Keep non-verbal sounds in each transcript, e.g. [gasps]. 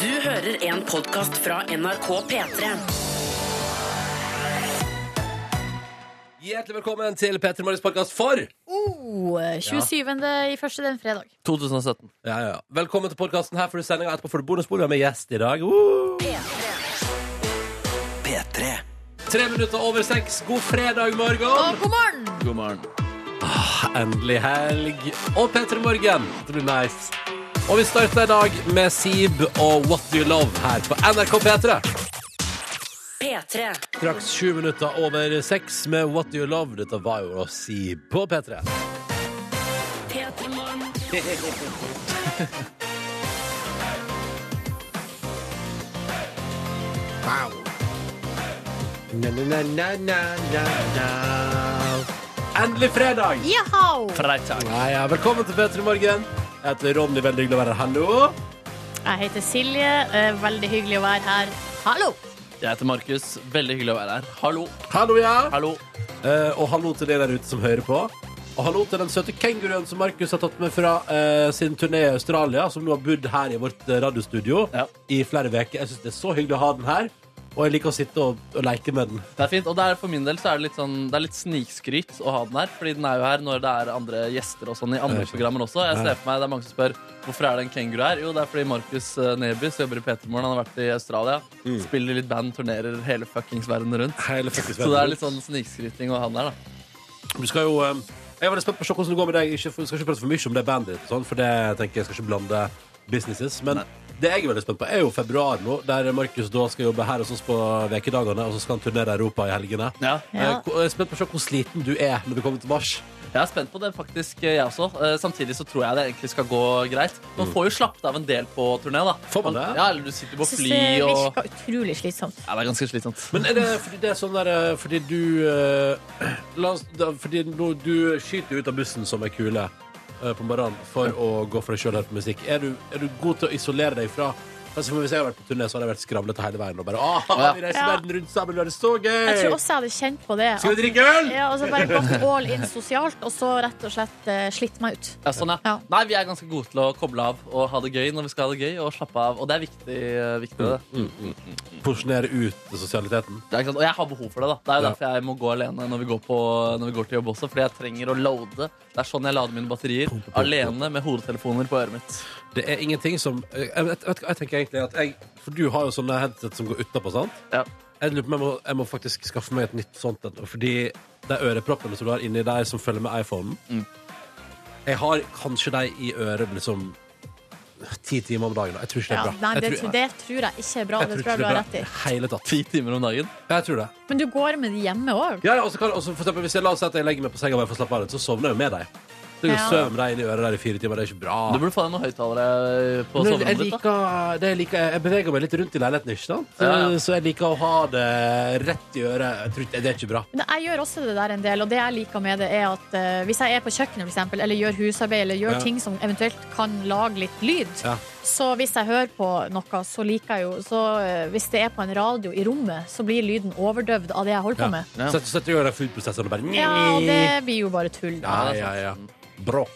Du hører en podcast fra NRK P3. Hjertelig velkommen til P3 Morgens podkast for Oh, 27. i første den fredag. 2017. ja, ja. Velkommen til podkasten her for sendinga etterpå for bonusbordet med gjest i dag. Woo! P3. Tre minutter over seks. God fredag, Og morgen. god morgen! God morgen. Endelig helg. Og P3 Morgen. Det blir nice. Og vi starter i dag med Sib og What Do You Love her på NRK P3. P3. Straks sju minutter over seks med What Do You Love. Dette var jo da Sib på P3. P3 Morgen. Endelig fredag! Yahoo! Freitag. Ja, ja. Velkommen til P3 Morgen. Jeg heter Ronny. Veldig hyggelig å være her. Hallo. Jeg heter Silje. eh, Veldig hyggelig å være her. Hallo! Jeg heter Markus. Veldig hyggelig å være her. Hallo. Hallo, ja. Hallo. Eh, og hallo til dere der ute som hører på. Og hallo til den søte kenguruen som Markus har tatt med fra eh, sin turné i Australia, som nå har bodd her i vårt eh, radiostudio Ja. i flere uker. Jeg syns det er så hyggelig å ha den her, og jeg liker å sitte og, og leke med den. Det er fint, og det er for min del så er det litt, sånn, det er litt snikskryt å ha den her. Fordi den er jo her når det er andre gjester og sånn i andre programmer også. Jeg ser for meg, Det er mange som spør hvorfor er det en kenguru her. Jo, det er fordi Markus eh, Neby som jobber i Petermoren, han har vært i Australia. Spiller litt band, turnerer hele fuckings verden rundt. Hele fuckings Så det er verden. litt sånn snikskryting å ha den her, da. Du skal jo eh, Jeg er veldig spent på å se hvordan det går med deg. Ikke, vi skal ikke prate for mye om det bandet ditt, og sånn, for det tenker jeg skal ikke blande businesses. Men det jeg er veldig spent på, er jo februar nå, der Markus da skal jobbe her hos oss på ukedagene, og så skal han turnere Europa i helgene. Ja. Ja. Eh, ko- Jeg er spent på å se hvor sliten du er når du kommer til mars. Jeg er spent på det, faktisk, eh, jeg også. Eh, Samtidig så tror jeg det egentlig skal gå greit. Man får jo slappet av en del på turné, da. Får man det? Ja, eller du sitter på Jeg synes fly det og virker utrolig slitsomt. Ja, det er ganske slitsomt. Men er det fordi det er sånn der eh, Fordi du eh, La oss da, Fordi nå, du skyter ut av bussen som ei kule eh, på morgenen for å gå for deg sjøl og høre på musikk. Er du, er du god til å isolere deg fra Altså, for Hvis jeg hadde vært på turné, så hadde jeg vært skravlete hele veien. Og bare, ah, Ja. vi reiser Ja. verden rundt sammen, det er så Jeg tror gøy! også jeg hadde kjent på det. Skal vi drikke øl? Ja, og så bare gått all in sosialt, og så rett og slett eh, slitt meg ut. Ja, sånn, ja. Ja. Nei, vi er ganske gode til å koble av og ha det gøy når vi skal ha det gøy. Og slappe av, og det er viktig. eh, viktig det. Mm. Porsjonere ut sosialiteten. Det er ikke sant? Og jeg har behov for det. da Det er jo Ja. derfor jeg må gå alene når vi går, på, når vi går til jobb også. Fordi jeg trenger å loade. Det er sånn jeg lader mine batterier. pump, pump. Alene med hodetelefoner på øret mitt. Det er ingenting som Jeg, jeg, vet- vet du hva, jeg tenker egentlig at jeg For du har jo sånne headset som går utapå, sant? Ja. Jeg lurer på om jeg må, jeg må faktisk skaffe meg et nytt sånt et, Fordi de øreproppene som du har inni deg Som følger med iPhonen Mm. Jeg har kanskje deg i øret liksom Ti timer om dagen og Jeg tror ikke det Ja, er bra nei, det, jeg tror, det tror jeg ikke er bra. jeg Det tror tror ikke jeg du det har er rett i. bra Hele tatt Ti timer om dagen. Jeg tror det Men du går med de hjemme òg? ja, ja, og så kan, og så for eksempel, Hvis jeg la oss si at jeg legger meg på senga Bare for å slappe av litt Så sovner jeg jo med deg Det er jo Ja. søvn med deg inn i øret der i fire timer Det er ikke bra Du burde få deg noen høyttalere eh, på Men jeg, soverommet ditt. da liker, det jeg, liker, jeg beveger meg litt rundt i leiligheten, ikke sant? Ja, ja. Så jeg liker å ha det rett i øret. Jeg tror, ikke- det er ikke bra. Nei, Jeg gjør også det der en del, og det jeg liker med det, er at eh, hvis jeg er på kjøkkenet, for eksempel, eller gjør husarbeid, eller gjør Ja. ting som eventuelt kan lage litt lyd, Ja. så hvis jeg hører på noe, så liker jeg jo så, eh, Hvis det er på en radio i rommet, så blir lyden overdøvd av det jeg holder på med. Ja. Så setter du i gang foodprosessen og bare Ja, og det blir jo bare tull. ja, det er ja, ja. Bråk.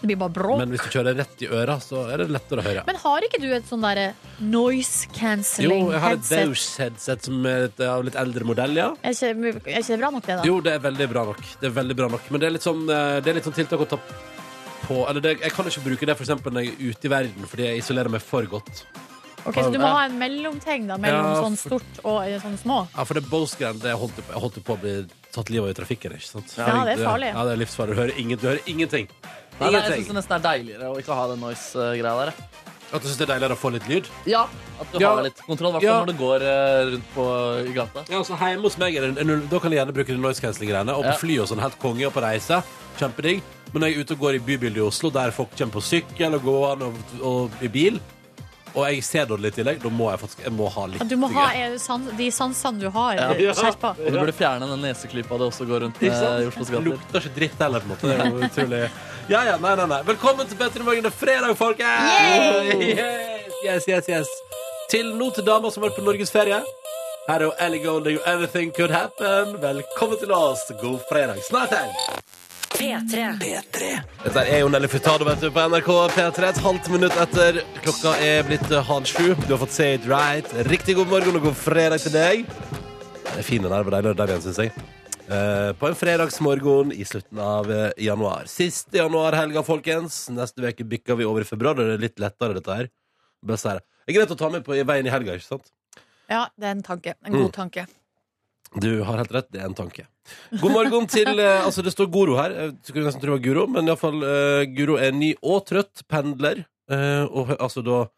Det blir bare bråk. Men hvis du kjører rett i øra, så er det lettere å høre. Men har ikke du et sånn derre noise Jo, cancelling jeg har et headset? Bose-headset som er et, av litt eldre modell, ja. Er ikke, er ikke det bra nok, det, da? Jo, det er veldig bra nok. Det er veldig bra nok. Men det er litt sånn, eh, det er litt sånn tiltak å ta på Eller det, jeg kan ikke bruke det for eksempel når jeg er ute i verden, fordi jeg isolerer meg for godt. Ok, så du må ha en mellomting da, mellom Ja, sånn for- stort og eh, sånn små? Ja, for det Bose-greiene det holdt, jeg holdt på å bli tatt livet av i trafikken. ikke sant? Ja, det er farlig. Ja, det er livsfarlig. Du hører, ingen, du hører ingenting. Nei, nei, jeg sånn Ingenting. syns det nesten er deiligere å ikke ha den noise-greia der. jeg. At du syns det er deiligere å få litt lyd? Ja, At du Ja. har litt kontroll, i hvert fall Ja. når du går eh, rundt på i gata. Ja, altså Hjemme hos meg er det null. Da kan jeg gjerne bruke de noise cancelling-greiene. Og på Ja. fly og sånn, helt konge, og på reise. Kjempedigg. Men når jeg er ute og går i bybildet i Oslo, der folk kommer på sykkel og går an og, og i bil, og jeg ser dårlig i tillegg, da må jeg faktisk jeg må ha litt. Ja, Du må ha eh, sans, de sansene du har, eh, skjerpa. Og du burde fjerne den neseklypa det også går rundt Ikke eh, sant? i Oslos Det gater. lukter ikke dritt heller, på en måte. Det er jo utrolig. Ja, ja, nei, nei, nei. Velkommen til Petter i morgen. Det er fredag, folkens! Yes, yes, yes, yes. Til nå til damer som har vært på norgesferie. Her er jo Ellie Golding og Everything Could Happen. Velkommen til oss. God fredag. Snart helg. P3. Dette er jo Nelly Furtado vet du, på NRK P3 et halvt minutt etter. Klokka er blitt eh, halv sju. Du har fått say it right. Riktig god morgen og god fredag til deg. Det er fine nerver deg lørdag igjen, syns jeg. Eh, på en fredagsmorgen i slutten av eh, januar. Siste januarhelga, folkens. Neste uke bykker vi over i februar. Da er det litt lettere, dette her. Bare så her. Det er greit å ta med på i veien i helga, ikke sant? Ja, det er en tanke. En Mm. god tanke. Du har helt rett, det er en tanke. God morgen til eh, Altså, det står Goro her. Jeg skulle nesten tro det var Guro, men iallfall eh, Guro er ny og trøtt pendler. Eh, og hø- altså, da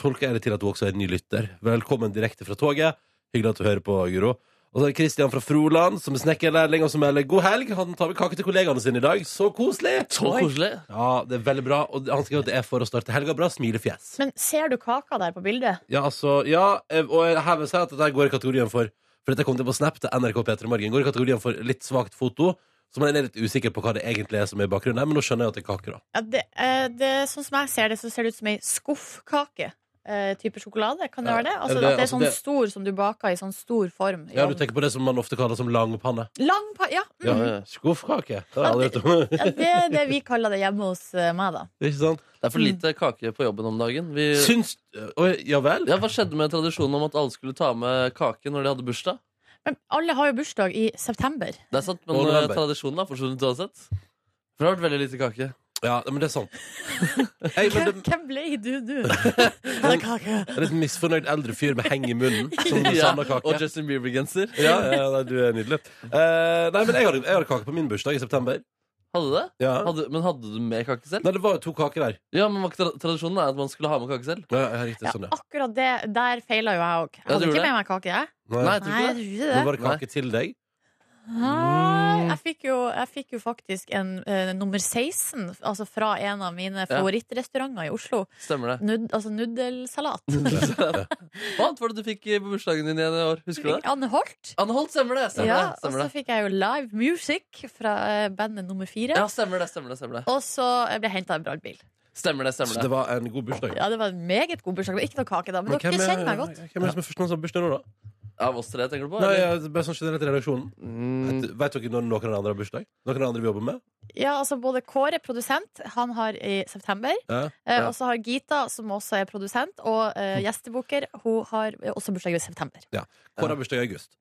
tolker jeg det til at hun også er en ny lytter. Velkommen direkte fra toget. Hyggelig at du hører på, Guro. Og så er det Kristian fra Froland, som er snekkerlærling, og som melder god helg. Han tar med kake til kollegaene sine i dag. Så koselig! Så koselig. Ja, det er veldig bra. Og han skriver at det er for å starte helga bra. Smilefjes. Men ser du kaka der på bildet? Ja, altså, ja, eh, og jeg- her vil jeg si at dette går i kategorien for For dette kom til på Snap til NRK P3 Morgen. Går i kategorien for litt svakt foto. Så man er litt usikker på hva det egentlig er som er i bakgrunnen. her, Men nå skjønner jeg at det er kaker, da. Ja, det, eh, det, sånn som jeg ser det, så ser det ut som ei skuffkake. eh, type sjokolade, kan det Ja, være det? Altså, eller det- at det er altså, sånn det- stor som du baker i sånn stor form. i Ja, du ovnen. tenker på det som man ofte kaller som langpanne. Lang pa... Ja. Mm. Ja, Skuffkake. Det har jeg aldri hørt om. ja, det er det vi kaller det hjemme hos eh, meg, da. Ikke sant? Det er for lite kake på jobben om dagen. Vi, Syns Oi, ja vel? ja, hva skjedde med tradisjonen om at alle skulle ta med kake når de hadde bursdag? Men alle har jo bursdag i september. Det er sant, men Og eh, november. tradisjonen har forsvunnet uansett. For det har vært veldig lite kake. Ja, men det er sant. Jeg, men Hvem, det, hvem ble du nå? [laughs] Her er kake. en litt misfornøyd eldre fyr med heng i munnen som [laughs] Ja, savner kake. og Justin Bieber-genser. Ja, ja, nei, du er nydelig. Eh, nei, men jeg hadde, jeg hadde kake på min bursdag i september. Hadde du det? Ja. Hadde, men hadde du med kake selv? Nei, det var jo to kaker der. Ja, men var ikke tra- Tradisjonen er at man skulle ha med kake selv. Ja, ja, riktig, Ja, sånn, ja. akkurat det, der feila jo jeg òg. Jeg Ja, du hadde gjorde ikke det? med meg kake, jeg. Nei, jeg tror Nei, ikke jeg tror det. ikke Men det. var Mm. det kake til deg? Nei, jeg fikk jo, jeg fikk jo faktisk en eh, nummer 16, altså fra en av mine favorittrestauranter i Oslo. Stemmer det. [laughs] Nud, altså [laughs] nudelsalat. Hva annet var det du fikk i bursdagen din igjen i år? Husker du det? Anne Holt. Anne Holt, stemmer det. Stemmer Ja, det, og stemmer så altså, det. fikk jeg jo live music fra eh, bandet nummer Ja, fire. stemmer det, stemmer det, stemmer det. Og så eh, ble jeg henta en brannbil. Stemmer det, Så det stemmer det. var en god bursdag. Ja, det var en meget god bursdag. Det var Ikke noe kake da, men, Men dere hvem er- kjenner meg godt. Hvem er det som er førstemann som har bursdag nå, da? Av oss tre, tenker du på? Nei, eller? ja, det er bare sånn generelt i redaksjonen. Mm, Vet- Vet dere når noen av de andre har bursdag? Noen av de andre vi jobber med? Ja, altså både Kåre, produsent, han har i september. Ja. Eh, Ja. Og så har Gita, som også er produsent, og eh, gjestebuker, hun har eh, også bursdag i september. Kåre har bursdag i august.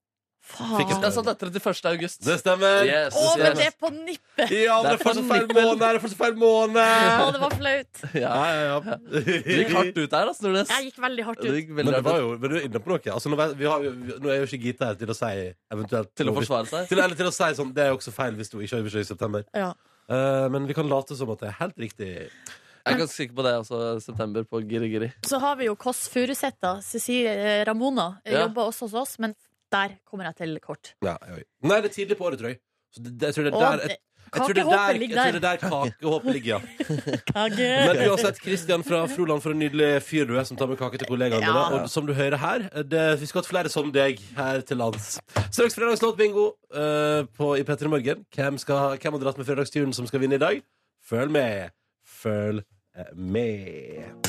Faen. det er sant, det er 31. august. Det stemmer! Yes, Å, men det yes. er på nippet! Ja, men det er fortsatt feil måned! Det er fortsatt feil måned! Å, det var flaut. Ja. Ja, ja, [laughs] ja. Det gikk hardt ut der, altså, Nordnes. Jeg gikk veldig hardt Det ut. gikk Men veldig det hardt var ut. jo, men du er inne på noe. Altså, nå, vet- vi har, jo- vi- nå er jo ikke Gita her til å si eventuelt Til å forsvare seg. Til, eller til å si sånn, Det er jo også feil hvis du ikke har bursdag i september. Ja. Eh, men vi kan late som at det er helt riktig. Jeg er ganske sikker på det også, september på Giri Giri. Så har vi jo Kåss Furuseth, Cecilie Ramona, eh, Ja. jobber også hos oss, men der kommer jeg til kort. Ja, jeg vet. Nei, det er tidlig på året, tror jeg. Så det, det, jeg tror det er Å, der, jeg, jeg tror det er der, Kakehåpet jeg ligger tror det er der. der [laughs] kakehåpet ligger, ja. Kage. Men uansett, Kristian fra Froland, for en nydelig fyr du er, som tar med kake til kollegaene Ja. dine. Og som du hører her, det, vi skal ha flere som deg her til lands. Straks fredagslåtbingo uh, på- i P3 Morgen. Hvem, skal, hvem har dratt med fredagsturen som skal vinne i dag? Følg med. Følg eh, med.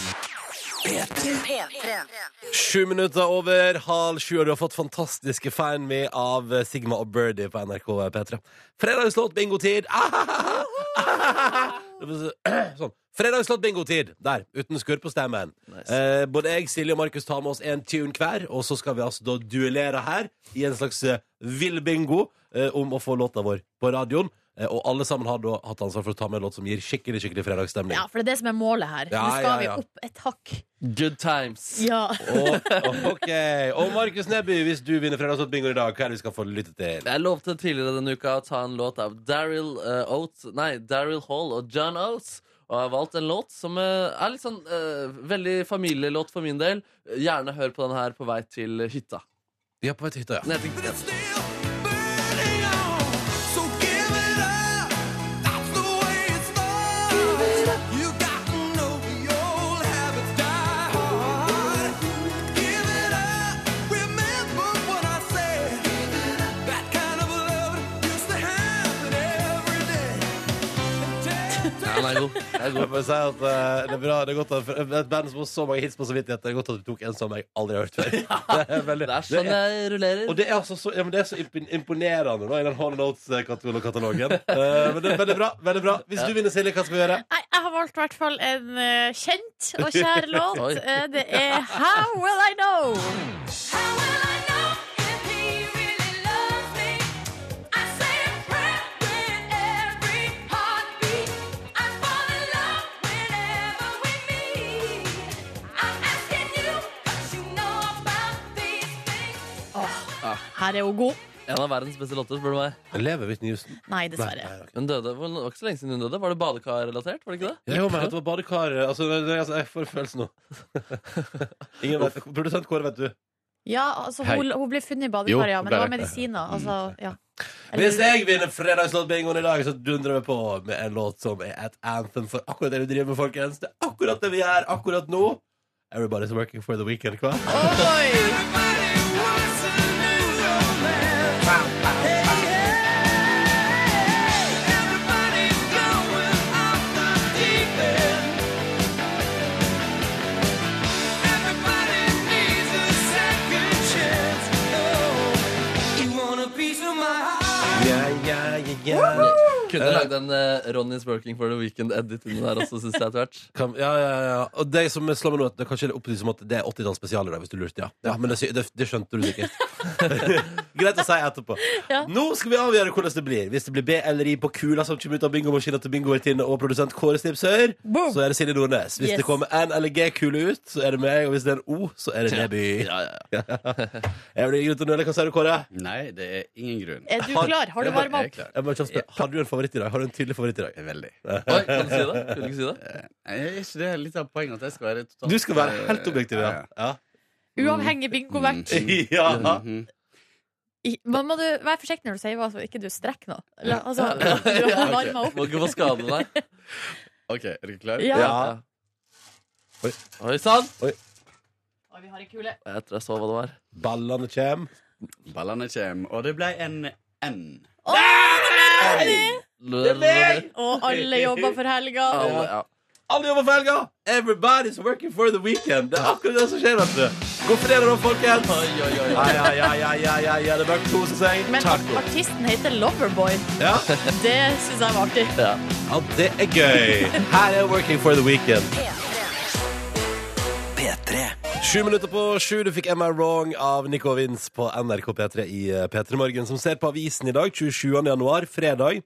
P3. Sju minutter over halv sju, og du har fått fantastiske Find Me av Sigma og Birdie på NRK P3. Fredagslåt bingotid! Ah, ah, ah, ah. Det var så- [clears throat] Sånn. Fredagslåt bingotid! Der, uten skurr på stemmen. Nice. Eh, både jeg, Silje og Markus tar med oss en tune hver, og så skal vi altså da duellere her i en slags eh, vill bingo eh, om å få låta vår på radioen. Eh, og alle sammen har da hatt ansvar for å ta med en låt som gir skikkelig skikkelig fredagsstemning. Ja, for det er det som er målet her. Ja, Nå skal ja, ja. vi opp et hakk. Good times. Ja. Og- ok, og Markus Neby, hvis du vinner fredagslåt bingo i dag, hva er det vi skal få lytte til? Jeg lovte tidligere denne uka å ta en låt av Daryl eh, Oates Nei, Daryl Hall og John Oates. Og jeg har valgt en låt som eh, er litt sånn eh, veldig familielåt for min del. Gjerne hør på den her på vei til hytta. Ja, på vei til hytta, ja. Den heter- Den er god. Den er Jeg god. må si at eh, det er bra. Det er godt at for Et band som har så mange hits på samvittigheten, det er godt at du tok en som jeg aldri har hørt før. Det er veldig, Det er sånn jeg rullerer. og det er, altså så, ja, men det er så impon- imponerende da, i den Hall Notes-katalogen. Eh, men det er veldig bra. veldig bra Hvis du vinner, Silje, hva skal vi gjøre? Nei, jeg har valgt i hvert fall en eh, kjent og [laughs] kjær låt. Oi. Eh, det er How Will I Know? Her er hun god. En av verdens beste låter, spør du meg. Lever Whitney Houston? Nei, dessverre. Nei, ok. Hun døde, hvor- Det var ikke så lenge siden hun døde. Var det badekarrelatert? Var det ikke det? Jeg håper at det var badekar altså, det- det- altså, Jeg får følelsen nå. [laughs] Ingen vet. Produsent Kåre, vet du. Ja, altså, Hei. hun, hun ble funnet i Jo, badekaret, ja, men det ble var det. Mm. medisiner. Altså, ja. Hvis jeg vinner fredagslåtbingoen i dag, så dundrer vi på med en låt som er et anthem for akkurat det vi driver med, folkens. Det er akkurat det vi gjør akkurat nå. Everybody's working for the weekend, hva? Oi! Ja, ja, ja, ja. Kunne lagd en eh, Ronny's Working for the Weekend-edit inni der også, syns jeg etter hvert. Kan, ja, ja, ja. Og det som slår meg nå, at det kanskje er opp til som at det er 80-tallsspesial i dag, hvis du lurte. Ja, ja men det, sy- det, det skjønte du [laughs] sikkert. Greit å si etterpå. Ja. Nå skal vi avgjøre hvordan det blir. Hvis det blir B eller I på kula som kommer ut av bingomaskina til bingovertinne og produsent Kåre Snipsøyer, Boom! så er det Silje Nordnes. Hvis Yes. det kommer N eller G-kule ut, så er det meg. Og hvis det er en O, så er det Neby. Ja, ja, ja. Jeg blir grunn til å nøle. Hva sier du, Kåre? Nei, det er ingen grunn. Eh. Er du klar? Har du Jeg varma er opp? klar. Jeg må kjapt spørre, Har du en favoritt i dag? Har du en tydelig favoritt i dag? Veldig. Oi, kan du si det? Vil du ikke si det? Eh, Er ikke det litt av poenget at jeg skal være totalt Du skal være helt objektiv, ja. ja. Mm. Uavhengig bingovekt. ja. Mhm. I- Men må du være forsiktig når du sier hva, så ikke du strekker noe. La- Altså, du har varma opp. Må ikke få skade deg. OK, er dere klare? Ja. Ja. Oi. Oi sann! Oi, vi har ei kule. Jeg tror jeg så hva det var. Ballene kjem. Ballene kommer, og det ble en [laughs] N. Lørdag. Og alle jobber for helga. Alle, ja. Alle jobber for helga! Everybody's working for the weekend. Det er akkurat det som skjer, vet du. God fredag, da, folkens. Oi, oi, oi. Ja, ja, ja, ja, ja, ja, ja. Det er bare å kose seg. Men Taco. artisten heter Loverboy. Ja. Det syns jeg var artig. Ja. ja, det er gøy. Her er Working for the Weekend. Sju minutter på sju. Du fikk Am I Wrong av Nico Vins på NRK P3 i eh, P3 Morgen, som ser på avisen i dag, 27. januar, fredag.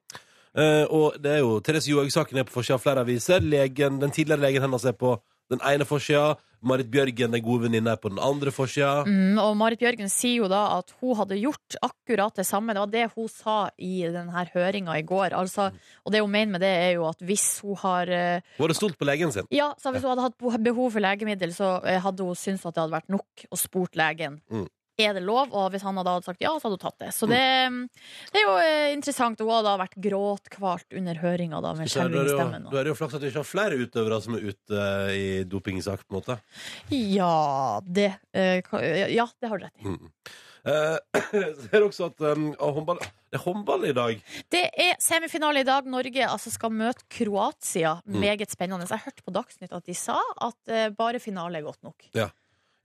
Eh, og det er jo Therese Johaug-saken er på forsida av flere aviser. Legen, den tidligere legen hennes er på den ene forsida. Marit Bjørgen, den gode venninna, er på den andre forsida. Mm, og Marit Bjørgen sier jo da at hun hadde gjort akkurat det samme. Det var det hun sa i denne høringa i går. Altså, og det hun mener med det, er jo at hvis hun har eh, Hun hadde stolt på legen sin. Ja, så hvis hun hadde hatt bo- behov for legemiddel, så eh, hadde hun syntes at det hadde vært nok og spurt legen. Mm. Er det lov? Og hvis han hadde hadde sagt ja, så hadde hun tatt det. Så det, mm, det er jo eh, interessant. Hun hadde da vært gråtkvalt under høringa da, med Så da er det jo- skjelvingsstemmen. da er det jo flaks at vi ikke har flere utøvere som er ute eh, i dopingsak, på en måte. Ja, det eh, ka- Ja, det har du rett i. Eh, [clears throat] ser også at um, ah, håndball, det er håndball i dag. Det er semifinale i dag. Norge altså, skal møte Kroatia. Meget spennende. Jeg hørte på Dagsnytt at de sa at eh, bare finale er godt nok. Ja,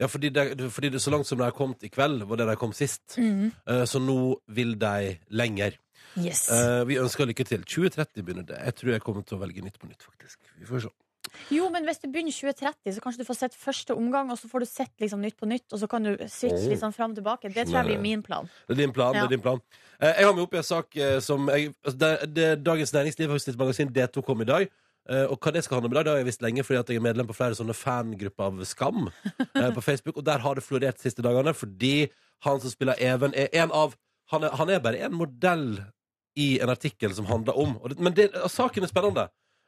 fordi det, fordi det så langt som de har kommet i kveld, var det de kom sist. Eh, så nå vil de lenger. Yes. Eh, vi ønsker lykke til. 2030 begynner det. Jeg tror jeg kommer til å velge Nytt på nytt, faktisk. Vi får se. Jo, men hvis du begynner 2030, så kanskje du får sett første omgang, og så får du sett liksom nytt på nytt, og så kan du switche litt sånn fram og tilbake. Det tror jeg blir min plan. Det er din plan. Ja. det er din plan Eh, Jeg har med opp i en sak eh, som jeg, altså, det, det, Dagens Næringsliv har sitt magasin D2 kom i dag. Eh, og hva det skal handle om i dag, det har jeg visst lenge, fordi at jeg er medlem på flere sånne fangrupper av Skam eh, på Facebook. Og der har det florert de siste dagene, fordi han som spiller Even, er en av Han er, han er bare en modell i en artikkel som handler om og det, Men det, ja, saken er spennende,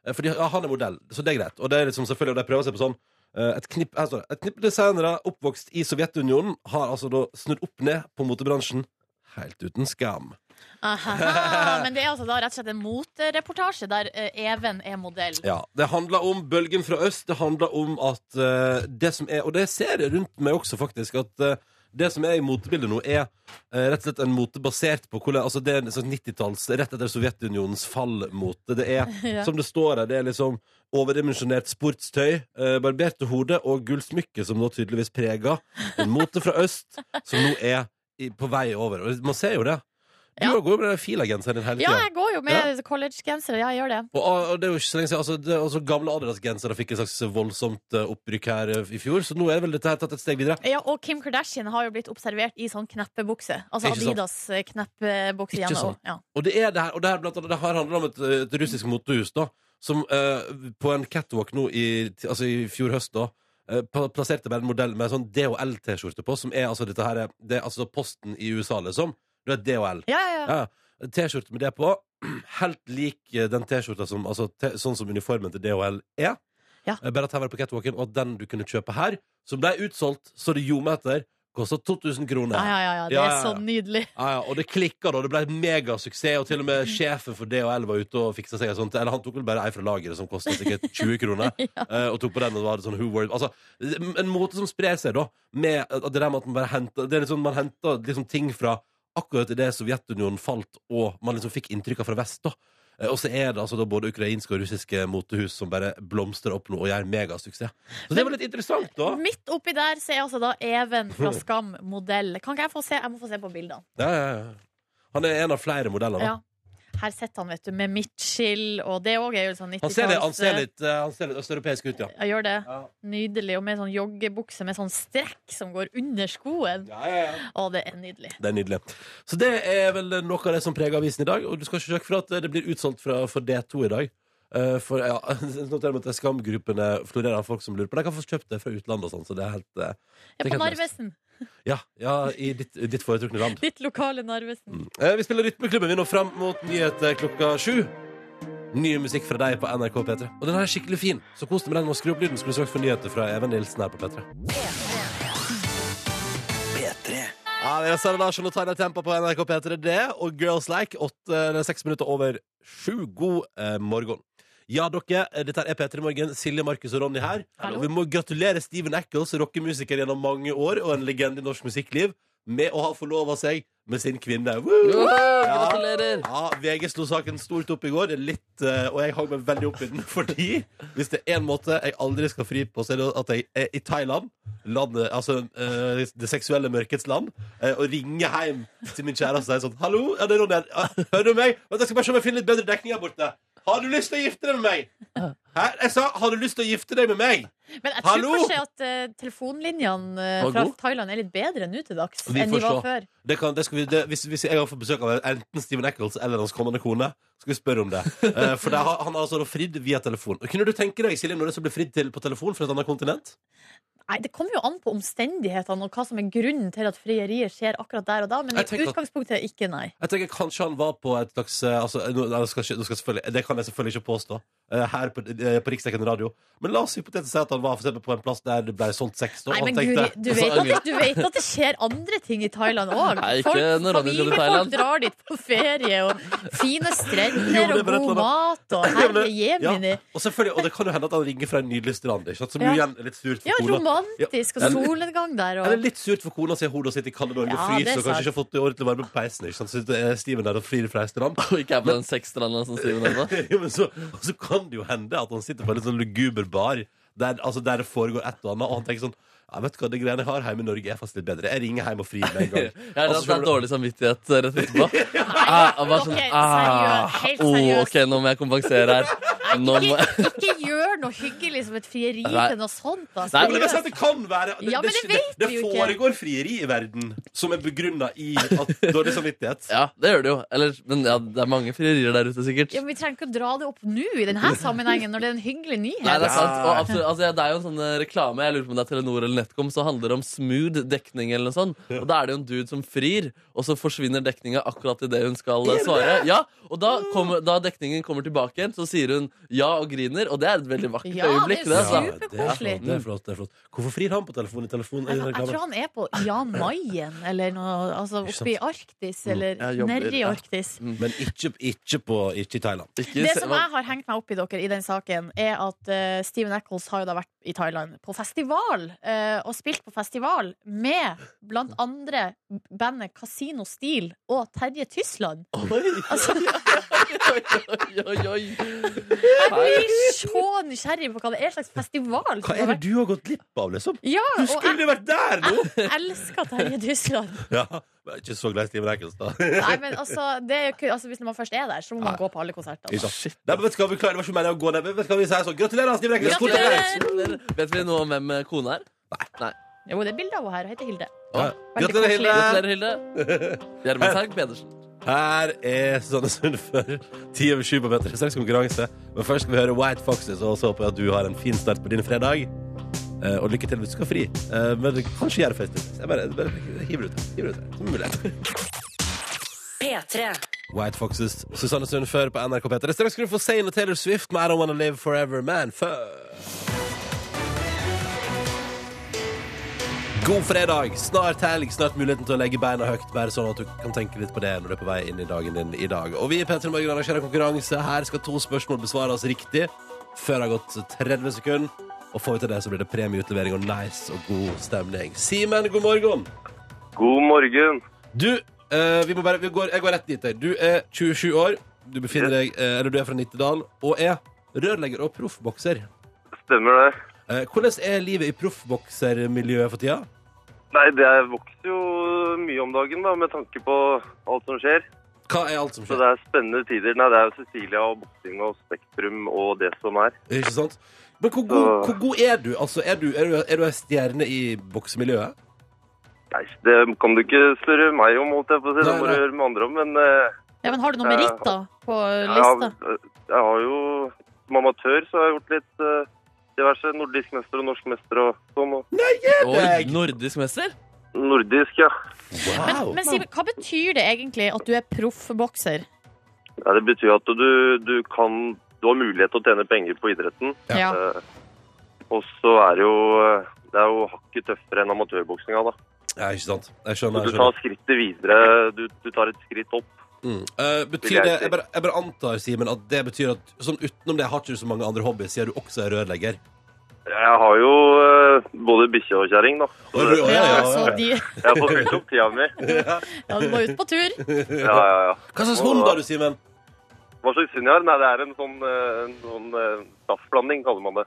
eh, fordi ja, han er modell, så det er greit. Og det er liksom selvfølgelig, og de prøver seg på sånn eh, et knipp, her står det, et knipp designere oppvokst i Sovjetunionen har altså da snudd opp ned på motebransjen helt uten skam. Ahaha. [laughs] Men det er altså da rett og slett en motereportasje der eh, Even er modell. Ja, Det handler om bølgen fra øst. Det handler om at eh, det som er Og det ser jeg rundt meg også, faktisk. At eh, det som er i motebildet nå, er eh, rett og slett en mote basert på hvordan altså Det er en sånn 90-talls Rett etter Sovjetunionens fall-mote. Det er, [laughs] Ja. som det står her, det er liksom overdimensjonert sportstøy, eh, barberte hode og gullsmykke, som nå tydeligvis preger en mote fra øst, som nå er i, på vei over. Og man ser jo det. Du Ja. går jo med den fila-genseren din hele Ja, tida. jeg går jo med collegegenser. Ja, jeg gjør det. Og, og det er jo ikke så lenge siden altså, det, altså, Gamle Adidas-gensere fikk et slags voldsomt eh, opprykk her eh, i fjor, så nå er vel dette her tatt et steg videre. Ja, og Kim Kardashian har jo blitt observert i sånn kneppebukse. Altså Ikke sant. Adidas eh, kneppebukse. Ikke gjennom- sant. Ja. Og det er det her, og det her, blant annet, det her handler om et, eh, et russisk motehus da, som eh, på en catwalk nå i, altså, i fjor høst da, eh, pla- plasserte bare en modell med en sånn DHL-T-skjorte på, som er altså dette her, er- det er altså posten i USA, liksom. Det er DHL. Ja, ja, ja. Ja, en T-skjorte med det på. [clears throat] Helt lik eh, den T-skjorta som altså, te, Sånn som uniformen til DHL er. Ja. Eh, Bare at her var det på catwalken, og den du kunne kjøpe her, som ble utsolgt, så det gjorde etter, kosta 2000 kroner. Ja, ja, ja, ja. Det Ja, er ja, så ja. nydelig. Ja, ja, og det klikka, da. Det ble megasuksess. Og til og med sjefen for DHL var ute og fiksa seg en sånn Eller han tok vel bare ei fra lageret som kosta sikkert 20 kroner, eh, og tok på den, og da var det sånn Who were Altså, en måte som sprer seg, da, med at det der med at man bare henter Det er litt sånn man henter liksom ting fra akkurat idet Sovjetunionen falt, og man liksom fikk inntrykka fra vest, da. Eh, Og så er det altså da både ukrainske og russiske motehus som bare blomstrer opp nå og gjør megasuksess. Så det var litt interessant, da. Midt oppi der så er altså da Even [laughs] fra Skam modell. Kan ikke jeg få se? Jeg må få se på bildene. Ja, ja, ja. Han er en av flere modeller. da. Ja. Her sitter han, vet du, med midtskill, og det òg er jo sånn 90-talls... Han ser litt, han ser litt, eh, han ser litt østeuropeisk ut, ja. Ja, gjør det. Ja. Nydelig. Og med sånn joggebukse med sånn strekk som går under skoen. Å, det er nydelig. Det er nydelig. Så det er vel noe av det som preger avisen i dag. Og du skal ikke sjekke for at det blir utsolgt fra, for D2 i dag. Eh, for ja, [laughs] jeg noterer meg at skamgruppene florerer av folk som lurer på De kan få kjøpt det fra utlandet og sånn, så det er helt eh, Ja, det er på helt løst. Narvesen. Ja, ja, i ditt, ditt foretrukne land. Ditt lokale Narvesen. Eh, vi spiller Rytmeklubben. Vi når fram mot nyheter klokka sju. Ny musikk fra deg på NRK P3. Og den her er skikkelig fin, så kos deg med den. Og skru opp lyden, skulle du søkt for nyheter fra Even Nilsen her på P3. Ja, det er Sara Larsson og Tyler Tempa på NRK P3 det, og Girls Like, åtte eller seks minutter over sju. God eh, morgen. Ja, dere, eh, dette er P3 Morgen. Silje, Markus og Ronny her. Hallo. Og vi må gratulere Steven Eccles, rockemusiker gjennom mange år og en legende i norsk musikkliv, med å ha forlova seg med sin kvinne. Woo! Gratulerer! Ja, VG slo saken stort opp i går, det er litt, eh, og jeg hang meg veldig opp i den. [laughs] Fordi hvis det er én måte jeg aldri skal fri på, så er det at jeg er i Thailand, landet, altså eh, det seksuelle mørkets land, eh, og ringer hjem til min kjæreste og sier sånn Hallo, ja, det er Ronny her. Ja, Hører du meg? Vent, Jeg skal bare se om jeg finner litt bedre dekning her borte. Har du lyst til å gifte deg med meg? Hæ? Jeg sa har du lyst til å gifte deg med meg? Men jeg tror Hallo? kanskje at eh, telefonlinjene eh, Var fra god. Thailand er litt bedre nå til dags Vi enn får de var se. før. Det kan, det skal vi, det, hvis, hvis jeg har fått besøk av enten Steven Eccles eller hans kommende kone, skal vi spørre om det. Eh, for det, har- han har altså da fridd via telefon. Kunne du tenke deg Silje, når det som blir fridd til på telefon fra et annet kontinent? Nei, Det kommer jo an på omstendighetene og hva som er grunnen til at frieriet skjer akkurat der og da, men i Jeg tenker at- utgangspunktet ikke, nei. Jeg tenker Kanskje han var på et slags eh, altså, eh, nå- nei, nå skal, jeg ikke- nå skal jeg selvfølgelig- Det kan jeg selvfølgelig ikke påstå eh, her på, uh, på Riksdekken radio. Men la oss hypotetisk si at han var for eksempel, på en plass der det ble solgt sex. Da, Nei, og han men tenkte- Guri, du vet, [laughs] at, du vet at det skjer andre ting i Thailand òg. altså, Nei, ikke Folk, når Ronny dro til familiefolk Thailand. drar dit på ferie, og [laughs] fine Jo, strender det er og bare et god eller mat og herre jemini. ja, og, selvfølgelig, og det kan jo hende at han ringer fra en nydelig strand, ikke sant? som jo Ja. igjen er litt surt for Ja, kona. romantisk og Ja. solnedgang der Eller og litt surt for kona siden hodet sitter i kalde Norge og Ja, det fryser er og kanskje sant. ikke har fått det ordentlig varme på peisen. Ikke sant? Så det er Steven der og frir fra ei strand. Og ikke er på den sexstranda som Steven nevnte. [laughs] Jo, men så, og så kan det jo hende at han sitter på en litt sånn luguber bar der, altså der det foregår et og annet, og han tenker sånn ja, vet du hva, Det greiene jeg har hjemme i Norge, er faktisk litt bedre. Jeg ringer hjem og frir med en [laughs] gang. Ja, det, Altså, det er skjønner du- dårlig samvittighet eh, rett etterpå. Ah, ah, bare sånn, Ok, ah, seriøst, helt oh, seriøst. ok, nå må jeg kompensere her. Nå må jeg... ikke, ikke gjør noe hyggelig som et frieri Nei. til noe sånt, da. Nei, Men det, beste er at det kan være det, Ja, men det det, vet det, vi jo ikke. foregår frieri i verden som er begrunna i at dårlig samvittighet. Ja, det gjør det jo. Eller, men ja, det er mange frierier der ute, sikkert. Ja, men Vi trenger ikke å dra det opp nå i denne sammenhengen, når det er en hyggelig nyhet. Nei, det er sant. Og absolutt, altså, det er jo en sånn eh, reklame, jeg lurer på om det er Telenor eller Netcom, som handler det om smooth dekning eller noe sånt. Og da er det jo en dude som frir, og så forsvinner dekninga akkurat idet hun skal eh, svare. Ja, Og da, kommer, da dekningen kommer tilbake igjen, så sier hun ja og griner, og det er er et veldig vakkert Ja, øyeblikk. [laughs] det er altså. jo superkoselig. Det er flott, det er flott. Hvorfor frir han på telefonen i telefonen? Jeg, jeg tror han er på Jan Mayen eller noe altså Ikke sant? oppe i Arktis, eller Jeg jobber, nedi ja. Arktis. Men ikke, ikke, på, ikke i Thailand. Ikke Det se- som jeg har hengt meg opp i dere i den saken, er at eh, Steven Eccles har jo da vært i Thailand på festival, eh, og spilt på festival med blant andre bandet Casino Steel og Terje Tysland. [laughs] Altså, Oi, oi, oi, oi. Jeg blir så nysgjerrig på hva det er slags festival Hva som er har det du har gått glipp av, liksom? vært- Ja, Du og skulle jo vært der nå! jeg elsker Terje Tysland. Ja, men ikke så glad i Steven Eccles, da. Nei, men altså, det er jo ikke, altså, hvis man først er der, så må man gå på alle altså. konsertene. Ikke sant? Nei, men vet du hva, vi klarer det var ikke meningen å gå ned. men Vet du hva vi sier sånn? Gratulerer, Steven Eccles! Stort Gratulerer! applaus! Vet vi noe om hvem eh, kona er? Nei. Jo, det er bilde av henne her. Hun heter Hilde. Ja. Veldig Gratulerer, koselig. Hilde! Gratulerer, Hilde. Gjermundshaug Pedersen. Her er Susanne Sund for ti over sju på Petter. Straks konkurranse. Men først skal vi høre White Foxes, og så håper jeg at du har en fin start på din fredag. Eh, og lykke til hvis du skal fri. Eh, men kanskje gjør det festivals. Jeg bare, bare hiver ut det. Hiver ut det. Som en mulighet. P3. White Foxes, Susanne Sund før på NRK P3. Straks skal du få Zayn og Taylor Swift med I Don't Wanna Live Forever Man før. God fredag, snart helg, snart muligheten til å legge beina høyt, bare sånn at du kan tenke litt på det når du er på vei inn i dagen din i dag. Og vi i P3 Morgen arrangerer konkurranse. Her skal to spørsmål besvares riktig før det har gått 30 sekunder. Og får vi til det, så blir det premieutlevering og nice og god stemning. Simen, god morgen! God morgen. Du, eh, vi må bare, vi går, jeg går rett dit der. Du er 27 år, du, befinner deg, eh, eller du er fra Nittedal, og er rørlegger og proffbokser. Stemmer det. Eh, hvordan er livet i proffboksermiljøet for tida? Nei, det vokser jo mye om dagen da, med tanke på alt som skjer. Hva er alt som Så skjer? det er spennende tider. Nei, det er jo Cecilia og boksing og Spektrum og det som er. Ikke sant? Men hvor god, hvor god er du? Altså, er du, er du, er du en stjerne i boksemiljøet? Nei, det kan du ikke slurre meg om, holdt jeg på å si. Det Nei, må du nei. høre med andre om. Men eh, Ja, men har du noen meritter på jeg, lista? har, jeg har jo Som amatør så har jeg gjort litt eh, diverse. Nordisk mester og norsk mester og sånn. Og Oi, nordisk mester? nordisk, ja. Wow! Men Simen, hva betyr det egentlig at du er proffbokser? Nei, det betyr at du, du kan Du har mulighet til å tjene penger på idretten. Ja. Ja. Eh, Og så er det jo eh, det er jo hakket tøffere enn amatørboksinga. da. ja, ikke sant? Jeg skjønner. Du Jeg skjønner. tar skrittet videre. Du, du tar et skritt opp. Mm. Eh, Vil betyr jeg det, si. jeg, bare, jeg bare antar, Simen, at det betyr at sånn utenom det har ikke du så mange andre hobbyer, siden du også er rørlegger. Jeg har jo eh, både bikkje og kjerring, da. Så Oi, oi, oi. det- Ja, ja, ja. altså, de, jeg får fylt opp tida mi. ja, du må ut på tur. Ja, ja, ja. Hva slags hund har du, Simen? Hva slags hund jeg har? Nei, det er en sånn, eh, en sånn eh, staffblanding, kaller man det.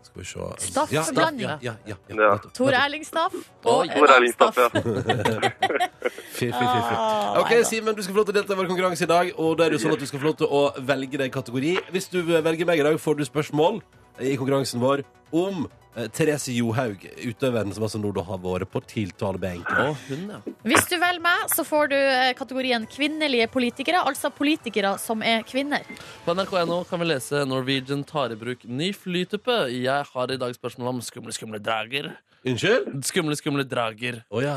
Skal vi se Staff Ja, for staff, blanding. Ja, ja, ja, ja. Ja. nettopp, Tor nettopp. Erlingstaff Oi, og Tor en Hvor er annen din staff, staff. ja? Fy, fy, fy, fy. Ah, Ok, nei da. Simen, du skal få lov til å delta i vår konkurranse i dag. Og da er det jo sånn at du skal få lov til å velge deg kategori. Hvis du velger meg i dag, får du spørsmål i konkurransen vår om eh, Therese Johaug, utøveren som altså nå da har vært på tiltalebenken. Å, hun, ja. Hvis du velger meg, så får du eh, kategorien kvinnelige politikere, altså politikere som er kvinner. På nrk.no kan vi lese 'Norwegian tar i bruk ny flytype'. Jeg har i dag spørsmål om skumle, skumle drager. Unnskyld? Skumle, skumle drager. Å ja.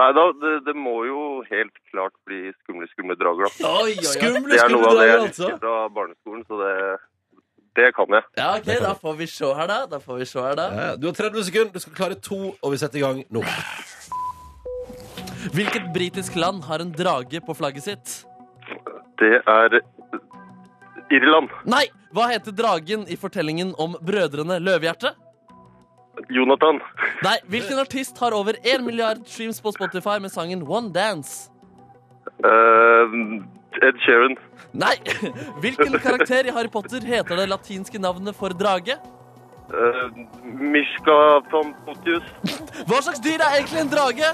Nei da, det, det må jo helt klart bli skumle, skumle drager, da. Oi, oi, oi. Skumle, Det er skumle noe av det dager, jeg altså. husker fra barneskolen, så det, det kan jeg. Ja, ok, da får vi se her, da. Da får vi se her, da. Ja, Du har 30 sekunder, du skal klare to, og vi setter i gang nå. Hvilket britisk land har en drage på flagget sitt? Det er Irland. Nei! Hva heter dragen i fortellingen om Brødrene Løvehjerte? Jonathan. Nei, hvilken artist har over 1 milliard streams på Spotify med sangen One Dance? Eh, Ed Sheeran. Nei! [laughs] Hvilken karakter i Harry Potter heter det latinske navnet for drage? Eh, Mishka Pampotius. Hva slags dyr er egentlig en drage?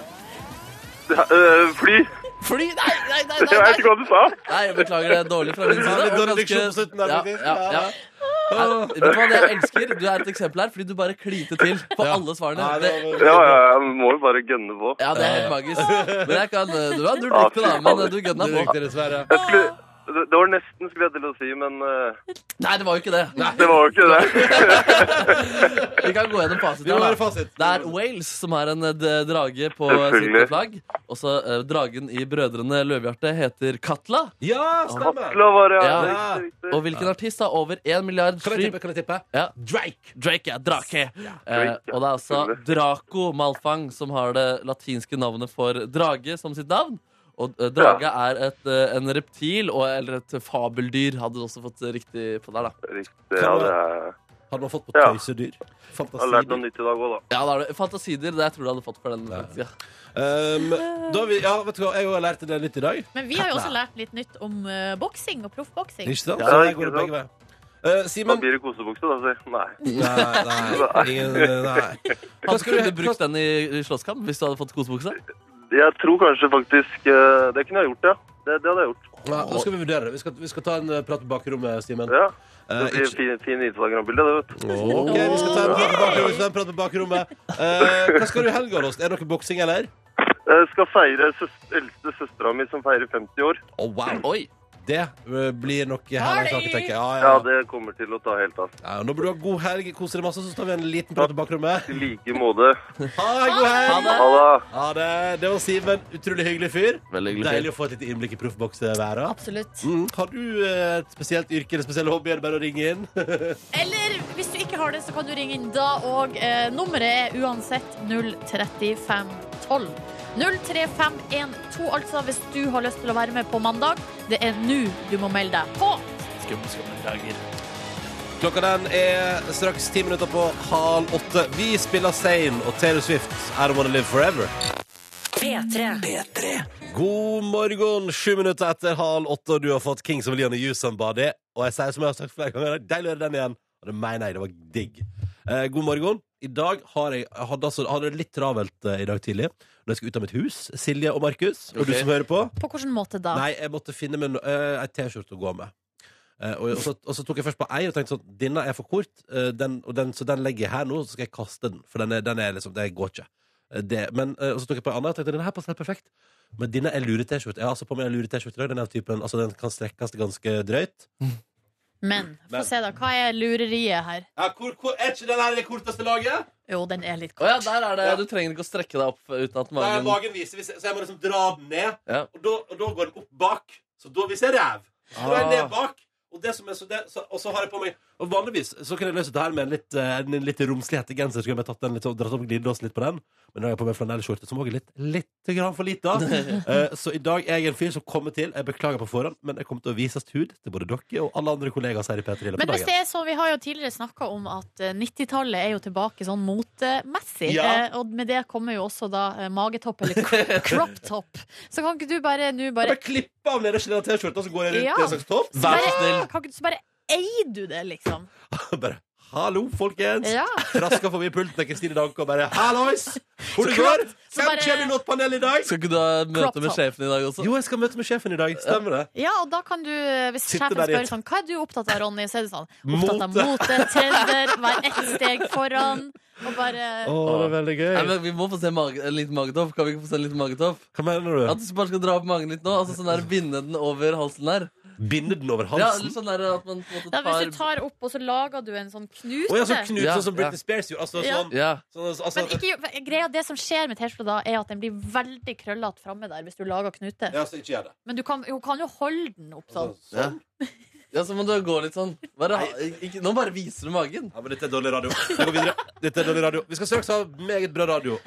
Eh, fly! Fly? Nei, nei, nei! Jeg nei, [laughs] vet ikke nei. hva du sa! nei jeg beklager det er dårlig fra min side. Det var litt dårlig Ganske- diksjon på slutten der, ja, faktisk. ja, ja. Nei, Vet du hva det jeg elsker? Du er et eksempel her, fordi du bare kliter til på alle svarene. Nei, Det, det var- Ja, ja, ja, vi må jo bare gønne på. ja, det er helt magisk. Men jeg kan, eh, du har null lykke, da, men eh, du gønna Det på. rykte dessverre. Jeg skulle, det, det var nesten skulle jeg til å si, men eh, Nei, det var jo ikke det. det var jo ikke det. Vi kan gå gjennom fasit. Vi må her, da. være fasit. Det er Wales som har en eh, d- drage på Selvfølgelig. sitt flagg. Også eh, dragen i Brødrene Løvehjerte heter Katla. Ja, [laughs] stemmer! Katla var det, ja. Ja. det er riktig, Og hvilken artist har over én Kan milliard jeg stream? tippe? Kan jeg tippe? Ja. Drake! Drake er drake. Eh, Drake, ja. og det er altså Selvfølgelig. Draco Malfang som har det latinske navnet for drage som sitt navn. Og eh, drage er et, eh, en reptil, og, eller et fabeldyr, hadde du også fått riktig på der, da. riktig. Ja, det er... Hadde man fått på Ja. tøysedyr? Jeg har lært noe nytt i dag òg, da. Ja, da er det Fantasidyr, det tror jeg du hadde fått for den. faktisk, Ja. Um, da vi, ja, vet du hva, jeg har lært det litt i dag. Men vi har jo også lært litt nytt om eh, boksing og proffboksing. Ikke sant? Ja, Så der ikke går det sant. begge veier. Eh, Da Simen blir det kosebukse, da, si. Nei. Nei, nei, [laughs] ingen, nei. Hva Hadde skal du du brukt den i i slåsskamp hvis du hadde fått kosebukse? Jeg tror kanskje faktisk eh, Det kunne jeg gjort, ja. Det, det hadde jeg gjort. Nei, Da skal vi vurdere det. Vi skal, vi skal ta en eh, prat på bakrommet, Simen. Ja. Eh, Det blir ikke- fin, fin Instagram-bilde, det, vet du. Ok, vi skal ta en prat på bakrommet. vi skal ta en prat på bakrommet. Eh, hva skal du i helga, Rost? Er det noe boksing, eller? Jeg Eh, skal feire søs eldste søstera mi som feirer 50 år. Oh, wow. Oi! Det eh, blir nok hele saken, tenker jeg. Ja, Ja, ja. det kommer til å ta helt av. Ja, nå burde du ha god helg, kose deg masse, så tar vi en liten prat på bakrommet. I like måte. Ha en god Ha helg! det! Ha det. Ha det. Det var Simen. Utrolig hyggelig fyr. Veldig Deilig å få et lite innblikk i proffbokseværet. Absolutt. Mm. Har du eh, et spesielt yrke eller spesiell hobby? Er det bare å ringe inn? Eller hvis du ikke har det, så kan du ringe inn da òg. Eh, nummeret er uansett 03512. 03512, altså, hvis du har lyst til å være med på mandag. Det er nå du må melde deg på. Skumle, skumle dager. Klokka den er straks ti minutter på halv åtte. Vi spiller Zain og Taylor Swift. I don't wanna live forever. P3. God morgen, sju minutter etter halv åtte, og du har fått Kings of Leon og You Somebody. Og jeg sier som jeg har sagt flere ganger, det er deilig å høre den igjen. Og det mener jeg, det var digg. Eh, god morgen. I dag har jeg, jeg hadde, altså, hadde det litt travelt eh, i dag tidlig. Når jeg skulle ut av mitt hus, Silje og Markus, og Ok. du som hører på. På hvilken måte da? Nei, jeg måtte finne meg no- eh, ei T-skjorte å gå med. Eh, og, og, så, og så tok jeg først på ei og tenkte sånn Denne er for kort, eh, den, og den, så den legger jeg her nå, så skal jeg kaste den. For den, er, den er liksom, det går ikke. Eh, Det, men, eh, og så tok jeg på en annen og tenkte denne her passer helt perfekt. Men denne er lure-T-skjorte. Jeg har altså på meg en lure-T-skjorte i dag. Den, er av typen, altså, den kan strekkes ganske drøyt. Men få Men- se, da. Hva er lureriet her? er ikke den her det korteste laget? Jo, den er litt Å ja, kort. der er det. Ja. Du trenger ikke å strekke deg opp uten at magen viser, så jeg må liksom dra den ned. Ja. Og da, og da går den opp bak. Så da viser jeg ræv. Så da er jeg Ah. ned bak. Og, det som er, så det, så, og så har jeg på meg Og vanligvis så kan jeg løse det her med en litt, eh, en litt romslig hettegenser. Så kunne jeg tatt den litt, og dratt opp glidelåsen litt på den. Men nå har jeg på meg flanellskjorte, som også er litt, litt grann [laughs] for lita. Eh, så i dag er jeg en fyr som kommer til. Jeg beklager på forhånd, men jeg kommer til å vise hud til både dere og alle andre kollegaer her i P3 i løpet Men av hvis dagen. det er sånn, vi har jo tidligere snakka om at eh, 90-tallet er jo tilbake sånn motemessig. Ja. Eh, og med det kommer jo også da eh, magetopp eller [laughs] cro- crop top. Så kan ikke du bare nå Jeg bare bare klipper av nederste del av T-skjorta, så går jeg rundt Ja. i en slags topp. Vær så Bare- snill. Kan ikke du så bare eier du det, liksom? [laughs] Bare Hallo, folkens! Ja. Traska forbi pulten til Kristine Danke og bare Hallois! Hvor det går? klart, så Hvem bare- kommer i nått panel i dag? Skal ikke du ha Crop møte med top. sjefen i dag også? Jo, jeg skal møte med sjefen i dag. Stemmer det? ja, og da kan du, eh, hvis Sitte sjefen der i spør et- sånn Hva er du opptatt av, Ronny? Så er det sånn Opptatt av mote, trender, vær ett steg foran, og bare Å, det er veldig gøy. Nei, men vi må få se mage, en liten magetopp. Kan vi ikke få se en liten magetopp? Hva mener du? At du bare skal dra opp magen litt nå? Altså sånn der Binde den over halsen der? Binde den over Ja, eller halsen? sånn der at man på en ja, måte Hvis du tar tar opp, og så lager du en sånn knute. Å ja, sånn knut, Ja, sånn som Britney Spears gjorde. Altså, Ja. sånn, Ja. sånn, altså, Men ikke, greia, det som skjer med T-skjorta da, er at den blir veldig krøllete framme der hvis du lager knute. ja, så ikke gjør det. Men du kan, hun kan jo holde den opp sånn. [laughs] Altså, sånn. ja, så må du gå litt sånn. Bare, ha- ikke, nå bare viser du magen. Ja, men dette er dårlig radio. Vi går videre. Dette er dårlig radio. Vi skal straks ha meget bra radio.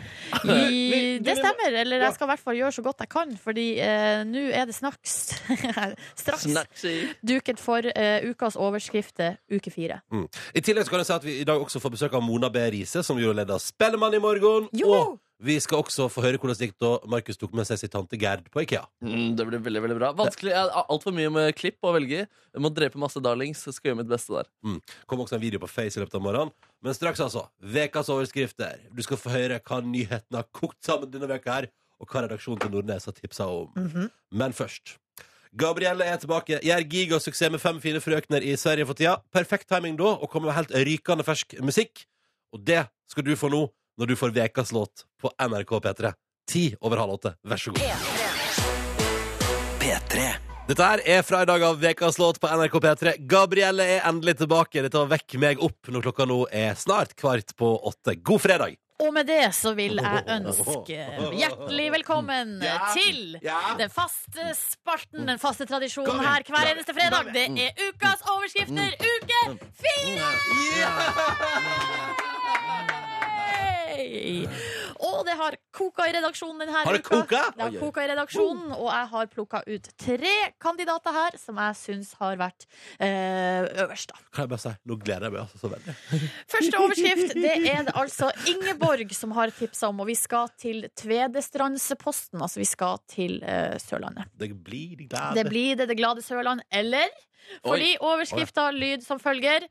I, du- du- det stemmer. Eller Ja. jeg skal i hvert fall gjøre så godt jeg kan, fordi eh, nå er det snaks. [laughs] Straks Snatchy. duket for eh, ukas overskrifter uke fire. I tillegg så kan jeg si at vi i dag også får besøk av Mona B. Riise, som jo leder Spellemann i morgen. Joho! Og vi skal også få høre hvordan det gikk da Markus tok med seg sin tante Gerd på Ikea. Mm, det blir veldig veldig bra. Vanskelig. Jeg har altfor mye med klipp å velge i. Jeg må drepe masse darlings. Jeg skal gjøre mitt beste der. Kom også en video på Face i løpet av morgenen. Men straks, altså. Vekas overskrifter. Du skal få høre hva nyhetene har kokt sammen denne veka her, og hva redaksjonen til Nordnes har tipsa om. Men først. Gabrielle er tilbake. Gjør gigasuksess med fem fine frøkner i Sverige for tida. Perfekt timing da å komme med helt rykende fersk musikk. Og det skal du få nå når du får Vekas låt på NRK P3. Ti over halv åtte. Vær så god. Dette her er fra i dag av Vekas låt på NRK P3. Gabrielle er endelig tilbake. Dette var Vekk meg opp når klokka nå er snart kvart på åtte. God fredag! Og med det så vil jeg ønske hjertelig velkommen til den faste spalten, den faste tradisjonen her hver eneste fredag. Det er ukas Mm. overskrifter, uke fire! Yay! Og det har koka i redaksjonen denne Har det uka. koka? Det har koka i redaksjonen, og jeg har plukka ut tre kandidater her som jeg syns har vært eh, øverst, da. Kan jeg bare si, nå gleder jeg meg altså så veldig. Første overskrift det er det altså Ingeborg som har tipsa om, og vi skal til Tvedestrandsposten. Altså vi skal til eh, Sørlandet. Det blir de glade. Det blir det det glade Sørland, eller? Fordi overskrifta lyd som følger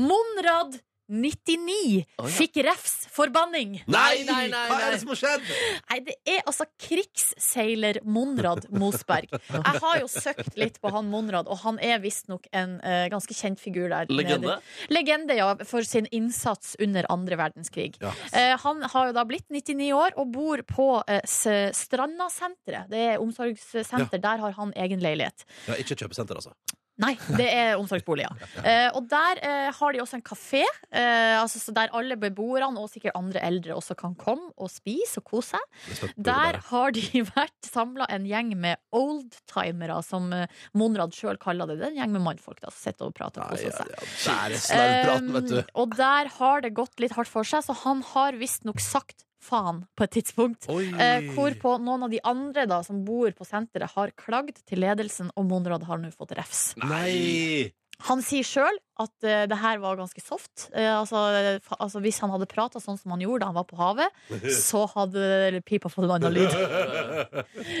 Monrad 99 fikk refs for banning. Nei, nei, nei, Hva er det som har skjedd? Nei, det er altså krigsseiler Monrad Mosberg. Jeg har jo søkt litt på han Monrad, og han er visstnok en eh, ganske kjent figur der. nede. Legende? Legende, ja, for sin innsats under andre verdenskrig. Eh, han har jo da blitt 99 år og bor på eh, S- Strandasenteret. Det er omsorgssenter. Der har han egen leilighet. Ja, ikke kjøpesenter, altså. Nei, det er omsorgsboliger. Eh, og der eh, har de også en kafé, eh, altså, så der alle beboerne og sikkert andre eldre også kan komme og spise og kose seg. Der har de [laughs] vært samla en gjeng med oldtimere, som eh, Monrad sjøl kaller det. Det er en gjeng med mannfolk da, som sitter og prater og koser seg. Kjære snauprat, vet du. Eh, og der har det gått litt hardt for seg, så han har visstnok sagt faen på et tidspunkt. Oi. Eh, hvorpå noen av de andre da, som bor på senteret, har klagd til ledelsen, og Monrad har nå fått refs. Nei! Han sier sjøl at eh, det her var ganske soft. Eh, altså, eh, fa- altså, hvis han hadde prata sånn som han gjorde da han var på [laughs] havet, så hadde pipa fått en annen lyd. [laughs]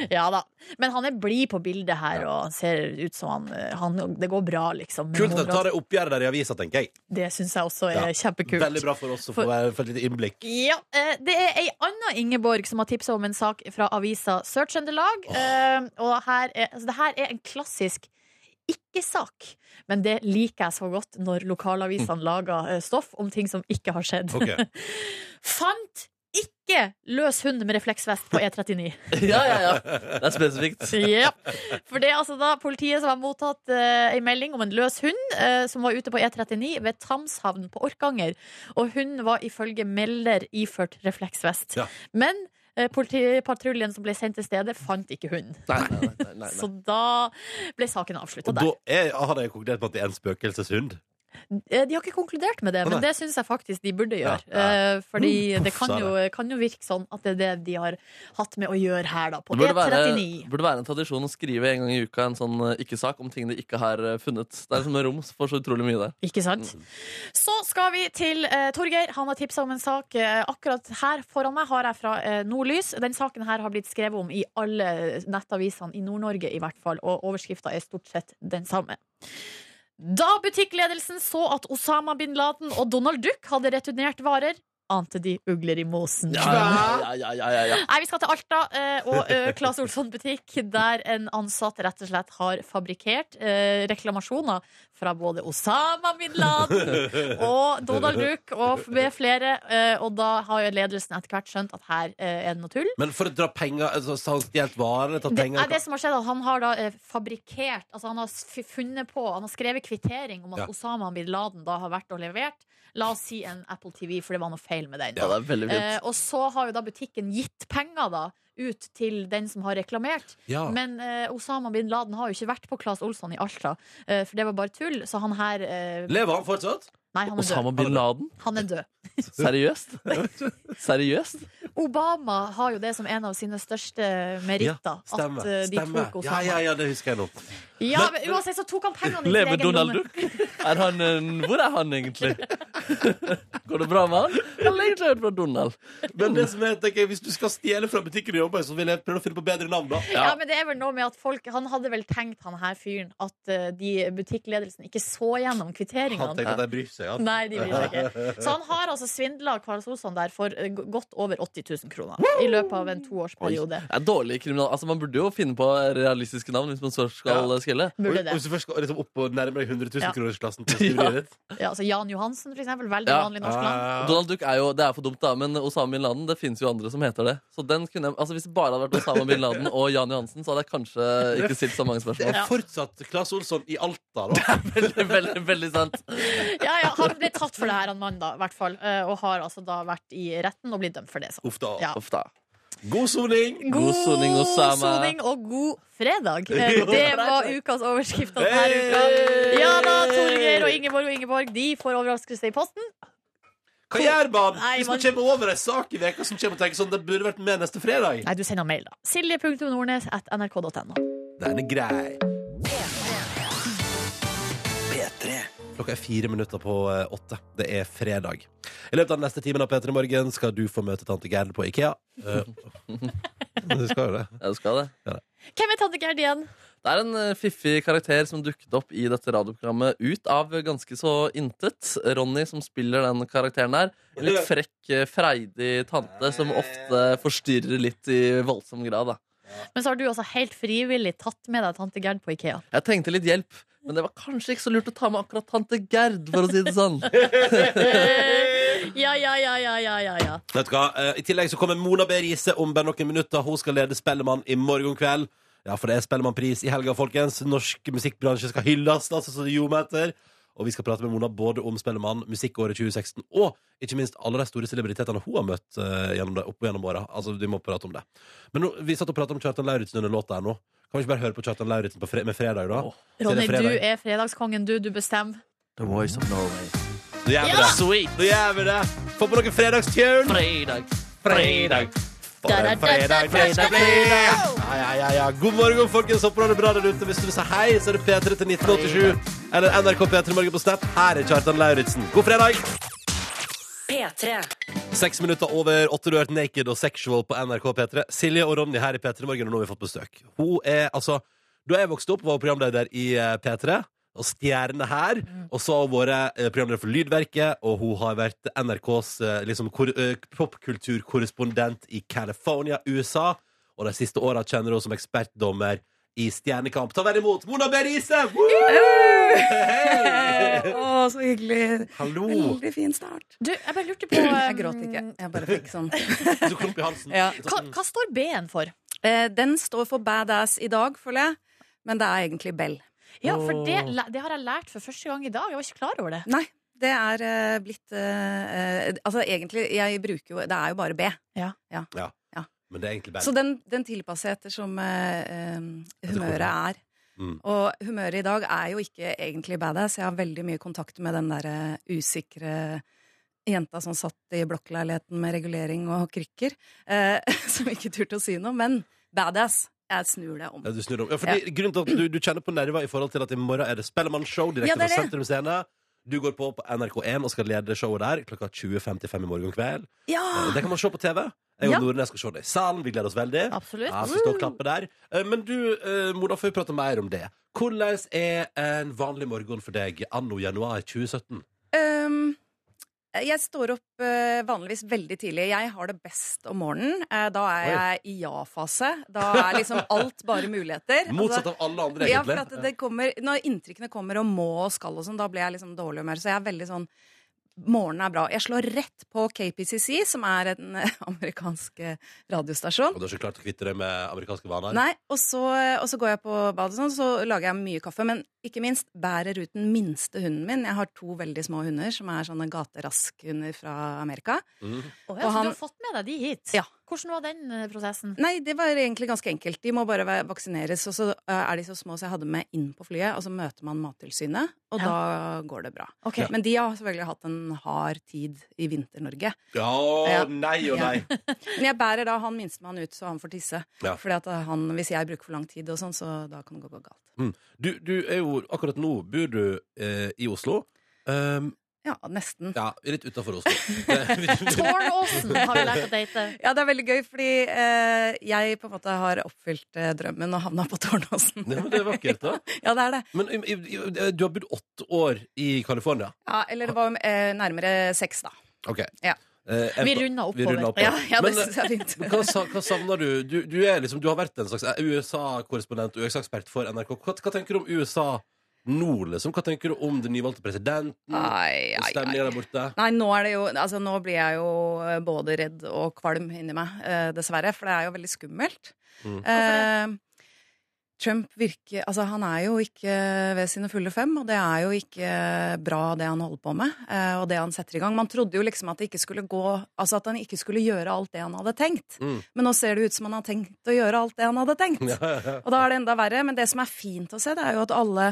Ja da. Men han er blid på bildet her, og han ser ut som han, eh, han Det går bra, liksom. med Kult at de Monrad. tar det oppgjøret der i avisa, tenker jeg. Det syns jeg også er Ja. kjempekult. Veldig bra for oss å få, være- få et lite innblikk. Ja, eh, Det er ei anna Ingeborg som har tipsa om en sak fra avisa Sør-Trøndelag. Eh, og her er, altså, det her er en klassisk ikke-sak, men det liker jeg så godt når lokalavisene lager eh, stoff om ting som ikke har skjedd. Ok. [laughs] Fant ikke løs hund med refleksvest på E39. Ja, ja, ja. Det er spesifikt. Ja. For det er altså da politiet som har mottatt eh, ei melding om en løs hund eh, som var ute på E39 ved Tamshavn på Orkanger. Og hunden var ifølge melder iført refleksvest. Ja. Men eh, Politipatruljen som ble sendt til stedet, fant ikke hunden. Nei, nei, nei, nei, nei. Så da ble saken avslutta Og da der. er, har jeg konkludert med at det er en spøkelseshund. Eh, De har ikke konkludert med det, Å, men nei. det syns jeg faktisk de burde Ja, gjøre. Eh, Fordi det kan sa jo, kan jo virke sånn at det er det de har hatt med å gjøre her, da, på Det burde være, E39. burde være en tradisjon å skrive en gang i uka en sånn eh, ikke-sak om ting de ikke har eh, funnet. Det er som en rom for så utrolig mye der. Ikke sant? Så skal vi til eh, Torgeir. Han har tipsa om en sak. eh, akkurat her foran meg har jeg fra eh, Nordlys. Den saken her har blitt skrevet om i alle nettavisene i Nord-Norge, i hvert fall. Og overskrifta er stort sett den samme. Da butikkledelsen så at Osama bin Laden og Donald Duck hadde returnert varer, ante de ugler i mosen. Ja, ja, ja, ja, ja. Nei, vi skal til Alta eh, og eh, Claes Olsson butikk, der en ansatt rett og slett har fabrikkert eh, reklamasjoner fra både Osama bin Laden og Donald Duck og f- med flere. eh, Og da har jo ledelsen etter hvert skjønt at her eh, er det noe tull. Men for å dra penger altså, så har han Stjålet varer, tatt Det, nei, penger det som har skjedd er at Han har da eh, fabrikkert Altså han har f- funnet på Han har skrevet kvittering om at Ja. Osama bin Laden da har vært og levert. La oss si en Apple TV, for det var noe feil med den. Ja, det er veldig Eh, fint. og så har jo da butikken gitt penger da ut til den som har reklamert. Ja. Men eh, Osama bin Laden har jo ikke vært på Claes Olsson i Alta, eh, for det var bare tull. Så han her eh, Lever han fortsatt? Nei, han er død. Osama bin Laden? Han er død. Seriøst? Seriøst? Obama har jo det som en av sine største meritter. Stemmer. at eh, de stemmer. tok Ja, Osama. ja, ja, det husker jeg nå. Ja, men uansett så tok han pengene i sin Lever egen Donald lomme. Duck? Er han en, hvor er han egentlig? [laughs] Går det bra med han? Han legger seg ut fra Donald. Men det som er, tenker jeg, hvis du skal stjele fra butikken du jobber i, så vil jeg prøve å finne på bedre navn, da. Ja. men det er vel noe med at folk Han hadde vel tenkt, han her fyren, at eh, de butikkledelsen ikke så gjennom kvitteringene. Han tenker at jeg bryr seg. Ja. Nei, de bryr seg ikke. Så han har altså svindla Karl Solsson der for eh, g- godt over 80 000 kroner i løpet av en toårsperiode. Det er dårlig kriminal... Altså, man burde jo finne på realistiske navn hvis man så skal Ja. eh, skjelle. Burde Og det. Hvis du først skal liksom opp og nærmer deg 100 000 [laughs] Ja. kronersklassen til skriveriet ditt. Ja, altså Jan Johansen, for eksempel. Veldig Ja. Ah. vanlig norsk navn. Ah, Ja. Donald Duck er jo det er for dumt, da, men Osama bin Laden det finnes jo andre som heter det. Så den kunne, jeg- altså Hvis det bare hadde vært Osama bin Laden og Jan Johansen, så hadde jeg kanskje ikke stilt så mange Det er spørsmål. fortsatt Claes Olsson i Alta, [laughs] da. Veldig, veldig, veldig sant Ja, ja, han ble tatt for det her, han mannen, da, i hvert fall. eh, Og har altså da vært i retten og blitt dømt for det. Så. Uff da. Ja. Uff da. God soning! God soning, Osama. soning og god [laughs] fredag. Eh, Det var ukas overskrift denne Hey! uka. Ja da, Torgeir og Ingeborg og Ingeborg De får overraskelse i posten. Hva gjør man Nei, hvis man man- kommer over ei sak i veka som kommer og tenker sånn Det burde vært med neste fredag? Nei, du sender mail, da. Silje.nordnes at nrk.no. Den er grei. Klokka er fire minutter på eh, åtte. Det er fredag. I løpet av den neste timen av P3 Morgen skal du få møte tante Gerd på Ikea. Eh, du skal jo det. Ja, du skal det. Hvem er tante Gerd igjen? Det er en eh, fiffig karakter som dukket opp i dette radioprogrammet ut av ganske så intet. Ronny som spiller den karakteren der. En litt frekk, eh, freidig tante som ofte forstyrrer litt i voldsom grad. Da. Men så har du altså helt frivillig tatt med deg tante Gerd på [laughs] Ikea. Jeg trengte litt hjelp, men det var kanskje ikke så lurt å ta med akkurat tante Gerd, for å si det sånn. Ja, ja, ja, ja, ja, ja, ja. Vet du hva? Eh, I tillegg så kommer Mona B. Riise om bare noen minutter. Hun skal lede Spellemann i morgen kveld. Ja, for det er Spellemannpris i helga, folkens. Norsk musikkbransje skal hylles, altså, så det ljomer etter. Og vi skal prate med Mona både om Spellemann, musikkåret 2016 og ikke minst alle de store celebritetene hun har møtt eh, gjennom det, opp gjennom åra. Altså, vi må prate om det. Men nå, vi satt og pratet om Kjartan Lauritzen under låta her nå. Kan vi ikke bare høre på Kjartan Lauritzen på fre med fredag, da? Åh. Ronny, Siden det er du fredag. er fredagskongen, du. Du bestemmer. The voice of Norway. Nå gjør vi det! Sweet. Nå gjør vi det! Få på noen fredagstune! Fredag, fredag. For en fredag, fredag, fredag! Ja, ja, ja, ja. God morgen, folkens. Håper du har det bra der ute. Hvis du vil si hei, så er det P3 til 1987. Eller NRK P3 Morgen på Snap. Her er Kjartan Lauritzen. God fredag! P3. Seks minutter over åtte du har hørt Naked og Sexual på NRK P3. Silje og Ronny her i P3 Morgen, og nå har vi fått besøk. Hun er altså Da jeg vokste opp, var hun programleder i eh, P3. Og stjerne her. Mm. Og så har hun vært eh, programleder for Lydverket, og hun har vært NRKs eh, liksom, kor- eh, popkulturkorrespondent i California, USA. Og de siste åra kjenner hun som ekspertdommer i Stjernekamp. Ta vel imot Mona Berise! Hei! Å, så hyggelig. Hallo! Veldig fin start. Du, jeg bare lurte på eh, Jeg gråt ikke. Jeg bare fikk sånn. Så klump i halsen. Ja. Hva, hva står B-en for? Eh, Den står for badass i dag, føler jeg. Men det er egentlig Bell. Ja, for det, det har jeg lært for første gang i dag. Jeg var ikke klar over det. Nei, det er eh, blitt eh, eh, Altså egentlig, jeg bruker jo Det er jo bare B. Men det er egentlig Så bare den, den tilpasser jeg etter som eh, eh, humøret er. Mm. Og humøret i dag er jo ikke egentlig badass. Jeg har veldig mye kontakt med den derre usikre jenta som satt i blokkleiligheten med regulering og krykker, eh, [laughs] som ikke turte å si noe. Men badass. Jeg snur det om. Ja, du snur om. Ja, fordi, Grunnen til at du, du kjenner på nerver i forhold til at i morgen er det Spellemannsshow direkte Ja, det er fra det. Sentrum Scene. Du går på på NRK1 og skal lede showet der klokka 20.55 i morgen kveld. Ja! Eh, Det kan man se på TV. Jeg og Ah. Ja. Mm. Nordnes skal se det i salen. Vi gleder oss veldig. Absolutt. Ja, så stå og klappe der. Eh, Men du, eh, Mona, får vi prate mer om det. Hvordan er en vanlig morgen for deg anno januar 2017? Øhm, ehm, jeg står opp øh, vanligvis veldig tidlig. Jeg har det best om morgenen. Eh, da er Oi. jeg i ja-fase. Da er liksom alt bare muligheter. Altså, Motsatt av alle andre, Ja, for egentlig. at det kommer, når inntrykkene kommer og må og skal og sånn, da blir jeg liksom dårlig humør. Så jeg er veldig sånn Morgenen er bra. Jeg slår rett på KPCC, som er en eh, [laughs] amerikansk eh, radiostasjon. Og du har ikke klart å kvitte deg med amerikanske vaner? Nei, og så, og så går jeg på badet, og sånn, så lager jeg mye kaffe. Men ikke minst bærer ut den minste hunden min. Jeg har to veldig små hunder som er sånne gateraskhunder fra Amerika. Mm. Å, ja, Og så du han- har fått med deg de hit? Ja. Hvordan var den eh, prosessen? Nei, det var egentlig ganske enkelt. De må bare være- vaksineres. Og så eh, er de så små, så jeg hadde med inn på flyet, og så møter man Mattilsynet, og Ja. da går det bra. Ok. [laughs] Men de har selvfølgelig hatt en hard tid i Vinter-Norge. Ja, Ja. nei og nei. Men jeg bærer da han minstemann ut, så han får tisse. Ja. Fordi at han, hvis jeg bruker for lang tid og sånn, så da kan det gå galt. Du, du er jo akkurat nå bor du eh, i Oslo. Um, Ja, nesten. ja, litt utafor Oslo. [laughs] Det- Tårnåsen har vi lært at det heter. Ja, det er veldig gøy, fordi eh, jeg på en måte har oppfylt eh, drømmen og havna på Tårnåsen. [laughs] Ja, men det er vakkert, da. Ja, det er det. Men i, i, i- du har bodd åtte år i California. Ja, eller det var eh, nærmere seks, da. Ok. Ja. Eh, Vi jeg- runder vi runder oppover. oppover. Ja, ja det Men, eh, syns jeg er fint. Men Hva, sa- hva savner du? Du, du, er liksom, du har vært en slags USA-korrespondent og USA-ekspert for NRK. Hva, hva tenker du om USA nå, liksom? Hva tenker du om den nyvalgte presidenten? Ai, ai, ai. Stemninga der borte? Nei, nå, er det jo, altså, nå blir jeg jo eh, både redd og kvalm inni meg, eh, dessverre. For det er jo veldig skummelt. Mm. Eh, Trump virker Altså, han er jo ikke ved sine fulle fem, og det er jo ikke bra, det han holder på med, eh, og det han setter i gang. Man trodde jo liksom at det ikke skulle gå Altså at han ikke skulle gjøre alt det han hadde tenkt. Mm. Men nå ser det ut som han har tenkt å gjøre alt det han hadde tenkt. Ja, ja, ja. Og da er det enda verre. Men det som er fint å se, det er jo at alle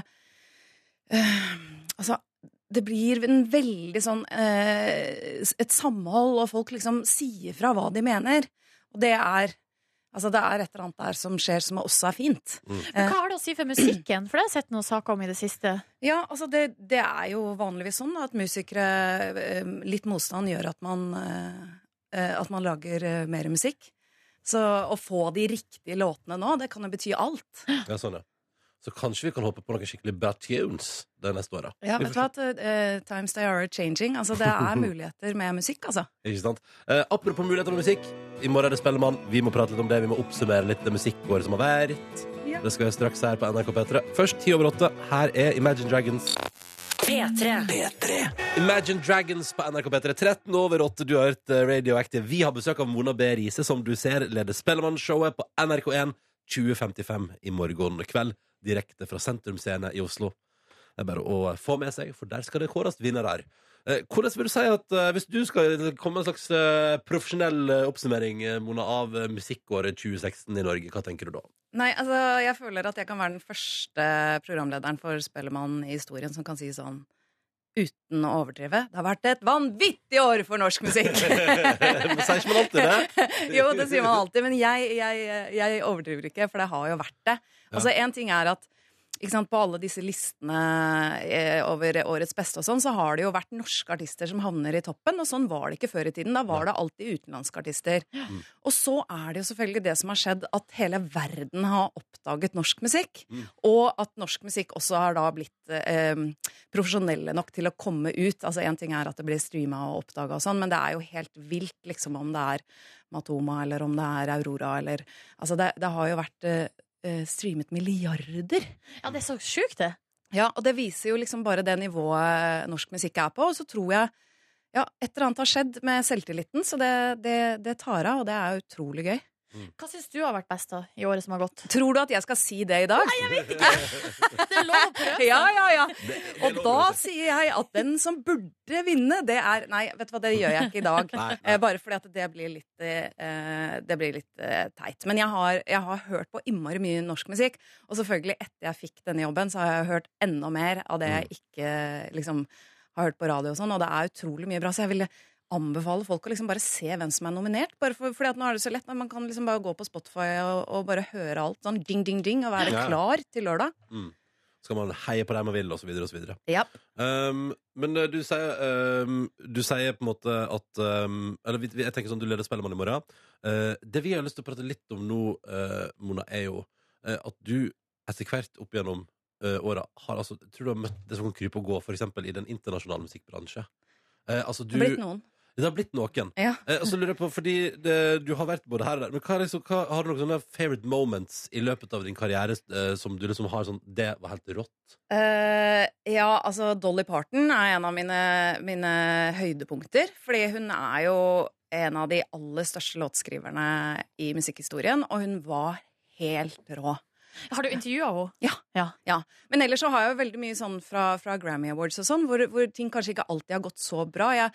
eh, Altså, det blir en veldig sånn eh, Et samhold, og folk liksom sier fra hva de mener. Og det er Altså, det er et eller annet der som skjer som også er fint. Men hva har det å si for musikken? For det har jeg sett noen saker om i det siste. Ja, altså det, det er jo vanligvis sånn da, at musikere eh, Litt motstand gjør at man, eh, eh, at man lager eh, mer musikk. Så å få de riktige låtene nå, det kan jo bety alt. Ja, sånn, ja. Så kanskje vi kan håpe på noen skikkelig bra tunes de neste åra. Ja, vet du hva? at, eh, times they are changing. Altså, det er muligheter med musikk, altså. Ikke sant? Eh, apropos muligheter med musikk. I morgen er det Spellemann. Vi må prate litt om det. Vi må oppsummere litt det musikkåret som har vært. Ja. Det skal vi straks her på NRK P3. Først ti over åtte. Her er Imagine Dragons. P3. Imagine Dragons på NRK P3. 13 over 8, du har hørt eh, Radioactive. Vi har besøk av Mona B. Riise, som du ser leder Spellemannshowet på NRK1 2055 i morgen kveld. Direkte fra Sentrum Scene i Oslo. Det er bare å eh, få med seg, for der skal det kåres vinnere. Eh, Hvordan vil du si at eh, hvis du skal komme med en slags eh, profesjonell eh, oppsummering, eh, Mona, av eh, musikkåret 2016 i Norge, hva tenker du da? [laughs] Nei, altså, jeg føler at jeg kan være den første programlederen for Spellemann i historien som kan si sånn uten å overdrive. Det har vært et vanvittig år for norsk musikk! Sier ikke man alltid det? jo, det sier man alltid, men jeg, jeg, jeg overdriver ikke, for det har jo vært det. Altså, en ting er at ikke sant, på alle disse listene eh, over årets beste og sånn, så har det jo vært norske artister som havner i toppen, og sånn var det ikke før i tiden. Da var det alltid utenlandske artister. Og så er det jo selvfølgelig det som har skjedd, at hele verden har oppdaget norsk musikk, og at norsk musikk også har da blitt eh, em, profesjonelle nok til å komme ut. Altså En ting er at det blir streama og oppdaga og sånn, men det er jo helt vilt liksom om det er Matoma eller om det er Aurora eller Altså det, det har jo vært eh, eh, streamet milliarder. Ja, det er så sjukt, det. Ja, og det viser jo liksom bare det nivået norsk musikk er på. Og så tror jeg ja, et eller annet har skjedd med selvtilliten, så det, det, det tar av, og det er utrolig gøy. Hva syns du har vært best da, i året som har gått? Tror du at jeg skal si det i dag? Nei, jeg vet ikke! Det er lov å prøve! [laughs] Ja, ja, ja. Og da sier jeg at den som burde vinne, det er Nei, vet du hva, det gjør jeg ikke i [laughs] dag. Eh, Bare fordi at det blir litt, eh, det blir litt eh, teit. Men jeg har, jeg har hørt på innmari mye norsk musikk. Og selvfølgelig, etter jeg fikk denne jobben, så har jeg hørt enda mer av det Mm. jeg ikke liksom har hørt på radio og sånn, og det er utrolig mye bra. Så jeg ville anbefale folk å liksom bare se hvem som er nominert. Bare for, fordi at nå er det så lett. Man kan liksom bare gå på Spotify og, og bare høre alt sånn ding, ding, ding, og være Ja. klar til lørdag. Skal man heie på dem man vil, og så videre og så videre? Ja. Um, men eh, du sier, um, du sier på en måte at um, Eller vi- vi- jeg tenker sånn, du leder Spellemann i morgen. Eh, det vi har lyst til å prate litt om nå, eh, Mona, er jo eh, at du etter hvert opp gjennom uh, åra har altså Tror du har møtt det som kan krype og gå, for eksempel i den internasjonale musikkbransje? Eh, altså, du, Det har blitt noen. det har blitt noen. Ja. Eh, og så lurer jeg på, fordi det, du har vært både her og der, men hva er liksom, hva, har du noen sånne favorite moments i løpet av din karriere eh, som du liksom har sånn Det var helt rått. Eh, ja, altså Dolly Parton er en av mine, mine høydepunkter. Fordi hun er jo en av de aller største låtskriverne i musikkhistorien, og hun var helt rå. Har du intervjua henne? Ja, Men ellers så har jeg jo veldig mye sånn fra, fra Grammy Awards og sånn, hvor, hvor ting kanskje ikke alltid har gått så bra. Jeg,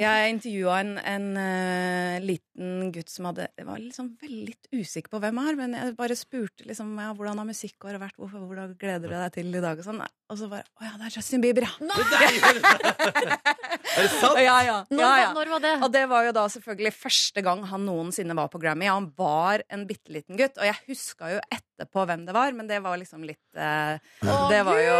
jeg intervjua en, en eh, liten gutt som hadde Jeg var liksom veldig litt usikker på hvem han er, men jeg bare spurte liksom ja, hvordan har musikkåret vært, hvorfor, hvordan gleder du deg til i dag, og sånn. Og så bare Å ja, det er Justin Bieber, ja. [laughs] Er det sant? Ja, ja. Når, ja, var- ja. når var det? Og det var jo da selvfølgelig første gang han noensinne var på Grammy. Ja, han var en bitte liten gutt, og jeg huska jo etterpå hvem det var, men det var liksom litt eh, det, var jo,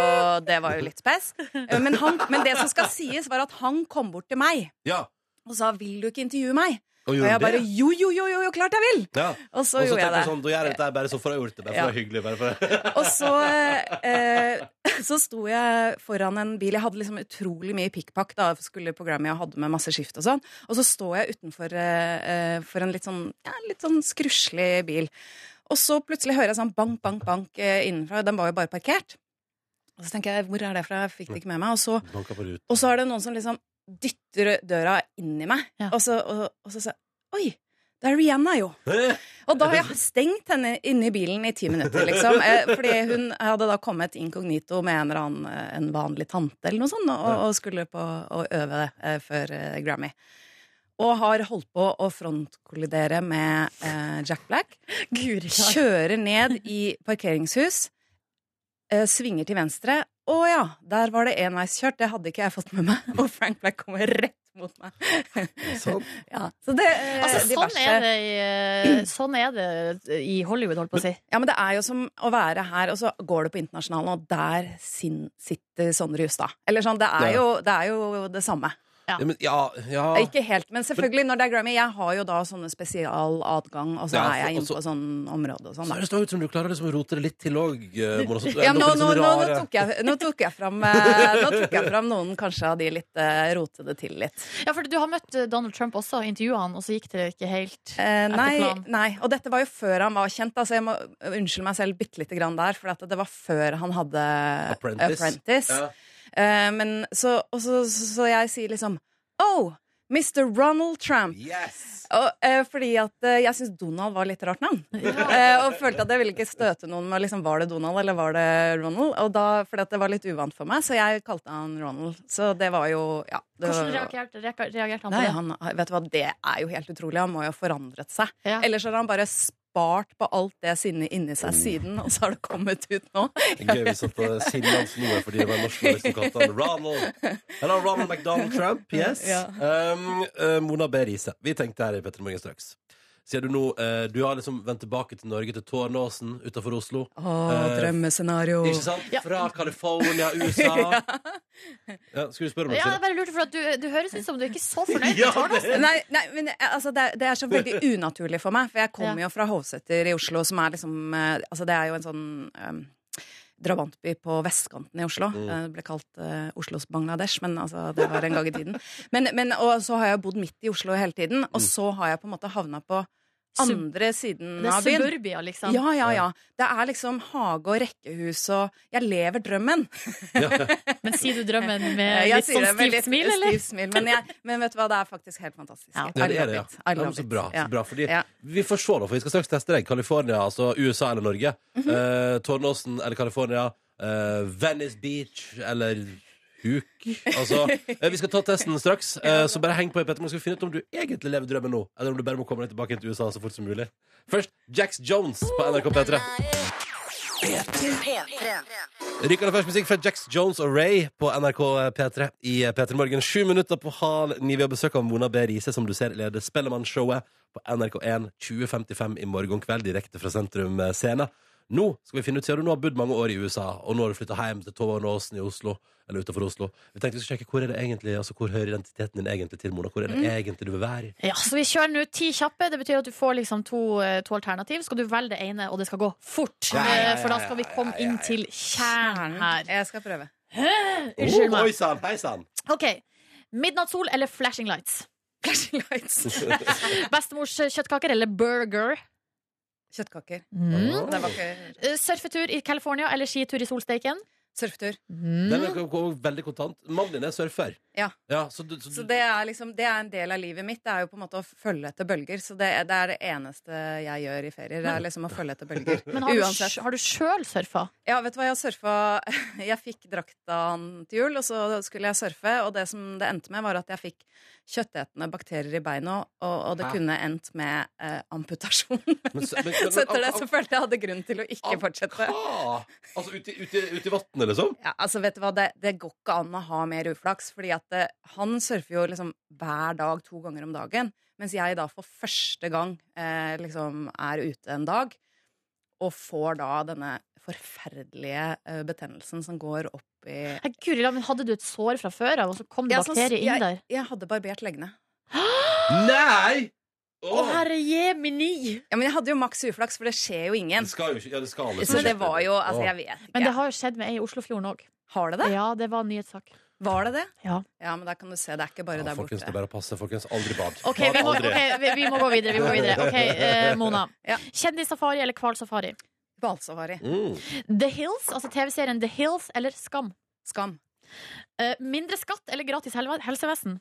det var jo litt spes. Eh, Men, han, men det som skal sies, var at han kom bort til meg Ja. og sa 'vil du ikke intervjue meg'? Og Og gjorde jeg bare det? jo, jo, jo, jo, jo, klart jeg vil! Ja. Og så Og så gjorde jeg tenker det. jeg sånn, da gjør jeg dette her bare så får jeg gjort det. Bare for det Ja. er hyggelig. Bare [laughs] for det. Og så, eh, så sto jeg foran en bil. Jeg hadde liksom utrolig mye pikkpakk da jeg skulle på Grammy og hadde med masse skift og sånn. Og så står jeg utenfor eh, eh, for en litt sånn, ja, litt sånn skruslig bil. Og så plutselig hører jeg sånn bank, bank, bank eh, innenfra. Den var jo bare parkert. Og så tenker jeg, hvor er det fra? Jeg fikk det ikke med meg. Og så Banka på ruten. og så er det noen som liksom dytter døra inn i meg. Ja. Og så, og, og så sa jeg Oi, det er Rihanna, jo. Og da har jeg stengt henne inne i bilen i ti minutter, liksom. Eh, Fordi hun hadde da kommet inkognito med en eller annen eh, en vanlig tante eller noe sånt, og, og skulle på å øve eh, før eh, Grammy. Og har holdt på å frontkollidere med eh, Jack Black. Guri land. Kjører ned i parkeringshus, eh, svinger til venstre. Å ja, der var det enveiskjørt. Det hadde ikke jeg fått med meg. [laughs] Og Frank Black kommer rett mot meg. Sånn. Ja, så det, eh, Altså, sånn, diverse- er det i, eh, sånn er det i Hollywood, holdt på å si. Ja, men det er jo som å være her, og så går det på internasjonalen, og der sin, sitter Sondre Justad. Eller sånn, det Ja. er, jo, det er jo det samme. Ja, men, ja, ja. Ikke helt, men selvfølgelig, når det er Grammy, jeg har jo da sånne spesialadgang, og så Ja, er jeg og inne så- på sånn område og sånn, Så da. høres det ut som du klarer liksom å rote det litt til eh, òg. Ja, nå, liksom nå, nå, nå, tok jeg, nå, tok jeg fram, eh, nå tok jeg fram noen kanskje av de litt eh, rotede til litt. Ja, for Du har møtt eh, Donald Trump også, intervjua han, og så gikk det ikke helt Eh, nei, planen. nei, og dette var jo før han var kjent, da, så jeg må eh, unnskylde meg selv bitte lite grann der, for at det var før han hadde Apprentice. Apprentice. Ja. Eh, men så, og så, så, så jeg sier liksom Oh, Mr. Ronald Trump. Yes! Og, eh, fordi at eh, jeg syns Donald var litt rart navn. Eh, og følte at jeg ville ikke støte noen med liksom, var det Donald eller var det Ronald. Og da, fordi at det var litt uvant for meg, så jeg kalte han Ronald. Så det var jo ja, det var- Hvordan reagerte, reka- reagerte han på Nei, det? han, vet du hva, det er jo helt utrolig. Han må jo ha forandret seg. Ja. Ellers har han bare spart på alt det sinnet inni seg Mm. siden, og så har det kommet ut nå. Gøy hvis at eh, sinnet hans nå er fordi det var en norsk journalist som kalte han Ronald Hello, Ronald McDonald Trump, yes Ja. um, eh, Mona B. Riise Vi tenkte her i Petter Morgen straks Sier du nå, eh, du har liksom vendt tilbake til Norge Til Tårnåsen utenfor Oslo Å, Eh, drømmescenario. Ikke sant? Ja. Fra California, [laughs] USA ja. Skal du spørre om det? Ja, jeg Silje? bare lurte, for at du, du høres ut som du er ikke så [laughs] fornøyd med Ja, Tårnåsen. Nei, nei, men eh, altså, det, er- det er så [laughs] veldig unaturlig for meg, for jeg kommer Ja. jo fra Hovseter i Oslo, som er liksom eh, Altså, det er jo en sånn eh, drabantby på vestkanten i Oslo. Mm. Eh, Det ble kalt eh, Oslos Bangladesh, men altså, det var en gang i tiden. [laughs] Men, men, og så har jeg bodd midt i Oslo hele tiden, Mm. og så har jeg på en måte havna på Sub- andre siden Det er av byen. suburbia, liksom. Ja, ja, ja. Det er liksom hage og rekkehus og Jeg lever drømmen. Men sier du drømmen [laughs] Eh, med jeg litt sier sånn det med stivt litt smil, eller? Stivt smil, men, jeg, men vet du hva, det er faktisk helt fantastisk. Ja. Ja, det er I love det, ja. it. I ja men love så it. bra. Ja. Så bra fordi Ja. Vi får se, da, for vi skal straks teste deg. California, altså USA eller Norge. Mhm. Mm Tårnåsen eller California. eh, Venice Beach eller Huk. Altså, eh, vi skal ta testen [laughs] straks, eh, så bare heng på. i Petter. Man skal finne ut om du egentlig lever drømmen nå, eller om du bare må komme deg tilbake til USA så fort som mulig. Først Jax Jones på NRK P3. P3. Ryker det først musikk fra Jax Jones og Ray på NRK P3 i P3 Morgen. Sju minutter på hal ni. Vi har besøk av Mona B. Riise, som du ser leder Spellemannshowet på NRK1 2055 i morgen kveld, direkte fra Sentrum Scene. Nå skal vi finne ut, siden du nå har bodd mange år i USA, og nå har du flytta hjem til Tårnåsen i Oslo, eller utenfor Oslo. Vi tenkte vi skulle sjekke hvor er det egentlig, altså hvor hører identiteten din egentlig til, Mona? Hvor Mm. er det egentlig du vil være? Ja, så Vi kjører nå ti kjappe. Det betyr at du får liksom to, eh, to alternativ. Skal du velge det ene, og det skal gå fort. Eh, For da skal vi komme inn til kjernen her. Mm. Jeg skal prøve. Unnskyld Oh, Oi meg. sann, hei sann! OK. Midnattssol eller flashing lights? Flashing lights. [laughs] Bestemors kjøttkaker eller burger? Kjøttkaker. Mm. Det var ikke Eh, Surfetur i California eller skitur i solsteiken? surfetur. Mm. Den er jo veldig kontant. Mannen din er surfer. Ja. så du, så du, Så det er liksom Det er en del av livet mitt. Det er jo på en måte å følge etter bølger. Så det er det, er det eneste jeg gjør i ferier. Det er liksom å følge etter bølger. Men har du, Uansett. sj- har du sjøl surfa? Ja, vet du hva, jeg surfa [laughs] Jeg fikk drakta han til jul, og så skulle jeg surfe, og det som det endte med, var at jeg fikk kjøttetende bakterier i beina, og, og det Hæ? kunne endt med eh, amputasjon. men- men- [laughs] men- så etter det av- så følte jeg jeg hadde grunn til å ikke Av fortsette. Hva? Altså ute, ute, ute i vannet, liksom? Ja, altså, vet du hva, det, det går ikke an å ha mer uflaks, fordi at eh, han surfer jo liksom hver dag to ganger om dagen, mens jeg da for første gang eh, liksom er ute en dag, og får da denne forferdelige eh, betennelsen som går opp i Nei, Guri land, men Hadde du et sår fra før av, og så kom det Ja, sånn- bakterier inn jeg, der? Jeg hadde barbert leggene. Nei! Å, herre jemini! Ja, men jeg hadde jo maks uflaks, for det skjer jo ingen. Det skal jo ikke Ja, det skal alle Så det var jo Altså, jeg vet Men det ikke. har jo skjedd med ei i Oslofjorden òg. Har det det? Ja, det var en nyhetssak. Var det det? Ja. Ja, men da kan du se, det er ikke bare ja, der Folkens, det er borte. bare å passe. Folkens, aldri bad. OK, Bad vi må, aldri. ok, vi, vi må gå videre. Vi må gå videre. Ok, eh, Mona. Ja. Kjendissafari eller hvalsafari? Hvalsafari. Mm. The Hills, altså TV-serien The Hills eller Skam? Skam. Eh, mindre skatt eller gratis helve- helsevesen?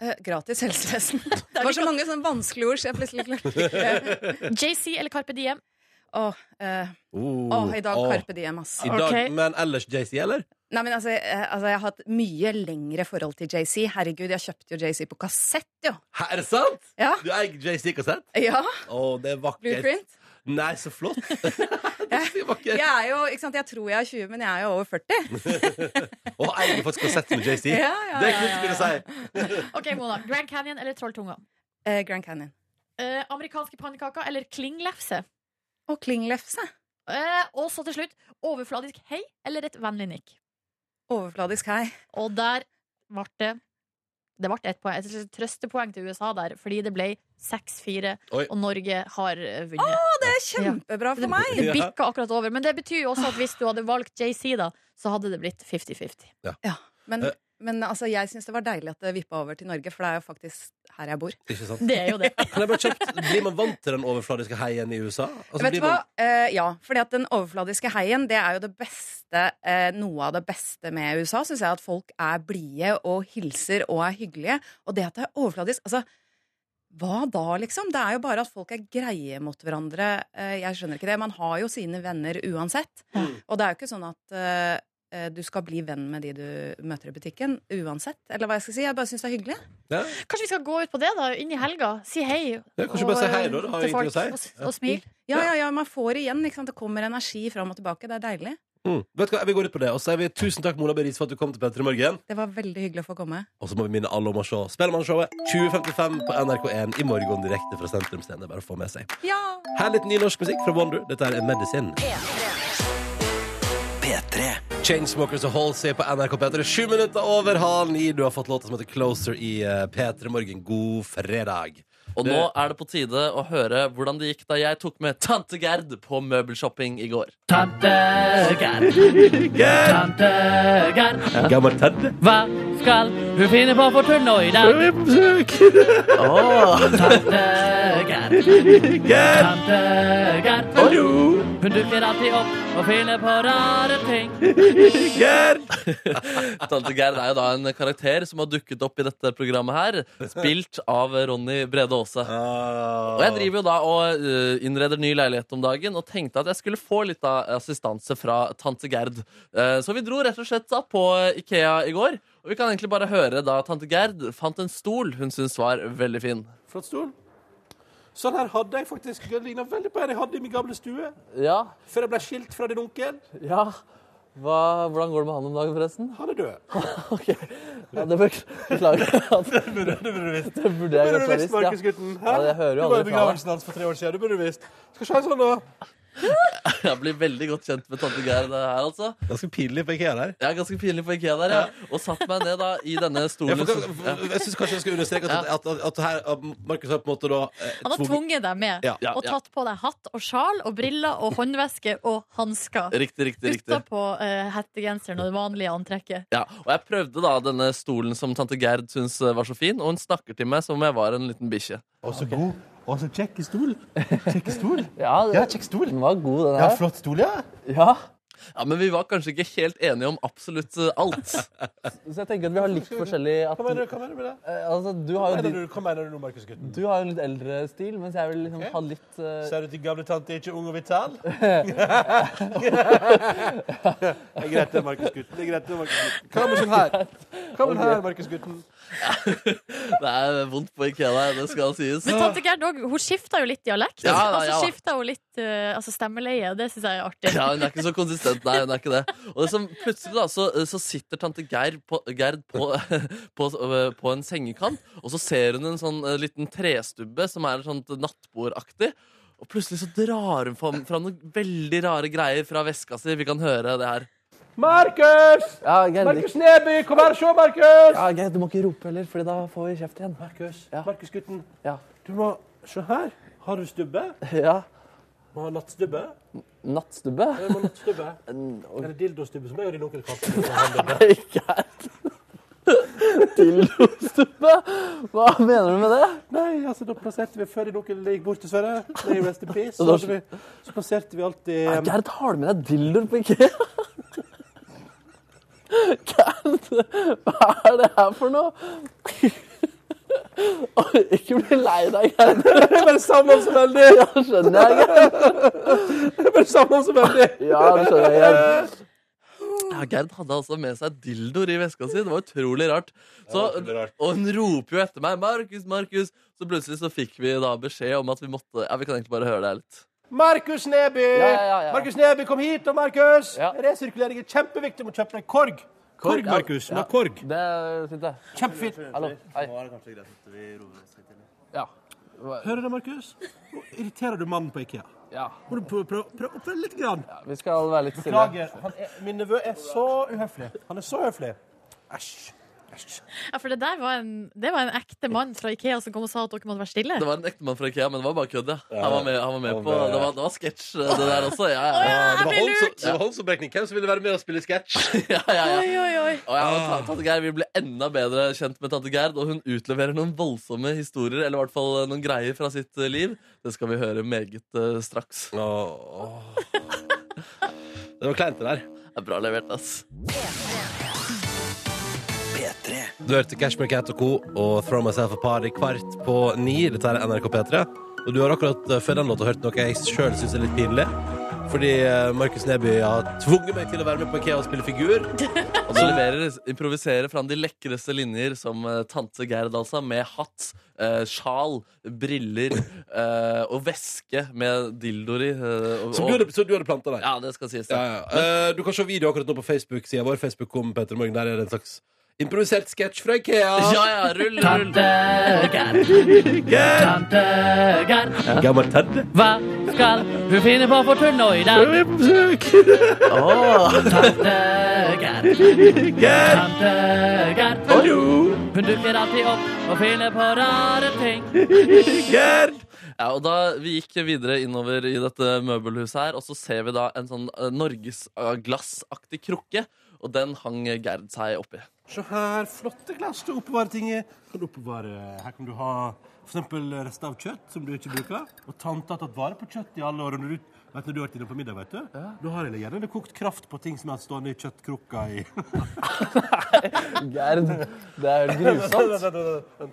Eh, gratis helsevesen. [laughs] Det var så mange sånne vanskelige ord, så jeg plutselig [laughs] klarte JC eller Carpe Diem? Eh, Åh, eh, Oh, åh, i dag åh. Carpe Diem, ass. I dag, Ok. Men ellers JC, eller? Nei, men altså, eh, altså, jeg har hatt mye lengre forhold til JC. Herregud, jeg kjøpte jo JC på kassett, jo. Hæ, er det sant? Ja. Du eier JC-kassett? Ja, Å, det er vakkert. Blueprint. Nei, så [laughs] flott. [laughs] det er så vakkert. Jeg er jo, ikke sant, jeg tror jeg er 20, men jeg er jo over 40. Og eier faktisk kassett med JC. Ja, ja, Det er ja, kult ja, skulle ja. jeg si. Ok, Mona. Grand Canyon eller Trolltunga? Eh, Grand Canyon. Eh, amerikanske pannekaker eller klinglefse? Og klinglefse. Eh, og så til slutt overfladisk hei eller et vennlig nikk? Overfladisk hei. Og der ble det det ble et, poeng, et trøstepoeng til USA der, fordi det ble 6-4, Oi. og Norge har eh, vunnet. Det er kjempebra for meg! Det bikka akkurat over. Men det betyr jo også at hvis du hadde valgt JC, da, så hadde det blitt 50-50. Men, Eh. men altså, jeg syns det var deilig at det vippa over til Norge, for det er jo faktisk her jeg bor. Ikke sant? Det er jo [laughs] det. Kan jeg bare kjapt, Blir man vant til den overfladiske heien i USA? Altså, Vet blir du hva? man- Eh, ja, fordi at den overfladiske heien, det er jo det beste eh, Noe av det beste med USA, syns jeg, at folk er blide og hilser og er hyggelige. Og det at det er overfladisk Altså, hva da, liksom? Det er jo bare at folk er greie mot hverandre. Eh, jeg skjønner ikke det. Man har jo sine venner uansett. Og det er jo ikke sånn at eh, eh, du skal bli venn med de du møter i butikken uansett. Eller hva jeg skal si. Jeg bare syns det er hyggelig. Ja. Kanskje vi skal gå ut på det, da, inn i helga. Si hei. Ja, kanskje bare si hei da, det har jo til ingenting å folk, si. Og, og smil. Ja, ja, ja, man får igjen. Ikke sant? Det kommer energi fram og tilbake. Det er deilig. Mm. Vet du hva, Vi går ut på det, og så sier vi tusen takk Mona Beris for at du kom til Petter i morgen. Det var veldig hyggelig å få komme. Og så må vi minne alle om å se Spellemannshowet 2055 på NRK1 i morgen direkte fra sentrumsscenen. Det er Bare å få med seg. Ja! Her litt ny norsk musikk fra Wonder. Dette er Medisin. Chainsmokers og Halsey på NRK P3. Sju minutter over halv ni. Du har fått låta som heter Closer i eh, P3 Morgen. God fredag. Og nå er det på tide å høre hvordan det gikk da jeg tok med tante Gerd på møbelshopping i går. Tante Gerd, Gerd! tante Gerd, Gammel Ted. hva skal hun finne på for tur nå i dag? Vi er på besøk. Tante Gerd, Gerd! tante Gerd, Hallo! hun dukker alltid opp og finner på rare ting. Gerd! Tante Gerd er jo da en karakter som har dukket opp i dette programmet her, spilt av Ronny Brede Aase. Ah, Og jeg driver jo da og eh, innreder ny leilighet om dagen og tenkte at jeg skulle få litt av assistanse fra tante Gerd. Eh, Så vi dro rett og slett da på eh, Ikea i går. Og vi kan egentlig bare høre da tante Gerd fant en stol hun syntes var veldig fin. Flott stol. Sånn her hadde jeg faktisk. Det ligner veldig på en jeg hadde i min gamle stue. Ja, Før jeg ble skilt fra din onkel. ja. hvordan går det med han om dagen, forresten? Han er [laughs] død. Ja, det [laughs] Beklager. Det burde Burde du visst, Markus-gutten. Hæ? Ja, jeg hører jo du var i aldri fra deg. begravelsen hans for tre år siden. Du burde visst. Skal ikke ha en sånn, da. [laughs] Jeg blir veldig godt kjent med tante Gerd her, altså. Ganske pinlig på IKEA der. Jeg er ganske pinlig på Ikea der, ja. Og satt meg ned da i [laughs] denne Jeg, stolen. får- jeg syns kanskje jeg skal understreke at, at, at, at her at Markus har på en måte da eh, Han har tvunget deg med, Ja, ja, og ja. tatt på deg hatt og sjal og briller og håndveske og hansker. Riktig, riktig, riktig. Utapå uh, hettegenseren og det vanlige antrekket. Ja, og jeg prøvde da denne stolen som tante Gerd syntes var så fin, og hun snakker til meg som om jeg var en liten bikkje. Og så god. Og så kjekk stol. Kjekk stol. Ja, Ja, kjekk stol. var god, den Ja, flott stol, ja. Ja. men vi var kanskje ikke helt enige om absolutt eh, alt. [laughs] Så jeg tenker at vi har litt forskjellig Hva mener du, hva mener du med det? Altså, du Hva mener du, hva mener du nå, Markus-gutten? har jo en litt eldre stil, mens jeg vil liksom ha litt Ser du til gamle tante er ikke ung og [laughs] vital? det er greit, det, Markus-gutten. Det er greit, det, Markus-gutten. Hva med sånn her? Hva med den her, Markus-gutten? [laughs] Det er vondt på Ikea, der, det skal sies. Men tante Gerd òg, hun skifta jo litt dialekt. Ja, da, og så ja, da. skifta hun litt eh, altså stemmeleie, og det syns jeg er artig. [laughs] Ja, hun er ikke så konsistent, nei. hun er ikke det Og det som plutselig da, så, så sitter tante Geir på, Gerd på, [laughs] på, på en sengekant, og så ser hun en sånn eh, liten trestubbe som er sånn nattbordaktig. Og plutselig så drar hun fram, fram noen veldig rare greier fra veska si. Vi kan høre det her. Markus! Ja, Geir, Markus Neby, kom her og se, Markus! ja, Geir, du må ikke rope heller, for da får vi kjeft igjen. Markus, Ja. Markus-gutten. Ja. Du må Se her. Har du stubbe? ja. Må ha nattstubbe. Nattstubbe? Du må ha nattstubbe. [laughs] Eller dildostubbe, som jeg og din onkel kalte Nei, Geir. [laughs] Dildostubbe? Hva mener du med det? Nei, altså, da plasserte vi før din onkel gikk bort, dessverre. Nei, rest in [laughs] peace. Så, da- hadde vi, så plasserte vi alltid Nei, Geir, har du med deg dildoer på IKEA? [laughs] Geir, hva er det her for noe? [laughs] Oi, ikke bli lei deg, [laughs] Geir. Jeg bare savner ham så veldig! [laughs] Ja, skjønner jeg, Geir. [laughs] Jeg bare savner ham så veldig! [laughs] Ja, det skjønner jeg, Geir. Ja, Gerd hadde altså med seg dildoer i veska si. Det var utrolig rart. Så, utrolig rart. og hun roper jo etter meg 'Markus, Markus'. Så plutselig så fikk vi da beskjed om at vi måtte Ja, vi kan egentlig bare høre det her litt. Markus Neby! Ja, ja, ja, ja. Markus Neby, kom hit, da, Markus! Ja. Resirkulering er kjempeviktig. Du må kjøpe deg korg. Korg, ja, Markus. Du må ja. ha korg. Det er fint, det. Kjempefint. Hallo. Hei. Ja. Hører du det, Markus? Nå irriterer du mannen på Ikea. ja. Må du prøve prøve- prøve å oppføre deg litt? Grann. Vi skal være litt stille. Beklager. Han er, min nevø er så uhøflig. Han er så høflig. Æsj. Æsj. Ja, for det der var en, det var en ekte mann fra Ikea som kom og sa at dere måtte være stille. Det var en ektemann fra Ikea, men det var bare kødd. ja. Han var med, han var med på Det var, det var sketsj, det der også. Ja, ja, ja. Det var Jeg blir Holm som- det var Holm som brekning. Hvem som ville være med og spille sketsj? [laughs] ja, ja, ja. Oi, oi, oi. Og ja, og Ah. ta- tante Geir, Vi ble enda bedre kjent med tante Gerd, og hun utleverer noen voldsomme historier. Eller i hvert fall noen greier fra sitt eh, liv. Det skal vi høre meget eh, straks. Åh. Det var kleint, det der. Det er bra levert, ass. Du hørte Cashmere Cat og Co. og Throw Myself a Party kvart på ni. Dette er NRK P3. Og du har akkurat eh, før den låta hørt noe jeg sjøl syns er litt pinlig. Fordi eh, Markus Neby har tvunget meg til å være med på IKEA og spille figur. Og du leverer, improviserer fram de lekreste linjer som eh, tante Gerd, altså, med hatt, eh, sjal, briller [laughs] eh, og veske med dildoer i. eh, og- Som du hadde, så du hadde planta der. Ja, det skal sies. det. Ja, ja. Eh, du kan se video akkurat nå på Facebook-sida vår. Facebook kom Peter Morgen. Der er det en slags improvisert sketsj fra Ikea. Ja, ja, rull, rull. Gammel Ted. Hva skal hun finne på for tull nå i dag? Vi er på besøk. Gerd. Hallo. Hun dukker alltid opp og finner på rare ting. Gerd. Ja, og da Vi gikk videre innover i dette møbelhuset her, og så ser vi da en sånn eh, norgesglassaktig krukke. Og den hang Gerd seg oppi. Se her. Flotte glass til å oppbevare ting i. Kan du oppbevare Her kan du ha for eksempel rester av kjøtt som du ikke bruker. Og tante har tatt vare på kjøtt i alle år. Og når du, vet, du, når du har vært inne på middag, vet du, da har jeg gjerne kokt kraft på ting som jeg har stående i kjøttkrukka i [laughs] Gerd, det er helt grusomt.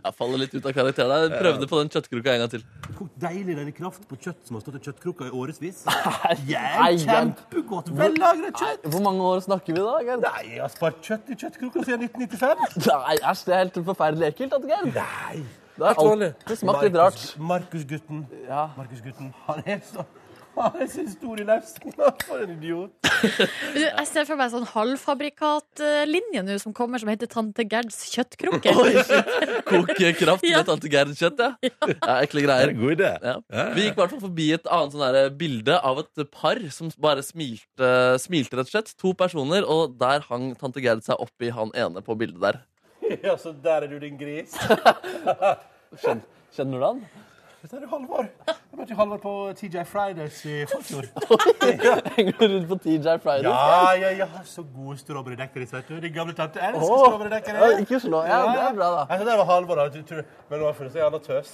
Jeg faller litt ut av karakter der. Jeg Prøvde på den kjøttkruka en gang til. Kokt deilig deilig kraft på kjøtt som har stått i kjøttkrukka i årevis. Nei, Gerd. Kjempegodt. Vellagret kjøtt. Hvor mange år snakker vi da, Gerd? Nei, jeg har spart kjøtt i kjøttkrukka siden 1995. Nei, æsj, det er helt forferdelig ekkelt, at Gerd. Nei. Det har alltid smakt litt rart. Markus-gutten. Ja. Markus-gutten. Han er så han er så historieløs. For en idiot. Du, Jeg ser for meg en sånn halvfabrikatlinje nå som kommer, som heter Tante Gerds kjøttkrukke. Koke kraft med tante Gerd kjøtt, ja. ja ekle greier. god idé. Ja. Vi gikk i hvert fall forbi et annet sånn der bilde av et par som bare smilte, smilte, rett og slett. To personer, og der hang tante Gerd seg oppi han ene på bildet der. [laughs] Ja, så der er du, din gris. Kjenner du [laughs] han? Dette er jo Halvor. Jeg møtte jo Halvor på TJ Fridays i forfjor. Henger du rundt på TJ Friday? Ja, ja, ja. Så gode strawberry-dekkeris, vet du. De gamle tante elsker Åh. Ja, strawberry-dekkeris. ikke slå. Ja, det er bra, da. Jeg tror det var Halvor, da. Du tror- Men nå har jeg funnet seg en annen tøs.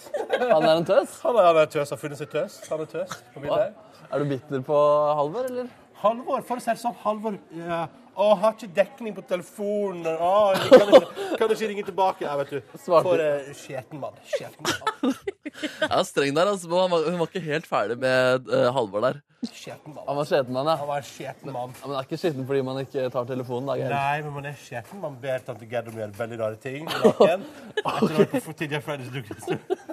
Han er en tøs. Han er, han er tøs, har funnet seg tøs. Han er tøs. på bildet. Er du bitter på Halvor, eller? Halvor, for å si det sånn, Halvor ja. Å, har ikke dekning på telefonen. Å, jeg kan, ikke, kan ikke ringe tilbake? Ja, vet du. Svarte. For eh, skjeten mann. Skjeten mann. Ja, streng der, altså. men han var- Hun var ikke helt ferdig med eh, Halvor der. Skjeten mann. Han var skjeten, han, ja. Han var en skjeten mann. Ja, Men det er ikke skitten fordi man ikke tar telefonen, da, [laughs] Gerd. Nei, men man er skjeten. Man ber tante Gerd om å gjøre veldig rare ting. Naken. Etter å ha vært på for tidlig Fridays Lucas.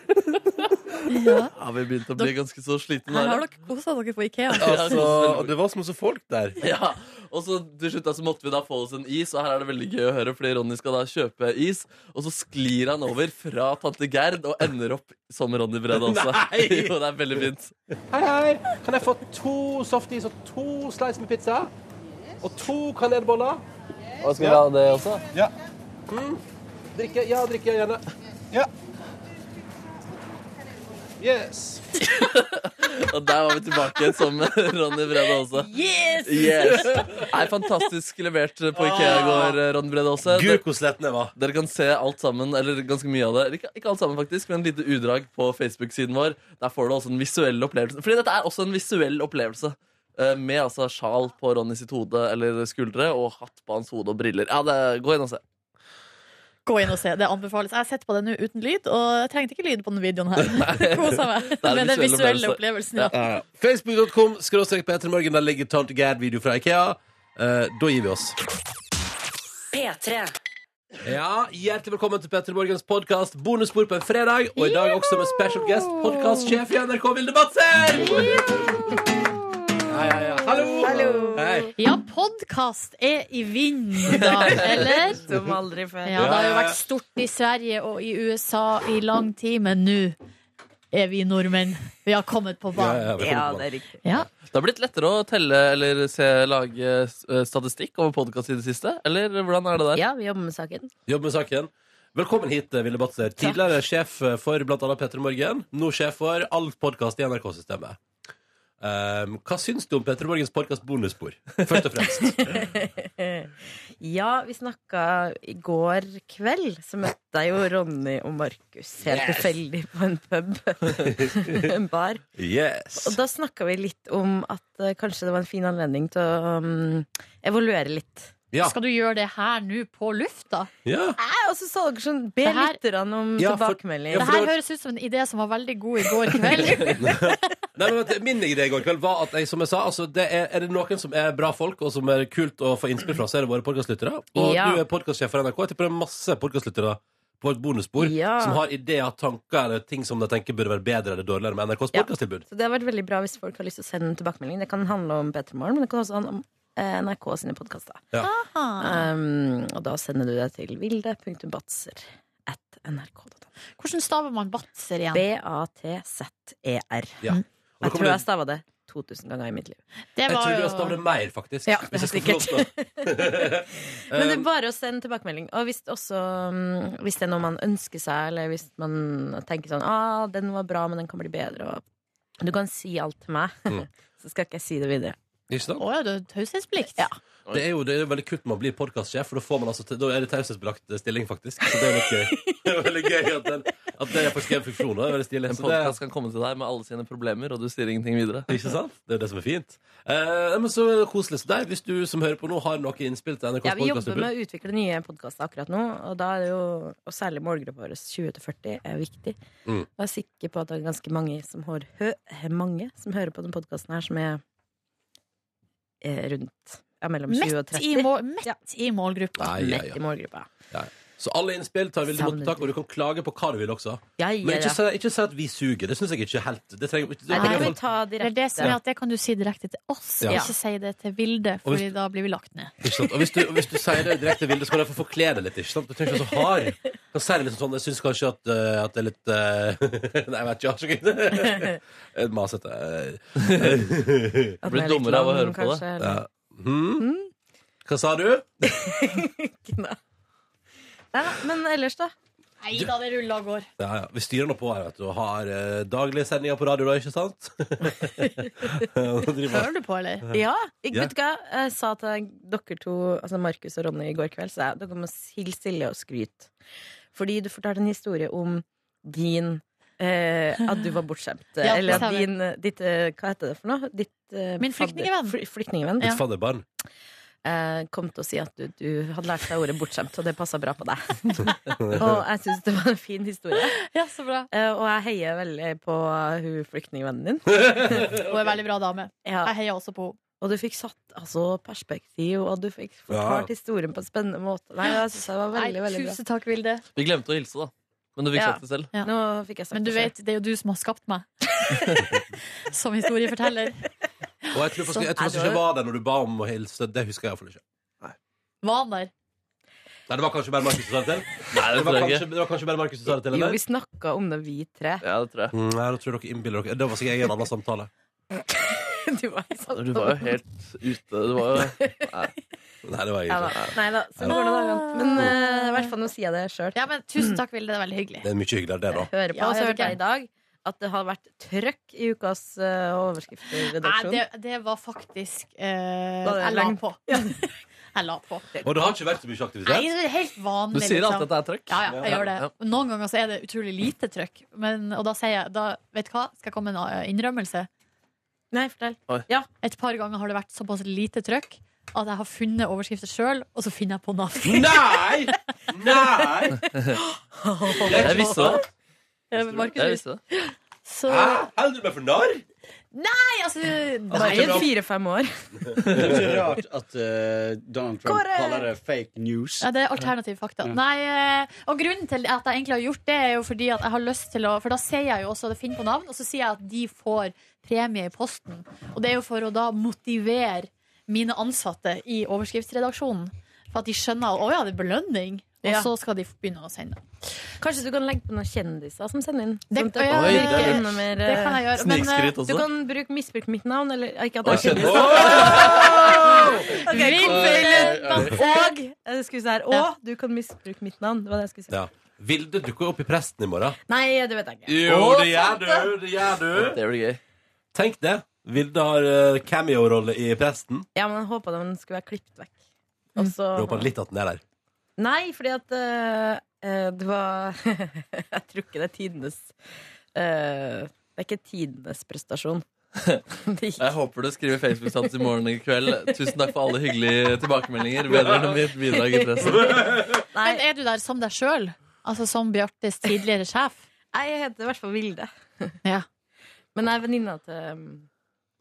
Ja. Ja, vi begynte å bli ganske så slitne. Her der. har dere kosa dere på Ikea. Altså, og det var så masse folk der. [laughs] Ja, og så til slutt da, så måtte vi da få oss en is, og her er det veldig gøy å høre, fordi Ronny skal da kjøpe is, og så sklir han over fra tante Gerd og ender opp som Ronny Bredd også. Nei! [laughs] Jo, det er veldig fint. Hei, hei. Kan jeg få to softis og to slice med pizza? Og to kanelboller? Og skal vi ha det også? Ja. Mm. Drikke? Ja, drikke gjerne. Ja. Yes. Og der var vi tilbake igjen som [laughs] Ronny Bredd også. Yes! Ah. Yes! Nei, fantastisk levert på Ikea i går, Ronny Bredd også. Gud, hvor sletten jeg var. Dere kan se alt sammen, eller ganske mye av det. Eller Ikke, ikke alt sammen, faktisk, men en lite utdrag på Facebook-siden vår. Der får du også en visuell opplevelse. Fordi dette er også en visuell opplevelse. eh, Med altså sjal på Ronny sitt hode eller skuldre og hatt på hans hode og briller. Ja, det, Gå inn og se. Gå inn og se. Det anbefales. Jeg sitter på det nå uten lyd, og jeg trengte ikke lyd på denne videoen [laughs] her. Kosa meg Det er en med den visuell visuelle opplevelse. opplevelsen. Ja. Ja, ja. Facebook.com skråstrek Petremorgen. Der ligger Tante Gerd-video fra Ikea. Eh, da gir vi oss. P3. Ja, Hjertelig velkommen til Petter Morgens podkast Bonusbord på en fredag. Og i dag også med special guest podkastsjef i NRK, Vilde Batzer! Ja, ja, ja. Hallo! Hei. Ja, podkast er i vinden i dag, eller? Som aldri før. Ja, det har jo vært stort i Sverige og i USA i lang tid, men nå er vi nordmenn. Vi har kommet på banen. er riktig. Ja. Det har blitt lettere å telle eller se, lage eh, statistikk over podkast i det siste? Eller hvordan er det der? Ja, vi jobber med saken. Jobb med saken. Velkommen hit, eh, Ville Batzer. Tidligere sjef eh, for bl.a. Petter Morgen. Nå sjef for all podkast i NRK-systemet. Um, hva syns du om Petter Morgens podkast Bonusbord? Først og fremst. Ja, vi snakka i går kveld, så møtte jeg jo Ronny og Markus helt Yes! tilfeldig på en pub. [laughs] en bar. Yes. Og da snakka vi litt om at eh, kanskje det var en fin anledning til å mm, evaluere litt. Ja. Skal du gjøre det her nå på lufta? Ja. Nei, og så sa dere sånn Be Det her- lytterne om Ja, for- tilbakemelding. ja, Det her høres ut som en idé som var veldig god i går kveld. [laughs] Nei, men vet du, Min idé i går kveld var at jeg, som jeg sa, altså, det er, er det noen som er bra folk, og som er kult å få innspill fra, så er det våre podkastlyttere. Og Ja. du er podkastsjef for NRK. Jeg tipper det er masse podkastlyttere på vårt bonusbord Ja. som har ideer, tanker eller ting som de tenker burde være bedre eller dårligere med NRKs Ja. podkasttilbud. Så det har vært veldig bra hvis folk har lyst til å sende tilbakemelding. Det kan handle om Petter Morgen, men det kan også handle om eh, NRK sine podkaster. Ja. Um, og da sender du deg til vilde.batser at nrk.no. Hvordan staver man batser igjen? B-a-t-z-e-r. Ja. Og da kommer Jeg tror det- jeg stava det 2000 ganger i mitt liv. Jeg tror du har stavlet mer, faktisk. Ja, hvis jeg skal sikkert. få lov til det. Men Eh, det er bare å sende tilbakemelding. Og hvis, det også, mm, hvis det er noe man ønsker seg, eller hvis man tenker sånn ah, 'Den var bra, men den kan bli bedre', og du kan si alt til meg, [laughs] Mm. så skal ikke jeg si det videre. [laughs] Ikke sant? Å ja, du har taushetsplikt? Det er jo det er jo veldig kutt med å bli podkastsjef, for da, får man altså, til- da er det taushetsbelagt eh, stilling, faktisk. Så det er litt gøy. [laughs] Det er veldig gøy at, den, at det er faktisk en funksjon. da. Det er veldig stilig. En Så det- podkast kan komme til deg med alle sine problemer, og du sier ingenting videre. [laughs] Ikke sant? Det er det som er fint. Eh, men så koselig. Så der, hvis du som hører på nå, har noe innspill til NRKs Ja, vi jobber podcasttilbud, med å utvikle nye podkaster akkurat nå, og da er det jo, og særlig målgruppa vår 20-40 er viktig. Mm. Og jeg er sikker på at det er ganske mange som, hår, hø, mange som hører på denne podkasten her, som er eh, rundt ja, mellom 20 og Mett, i, 30. mål, mett i målgruppa. Nei, ja, ja. Mett i målgruppa. Ja. Så alle innspill tar veldig godt Savner tak, og du kan klage på hva du vil også. Ja, ja, Men ikke ja. si, ikke si at vi suger. Det syns jeg ikke er helt det trenger, det, Nei, det kan vi det, ta Det er direkte. det som er at det kan du si direkte til oss, Ja. ikke si det til Vilde, Og hvis- Fordi da blir vi lagt ned. ikke sant? Og hvis du, og hvis du sier det direkte, Vilde, så kan du iallfall forkle det litt. Ikke sant? Du trenger ikke være så hard. Du Kan si det litt sånn, jeg syns kanskje at, eh, at det er litt eh, [laughs] Nei, jeg vet ikke. Jeg har så gøy. [laughs] Eh, Masete. eh. At Blir den er litt dummere av å lang, høre på det. kanskje, eller- Ja. Hm? Hva sa du? Nei, da, men ellers, da? Nei da, det ruller og går. Ja, ja. Vi styrer nå på her, vet du, og har eh, daglige sendinger på radio, da, ikke sant? Og driver- Hører du på, eller? Ja. Jeg, Ja. Vet du hva? Jeg sa til dere to, altså Markus og Ronny, i går kveld, så jeg, dere må hilse stille og skryte. Fordi du fortalte en historie om din eh, At du var bortskjemt. Ja, Eller at stemmer. din eh, ditt, eh, Hva heter det for noe? Ditt, eh, Min fadder- flyktningevenn. fly- flyktningevenn Ditt fadderbarn. eh, kom til å si at du, du hadde lært deg ordet 'bortskjemt', og det passa bra på [laughs] deg. og jeg syns det var en fin historie. Ja, så bra. Eh, og jeg heier veldig på hun flyktningvennen din. Hun er en veldig bra dame. Ja. Jeg heier også på henne. Og du fikk satt altså, perspektiv, og du fikk fortalt historien på en spennende måte. Nei, jeg synes det var veldig, Nei, veldig bra. Tusen takk, Vilde. Vi glemte å hilse, da. Men du fikk Ja. sagt det selv. Ja. Men du vet, det er jo du som har skapt [laughs] meg. som historieforteller. Og jeg tror faktisk, jeg tror Sånn er faktisk det ikke det var det når du ba om å hilse. Det husker jeg iallfall ikke. Var han der? Nei, det var kanskje bare Markus som sa det til? Nei, det det, var tror jeg kanskje, det var kanskje bare Markus som sa det til? Jo, eller? vi snakka om det, vi tre. [laughs] Ja, det tror jeg. Mm, Nei, da tror jeg dere innbiller dere Det var sikkert jeg i en annen samtale. Du var, Du var jo helt ute. [laughs] Du var jo Nei. Nei, det var jeg Ja, ikke. da. Nei da. Så går det da. Men eh, i hvert fall nå sier jeg det sjøl. Ja, men tusen takk, Vilde. Det er veldig hyggelig. Det er mye hyggeligere, det, da. Hører på Ja, og hører selvfølgelig. deg i dag at det har vært trøkk i ukas eh, Nei, overskriftsredaksjon. det, det var faktisk eh, Var sånn. det Jeg la langt? på. [laughs] jeg la på. Og det har ikke vært så mye Nei, aktivitet? det er helt vanlig. Du sier liksom. alltid at det er trøkk. Ja, ja, jeg Ja. gjør det. Noen ganger så er det utrolig lite trøkk. Men, og da sier jeg da, Vet du hva, skal jeg komme med en eh, innrømmelse? Nei, fortell. Oi. Ja. Et par ganger har det vært såpass lite trøkk at jeg har funnet overskrifter sjøl, og så finner jeg på navn. [laughs] Nei! Nei! Jeg visste det. Eh, Markus, Jeg visste det. så Hæ? Holder du meg for narr? Nei, altså Bare Nei. i fire-fem år. Det er ikke rart at eh, Donald Trump Kåre! kaller det fake news. Ja, det er alternativ fakta. Nei, eh, og grunnen til at jeg egentlig har gjort det, er jo fordi at jeg har lyst til å For da sier jeg jo også det finn på navn, og så sier jeg at de får premie i posten. Og det er jo for å da motivere mine ansatte i overskriftsredaksjonen. For at de skjønner at å ja, det er belønning. Og Ja. så skal de begynne å sende. Kanskje du kan legge på noen kjendiser som sender inn? Det, Sånn at Oi, det ja, det, Oi, det virker er enda mer eh, kan jeg gjøre. Men eh, Snikskryt Du også. kan bruke misbruke mitt navn, eller ikke at Oi, det er kjendis. kjendis. Vilde Og eh, Banseg. jeg skulle si her, og du kan misbruke mitt navn. Det var det jeg skulle si. Ja. Vilde dukker opp i Presten i morgen. Nei, det vet jeg ikke. Jo, Å, det gjør sant du! det. Det gjør du! Det blir gøy. Tenk det. Vilde har eh, cameo-rolle i Presten. Ja, men jeg håpa den skulle være klippet vekk. Og så Jeg håper litt at den er der. Nei, fordi at eh, eh, det var [laughs] Jeg tror ikke det er tidenes eh, Det er ikke tidenes prestasjon. Det gikk Jeg håper du skriver Facebook-status i morgen i kveld. Tusen takk for alle hyggelige tilbakemeldinger. Vedrørende mitt bidrag i pressen. Nei, Men er du der som deg sjøl? Altså som Bjartes tidligere sjef? jeg heter i hvert fall Vilde. Ja. Men jeg er venninna til,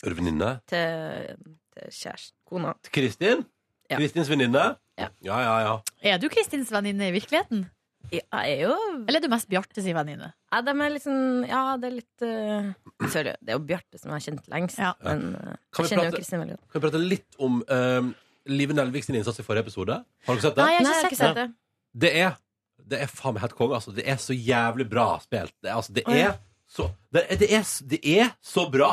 Er du venninne? til, til kjæresten. Kona. Til Kristin? Ja. Kristins venninne? Ja. ja, ja. ja. Er du Kristins venninne i virkeligheten? Jeg er jo Eller er du mest Bjartes venninne? Nei, de er litt sånn Ja, det er litt eh, Sorry, det er jo Bjarte som jeg har kjent lengst. Ja. Men eh, Kan vi jeg kjenner prate- jo Kristin veldig godt. Kan vi prate litt om eh, Live Nelvik sin innsats i forrige episode? Har dere sett det? Nei, jeg Nei, har jeg har ikke ikke sett sett det. det. Det er Det er faen meg helt konge. Altså. Det er så jævlig bra spilt. Det, er- altså, det, Å, ja. er så, det, er, det, er, s- det er så bra!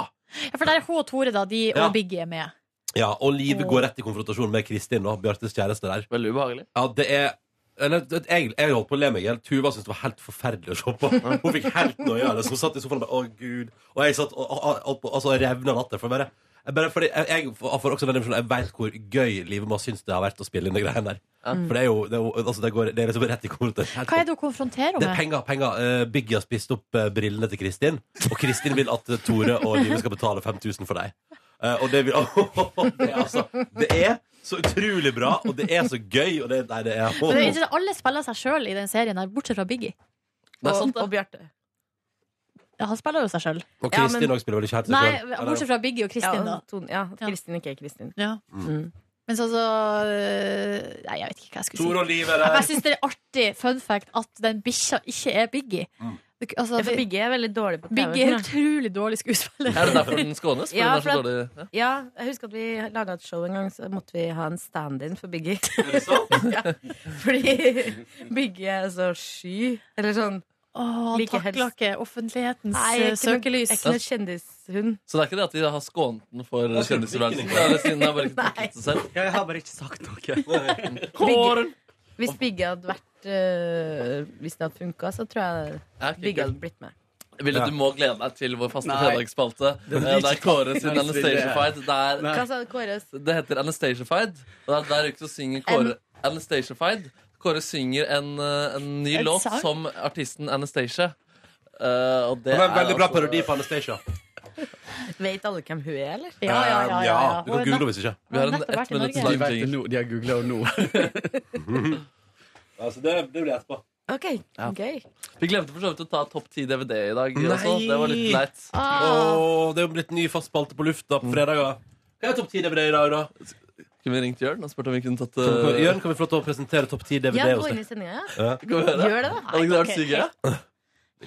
Ja, for der er hun og Tore, da. De Ja. og Biggie er med. Ja, Og Live går rett i konfrontasjon med Kristin og Bjartes kjæreste der. Veldig ubehagelig. Ja, det er eller, vet du, jeg, jeg holdt på å le meg i hjel. Tuva syntes det var helt forferdelig å se på. Hun fikk helt noia. Liksom. Hun satt i sofaen og bare Å, gud. Og jeg satt og, og, og, og, altså, revna av latter. For bare, jeg bare fordi jeg, jeg får også den emosjonen. Jeg veit hvor gøy livet må synes det har vært å spille inn de greiene der. For det er jo det, er, jo- altså, det, går, det er liksom rett i konfrontasjon. Hva er det hun Det konfronterer er henne med? penger. penger. Eh, Biggie har spist opp eh, brillene til Kristin, og Kristin vil at eh, Tore og Live skal betale 5000 for deg. Eh, og det, vil, [laughs] det, er altså, det er så utrolig bra, og det er så gøy, og det, nei, det er Men det er interessant, Alle spiller seg sjøl i den serien, her, bortsett fra Biggie. Det er Og, sant, det. og Bjarte. Ja, han spiller jo seg sjøl. Og Ja, Kristin men- også spiller vel ikke helt Nei, seg selv? bortsett fra Biggie og Kristin, ja, da. Tone, ja, Ja. Kristin ikke er Kristin. Ja. Mm. Men så, så øh, Nei, jeg vet ikke hva jeg skulle si. Tore og Liv er Jeg der. bare syns det er artig fun fact at den bikkja ikke er Biggie. Mm. Det, altså, Ja, for Bigge er veldig dårlig på TV. Biggie er utrolig dårlig skuespiller. Er det derfor den skånes? Fordi Ja, den er så for dårlig? Ja. Ja, jeg husker at vi laga et show en gang, så måtte vi ha en stand-in for Biggie. [laughs] ja, fordi Biggie er så sky. Eller sånn Åh, han Like helst. takler ikke offentlighetens Nei, øh, jeg er ikke noe- søkelys. Jeg er ikke noe kjendishund. Så det er ikke det at de har skånet den for er ikke kjendisværelsen? det. Det er det siden den har bare ikke taklet seg selv. Jeg har bare ikke sagt noe. Biggie- Hvis Biggie hadde vært øh, Hvis det hadde funka, så tror jeg Ja, ok, Biggie kult. hadde blitt med. Ville du må glede deg til vår faste Nei. fredagsspalte. Eh, Der Kåre sin Nei, Anastasia Fight. Det, Hva sa Kåre? er, det heter Anastasia Fight. Og det er der ute så synger Kåre Anastasia Fight. Kåre synger en, eh, en ny En låt sang? som artisten Anastasia. Eh, og det Det var en er veldig bra altså- parodi på Anastacia. Vet alle hvem hun er, eller? Ja, ja, ja, Um, ja, ja. Du kan google henne hvis ikke. Vi har en Nettopp vært i ett minutts Norge. De, lang vet det jingle. nå, de har googla henne [laughs] nå. Altså, det, det blir etterpå. OK, Ja. gøy. Vi glemte for så vidt å ta topp 10 DVD i dag. Nei. Også. Det var litt leit. Ah. Åh, det er jo blitt ny fast spalte på lufta på fredager. Hva er topp ti DVD i dag, da? Skulle vi ringt Jørn og spurt om vi kunne tatt eh, Kan vi- Jørn, kan vi få lov til å presentere topp 10 DVD Ja, gå hos inn deg? i sendinga, ja. Ja. Kan vi høre? Gjør det, da. Hadde ikke det vært Ok, sykt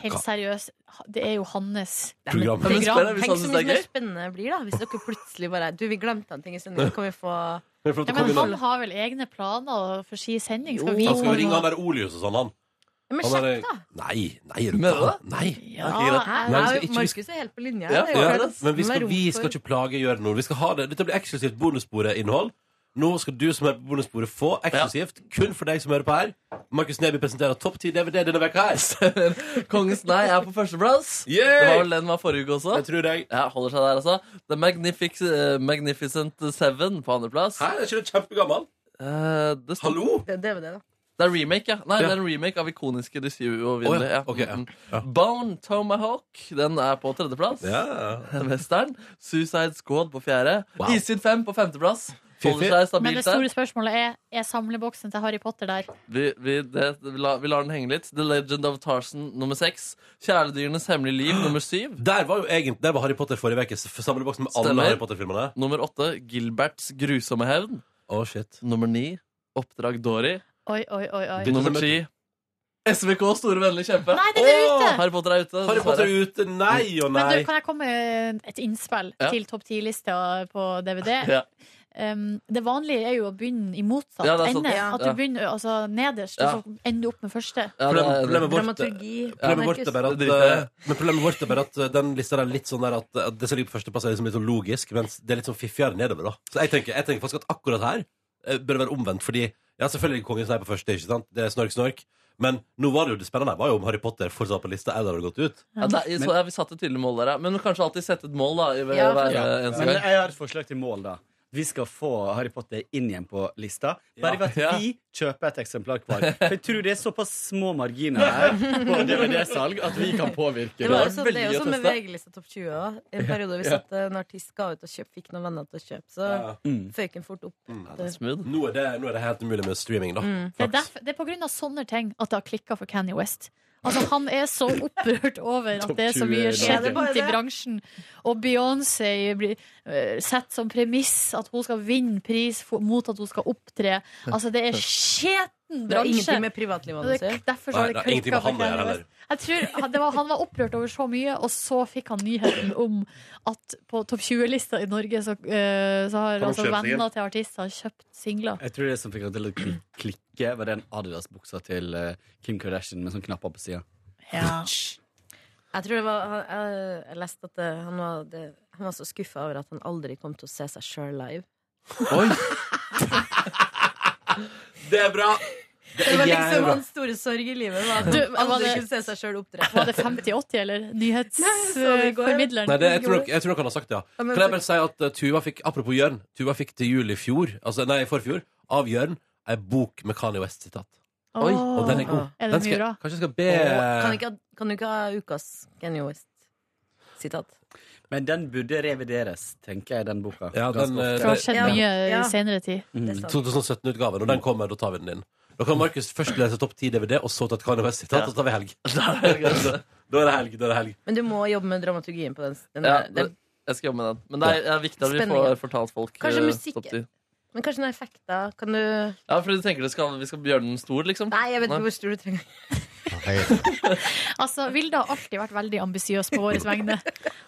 gøy? Helt seriøst, det er jo hans Program. Ja, men spør deg hvis Tenk han så synes mye det er mer gøy. spennende det blir da Hvis dere plutselig bare Du, vi glemte en ting i sendingen Kan vi få Kan vi få lov til å Ja, komme men han innom? har vel egne planer for si sending? Skal vi Han skal jo komme ringe han og der Olius og sånn, han. Ja, men Han sjekk da. Nei, nei, er du gal? Nei. Ja, Nei, greit. Nei, Nei, vi nei, skal ikke- vi skal- Markus er helt på linja Ja, Det er jo ja. klart at Men vi det må skal, være vi rom skal for- ikke plage Jørn nå. Vi skal ha det. Dette blir eksklusivt bonussporet-innhold. Nå skal du som hører på bonussporet, få eksklusivt kun for deg som hører på her. Markus Neby presenterer topp 10 DVD denne veka [laughs] her. Kongens nei er på førsteplass. Yeah! Det var vel den var forrige uke også. Jeg tror det. Ja, holder seg der, altså. The Magnific eh, Magnificent Seven på andreplass. Eh, Hæ, er ikke det kjempegammel? Hallo? Det er DVD da Det er remake, ja. Nei, Ja. det er en remake av ikoniske De syv uovervinnelige. Å, ja. Mm, mm. Bone Tomahawk den er på tredjeplass. Ja. En western. Suicide Squad på fjerde. Issyd 5 på femteplass. Holder seg Men det stabilt store der. spørsmålet er Er samleboksen til Harry Potter der? Vi, vi, det, vi, lar, vi lar den henge litt. The Legend of Tarzan nummer seks. Kjæledyrenes hemmelige liv nummer syv. Der var jo egentlig, der var Harry Potter forrige uke. Samleboksen med alle Stemmer. Harry Potter-filmene. Nummer åtte Gilberts grusomme hevn. Oh, shit. Nummer ni Oppdrag Dory. Oi, oi, oi. oi. Nummer ti SVK Store vennlige kjempe. Nei, den er ute! Harry Potter er ute. Harry Potter er dessverre. ute. Nei og Men nei. du, kan jeg komme med et innspill Ja. til topp 10-lista på DVD? [laughs] Ja. Um, det vanlige er jo å begynne i motsatt Ja, det er sånn. ende. Ja. At du Ja. begynner altså, nederst, Ja. og så ender du opp med første. Ja, det er- Problemet vårt- Dramaturgi Problemet vårt er bare Det at, driter jeg i. eh, men problemet vårt er bare at eh, den lista der er litt sånn der at, at det som ligger på førsteplass, er liksom litt sånn logisk, mens det er litt sånn fiffigere nedover. da Så jeg tenker, jeg tenker faktisk at akkurat her eh, bør det være omvendt, fordi ja, selvfølgelig er Kongens nei på første, ikke sant? Det er snork, snork. Men nå var det jo det spennende her var jo om Harry Potter fortsatt på lista eller hadde gått ut. Ja, det er, så, ja, vi satte et tydelig mål der, ja. Men kanskje alltid sette et mål, da. I hver, Ja, hver, ja. eneste Men gang. jeg har et forslag til mål, da. Vi skal få Harry Potter inn igjen på lista. Bare ved Ja. at vi kjøper et eksemplar hver. For jeg tror det er såpass små marginer [laughs] her på DVD-salg at vi kan påvirke. Det, var jo sånn- det er jo Veldig sånn å med teste. VG-lista Topp 20 òg. En periode vi Ja. satt eh, en artist ga ut og kjøp, fikk noen venner til å kjøpe, så Ja. Mm. føyk den fort opp. Nå er, det, nå er det helt umulig med streaming, da. Mm. Det er, derf- det er på grunn av sånne ting at det har klikka for Kanye West. Altså, han er så opprørt over at Topp det er så 20 mye i dag. Er det bare skjedent i det? bransjen. Og Beyoncé blir eh, sett som premiss at hun skal vinne pris for, mot at hun skal opptre. Altså, det er skjeten Det har bransje. ingenting med privatlivet hans å gjøre. Det- Derfor så har Nei, det det har ingenting klikka med for han å gjøre Kanye West. Jeg tror han- det var, Han var opprørt over så mye, og så fikk han nyheten om at på topp 20-lista i Norge så, eh, så har Har han altså, kjøpt singel? venner til artister kjøpt singler. Jeg tror det som fikk han til å kli- klikke, var den Adidas-buksa til eh, Kim Kardashian med sånn knapper på sida. Jeg tror det var han- Jeg, jeg leste at det, han, var, det, han var så skuffa over at han aldri kom til å se seg sjøl live. Det er bra! Det var liksom hans store sorg i livet. Var at Du, han var aldri det- kunne se seg sjøl opptre. Var [laughs] det 50-80, eller? det i går. Nyhetsformidleren? Nei, det, jeg, tror, nok- jeg tror nok han har sagt det, ja. Ja, men- Kan jeg bare si at eh, Tuva fikk, apropos Jørn, Tuva fikk til jul i fjor, altså nei, i forfjor, av Jørn, ei bok med Kanye West-sitat. Åh. Og den er god. Er det Den mye skal, bra? kanskje jeg skal be Åh, Kan, ikke, ha- kan du ikke ha ukas Kanye West-sitat? Men den burde revideres, tenker jeg, den boka. Ja, den, Ganske eh, ofte. Det har skjedd mye ja. i senere tid. Mm, sant. 2017-utgaven, og den kommer, da tar vi den inn. Da kan Markus først lese topp 10 DVD, og så ta et Kanye West-sitat, og så tar vi helg. [laughs] [laughs] da er det helg, da er det helg. Men du må jobbe med dramaturgien på den. den, Ja, der- den det- jeg skal jobbe med den. Men det er, det er viktig at vi Spenningen. får fortalt folk Kanskje eh, musikk- topp ti. men kanskje noen effekter? Kan du Ja, fordi du tenker det skal, vi skal gjøre den stor, liksom? Nei, jeg vet ikke hvor stor du [laughs] trenger. Altså, Vilde har alltid vært veldig ambisiøs på våre vegne.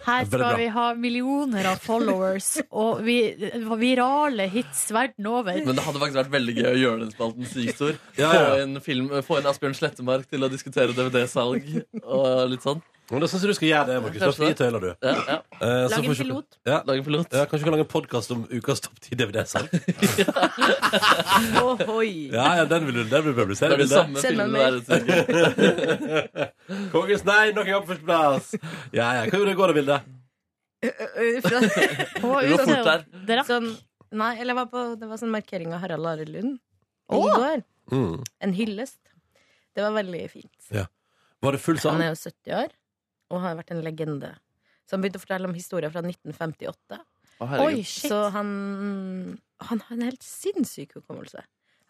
Her Veldig bra. skal vi ha millioner av followers og vi, virale hits verden over. Men det hadde faktisk vært veldig gøy å gjøre den spalten sykt stor. [laughs] Ja, ja. Få inn film, få inn Asbjørn Slettemark til å diskutere DVD-salg og litt sånn. Men da synes jeg du skal gjøre det, Markus. Da Kanskje det. fritøyler du. Ja, ja. Eh, så Lag en får vi se- pilot. Ja. Lag en pilot. Ja, kanskje vi kan lage en podcast om ukas topp 10 DVD-salg. Ohoi. Ja, ja, den vil du, den vil du publisere. Det er de vil samme Send meg filmene [laughs] en der. Kongens nei, nok en gang på førsteplass. Ja, ja. Hvordan går det, Vilde? [laughs] Fra- Det går fort der. Sånn, nei, eller jeg var på, det var sånn markering av Harald Are Lund i Åh! går. Mm. En hyllest. Det var veldig fint. Ja. Var det full sal? Han er jo 70 år og har vært en legende. Så han begynte å fortelle om historier fra 1958. Å, herregud. Oi, shit. så han, han har en helt sinnssyk hukommelse.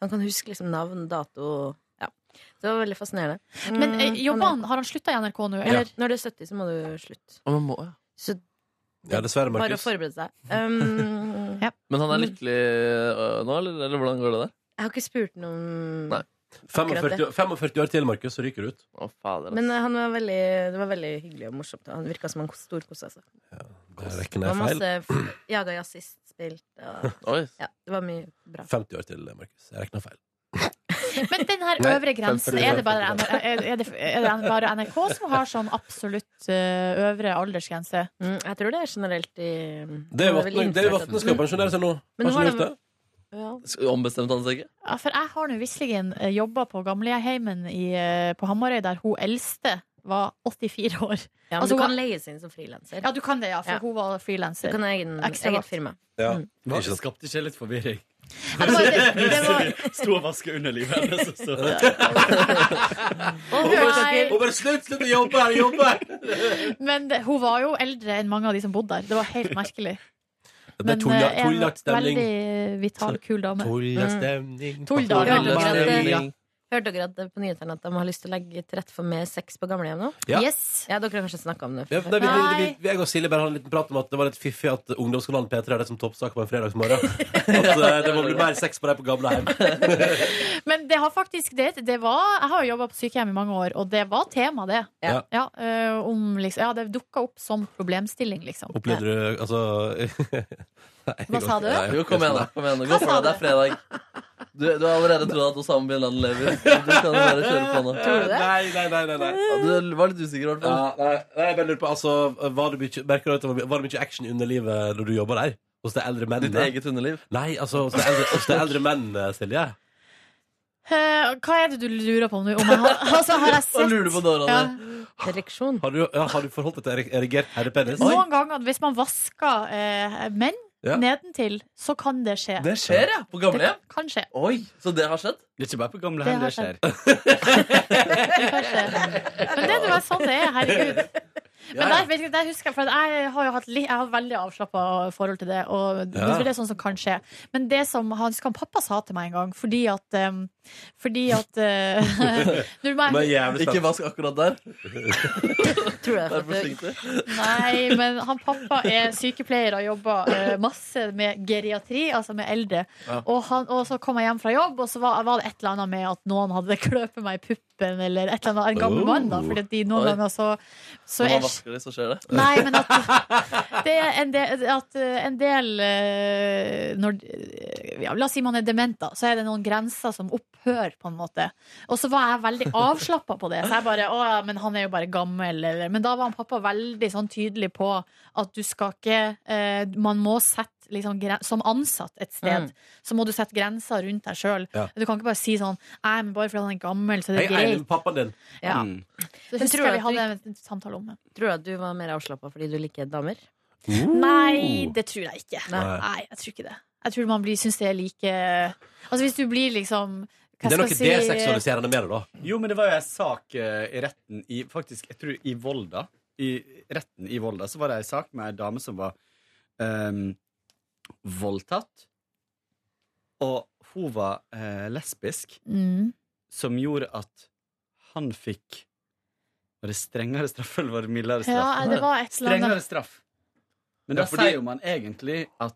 Han kan huske liksom navn, dato ja. Så det var veldig fascinerende. Men eh, Mm, jobber han, har han slutta i NRK nå, er- eller? Når du er 70, så må du slutte. Å, men må jeg? Så Ja, dessverre, Bare å Markus. forberede seg. Um, Men han er lykkelig øh, nå, eller, eller hvordan går det der? Jeg har ikke spurt noe om Nei. akkurat det. 45, 45 år til, Markus, så ryker du ut. Å, fader, Men eh, han var veldig, det var veldig hyggelig og morsomt. Han virka som han storkosa seg. Det rekker altså. Det var ned feil. masse f- [clears throat] jaga jazzist spilt. Og, Oi. ja, det var mye bra. 50 år til, Markus. Jeg regna feil. Men den her Nei, øvre grensen, selvfølgelig. er det bare, NR er det, er det bare NRK som har sånn absolutt eh, øvre aldersgrense? Mm, jeg tror det er generelt i Det er jo Vatne- det er jo Vatne skal pensjonere seg nå. Men Har ikke du nå har gjort det? Ja. Ombestemte han seg ikke? Ja, for jeg har nå visseligen eh, jobba på gamlehjemmen i, eh, på Hamarøy, der hun eldste var 84 år. Ja, men Altså, du hun kan var- leies inn som frilanser. Ja, du kan det, ja, for Ja. hun var frilanser. Du kan ha egen- eget firma. Ja. Hva? Skapte ikke litt forvirring? Ja, det var- det- det Plutselig Sto og vasket underlivet hennes, og så Å, nei. Og bare slutt, slutt å jobbe her, jobbe her! [laughs] Men det, hun var jo eldre enn mange av de som bodde der. Det var helt [laughs] merkelig. er Men tulla- eh, en tullagt stemning. veldig vital, kul dame. Tullastemning. Tulldal. Hørte dere at det- Tullastemning. Hørte dere at det på nyhetene at de har lyst til å legge til rette for mer sex på gamlehjem nå? Ja. Ja, dere har kanskje snakka om det? Ja, nei, vi, vi, vi, jeg og Silje bare hadde en liten prat om at det var litt fiffig at Ungdomskanalen P3 er det som toppsak på en fredagsmorgen. At eh, det må bli mer sex på dem på gamlehjem. Men det har faktisk det, det var, Jeg har jo jobba på sykehjem i mange år, og det var tema, det. Ja. Ja, eh, om, liksom, ja det dukka opp som problemstilling, liksom. Opplevde du Altså [laughs] Nei, Hva sa du? jeg- Jo, kom igjen, da. Kom igjen, Gå for det. Det er fredag. Du, du har allerede trodd at Osama bin Laden lever. Du kan jo bare kjøre på nå. Tror du det? Eh, Nei, nei, nei, nei, nei. Ja, du var litt usikker, i hvert fall. Ja, nei, nei, jeg bare lurer på altså, var, det mye, merker du at det var, var det mye action i underlivet da du jobba der? Hos de eldre mennene? Ditt eget underliv? Nei, altså hos de eldre, hos de eldre mennene, Silje. Eh, hva er det du lurer på nå? Om jeg har, altså, har jeg sett Ereksjon. Har du, ja, har du forholdt deg til ereg- erigert herrepenis? Noen ganger hvis man vasker eh, menn Ja. nedentil, så kan det skje. Det skjer, ja, på gamlehjem? Det kan skje. Oi, Så det har skjedd? Det er ikke bare på gamle Det har hender det skjer. Men det er jo bare sånn det er, herregud. Men der, vet du, der husker Jeg for at jeg har jo hatt li, jeg har veldig avslappa forhold til det. Og Ja. det er sånn som kan skje Men det som han, husker han pappa sa til meg en gang Fordi at um, Fordi at [laughs] uh, nå må jeg- Ikke vask akkurat der. Tror jeg Vær forsiktig. [laughs] Nei, men han pappa er sykepleier og jobber eh, masse med geriatri, altså med eldre. Ja. Og, han, og så kom jeg hjem fra jobb, og så var, var det et eller annet med at noen hadde [laughs] kløpet meg i puppen, eller et eller annet, en gammel Oh. mann, da, fordi at de noen Oi. ganger så, så Når man er vasker det, så skjer det. Nei, men [laughs] at det er en del, at eh, en del eh, når, eh, ja, La oss si man er dement, da. Så er det noen grenser som opphører, på en måte. Og så var jeg veldig avslappa på det. Så jeg bare Å ja, men han er jo bare gammel, eller Men da var han pappa veldig sånn tydelig på at du skal ikke eh, Man må sette liksom gren- Som ansatt et sted, Mm. så må du sette grenser rundt deg sjøl. Ja. Du kan ikke bare si sånn Nei, men bare fordi han er gammel, så er det Jeg er enig greit. med pappaen din. Ja. Mm. Så Men husker tror jeg vi du at hadde en samtale om det. Tror du at du var mer avslappa fordi du liker damer? Nei, det tror jeg ikke. Nei, Nei. jeg tror ikke det. Jeg tror man blir, syns det er like Altså hvis du blir liksom hva Det er skal noe jeg deseksualiserende med det, da. Jo, men det var jo en sak eh, i retten i Faktisk, jeg tror i Volda. I retten i Volda så var det en sak med ei dame som var ehm, voldtatt. Og hun var eh, lesbisk, Mm. som gjorde at han fikk Var det strengere straff, eller var det mildere straff? Ja, det var et eller annet. Strengere straff. Men Ja, da fordi- sier jo man egentlig at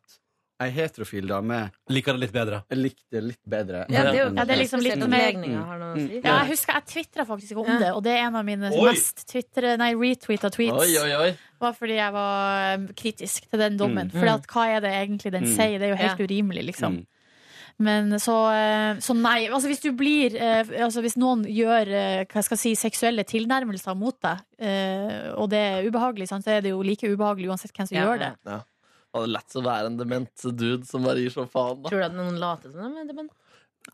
ei heterofil dame Liker det litt bedre. Likte litt bedre. Ja, det er jo- enn- ja, det er liksom litt Mm. mer- Legninger har noe å si. Ja, jeg husker jeg tvitra faktisk om det, og det er en av mine Oi. mest twittere, nei, retweeta tweets. Oi, oi, oi. Var fordi jeg var eh, kritisk til den dommen. Mm. Fordi at hva er det egentlig den Mm. sier? Det er jo helt Ja. urimelig, liksom. Men så, eh, så nei. Altså hvis du blir eh, altså Hvis noen gjør eh, hva skal jeg si, seksuelle tilnærmelser mot deg, eh, og det er ubehagelig, sant, så er det jo like ubehagelig uansett hvem som gjør det. Ja. Det hadde lett å være en dement dude som bare gir så faen, da. Tror du at noen later som de er dement?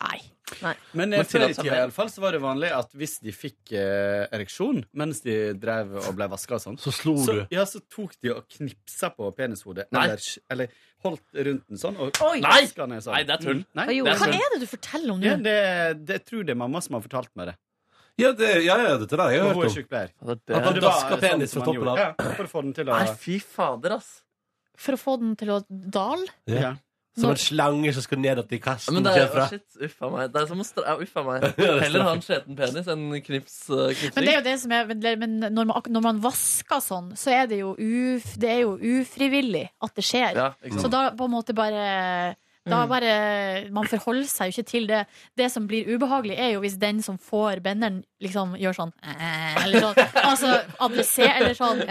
Nei. Men eh, Men før i tillatt seg tida i mer. alle fall, så var det vanlig at hvis de fikk eh, ereksjon mens de drev og ble vaska og sånn, så slo du? Ja, så tok de og knipsa på penishodet. Nei. Eller, eller holdt rundt den sånn og Oi! Nei! vaska ned sånn. Nei, det er tull. Mm, nei, Hva, det er tull. er det du forteller om Ja, nå? det, det jeg tror det er mamma som har fortalt meg det. Ja, det, ja, ja, dette der har jeg Og hørt hun er om. sykepleier. At det han var dasker sånn penis som fra han toppen gjorde. av. Ja, for å få den til å Nei, fy fader, ass. For å få den til å dale? Ja. Som Nå- en slange som skal ned i kassen. Men det er, kjefra. å, shit, uffa meg. Det er som å stra... ja, Uffa meg. Ja, [laughs] det er Heller ha en straff. skjeten penis enn knips, uh, knipsing. Men det er jo det som er Men men når man, ak- når man vasker sånn, så er det jo, uf, det er jo ufrivillig at det skjer. Ja, ikke sant. så da på en måte bare da Mm. bare, Man forholder seg jo ikke til det. Det som blir ubehagelig, er jo hvis den som får benderen, liksom gjør sånn eh, Eller sånn. Altså adresser eller sånn.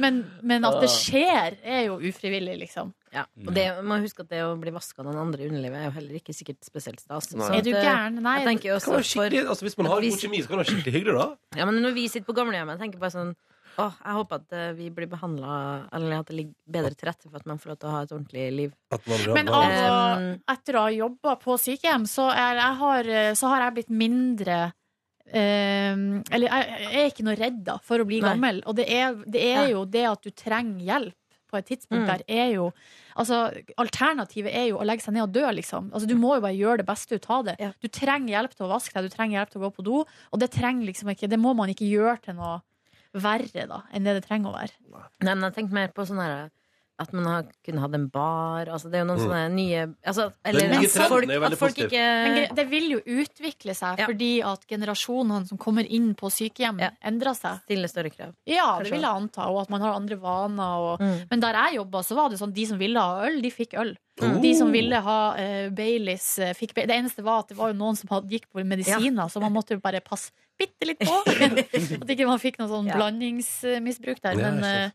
Men, men at det Ah. skjer, er jo ufrivillig, liksom. Ja, og det, man husker at det å bli vaska av noen andre i underlivet er jo heller ikke sikkert spesielt stas. Nei. Så Er du at, eh, gæren? Nei, Jeg tenker jo Det kan også være skikkelig- altså, hvis man har god kjemi, så kan det være skikkelig hyggelig, da. Ja, men når vi sitter på gamlehjemmet, tenker jeg bare sånn Åh, jeg håper at eh, vi blir behandla Eller at det ligger bedre til rette for at man får lov til å ha et ordentlig liv. Men av og etter å ha jobba på sykehjem, så, er, jeg har, så har jeg blitt mindre eh, Eller jeg, jeg er ikke noe redd da for å bli Nei. gammel. Og det er, det er jo det at du trenger hjelp på et tidspunkt Mm. der, er jo Altså, alternativet er jo å legge seg ned og dø, liksom. Altså, du må jo bare gjøre det beste ut av det. Du trenger hjelp til å vaske deg, du trenger hjelp til å gå på do, og det trenger liksom ikke Det må man ikke gjøre til noe verre, da, enn det det trenger å være. Nei, men jeg tenker mer på sånn her at man har, kunne hatt en bar altså Det er jo noen Mm. sånne nye altså, Den Eller nye at trenden folk, er veldig at folk positiv. ikke Men Eh. gre- det vil jo utvikle seg fordi at generasjonene som kommer inn på sykehjem, endrer seg. Stiller større krav. Ja, det Kanskje. vil jeg anta, og at man har andre vaner. Og... Mm. Men der jeg jobba, så var det sånn de som ville ha øl, de fikk øl. Mm. De som ville ha eh, Baileys, eh, fikk Baileys. Det eneste var at det var jo noen som hadde, gikk på medisiner, så man måtte jo bare passe bitte litt på. [laughs] at ikke man fikk noe sånn Ja. blandingsmisbruk der. Ja, Men ikke eh, sant.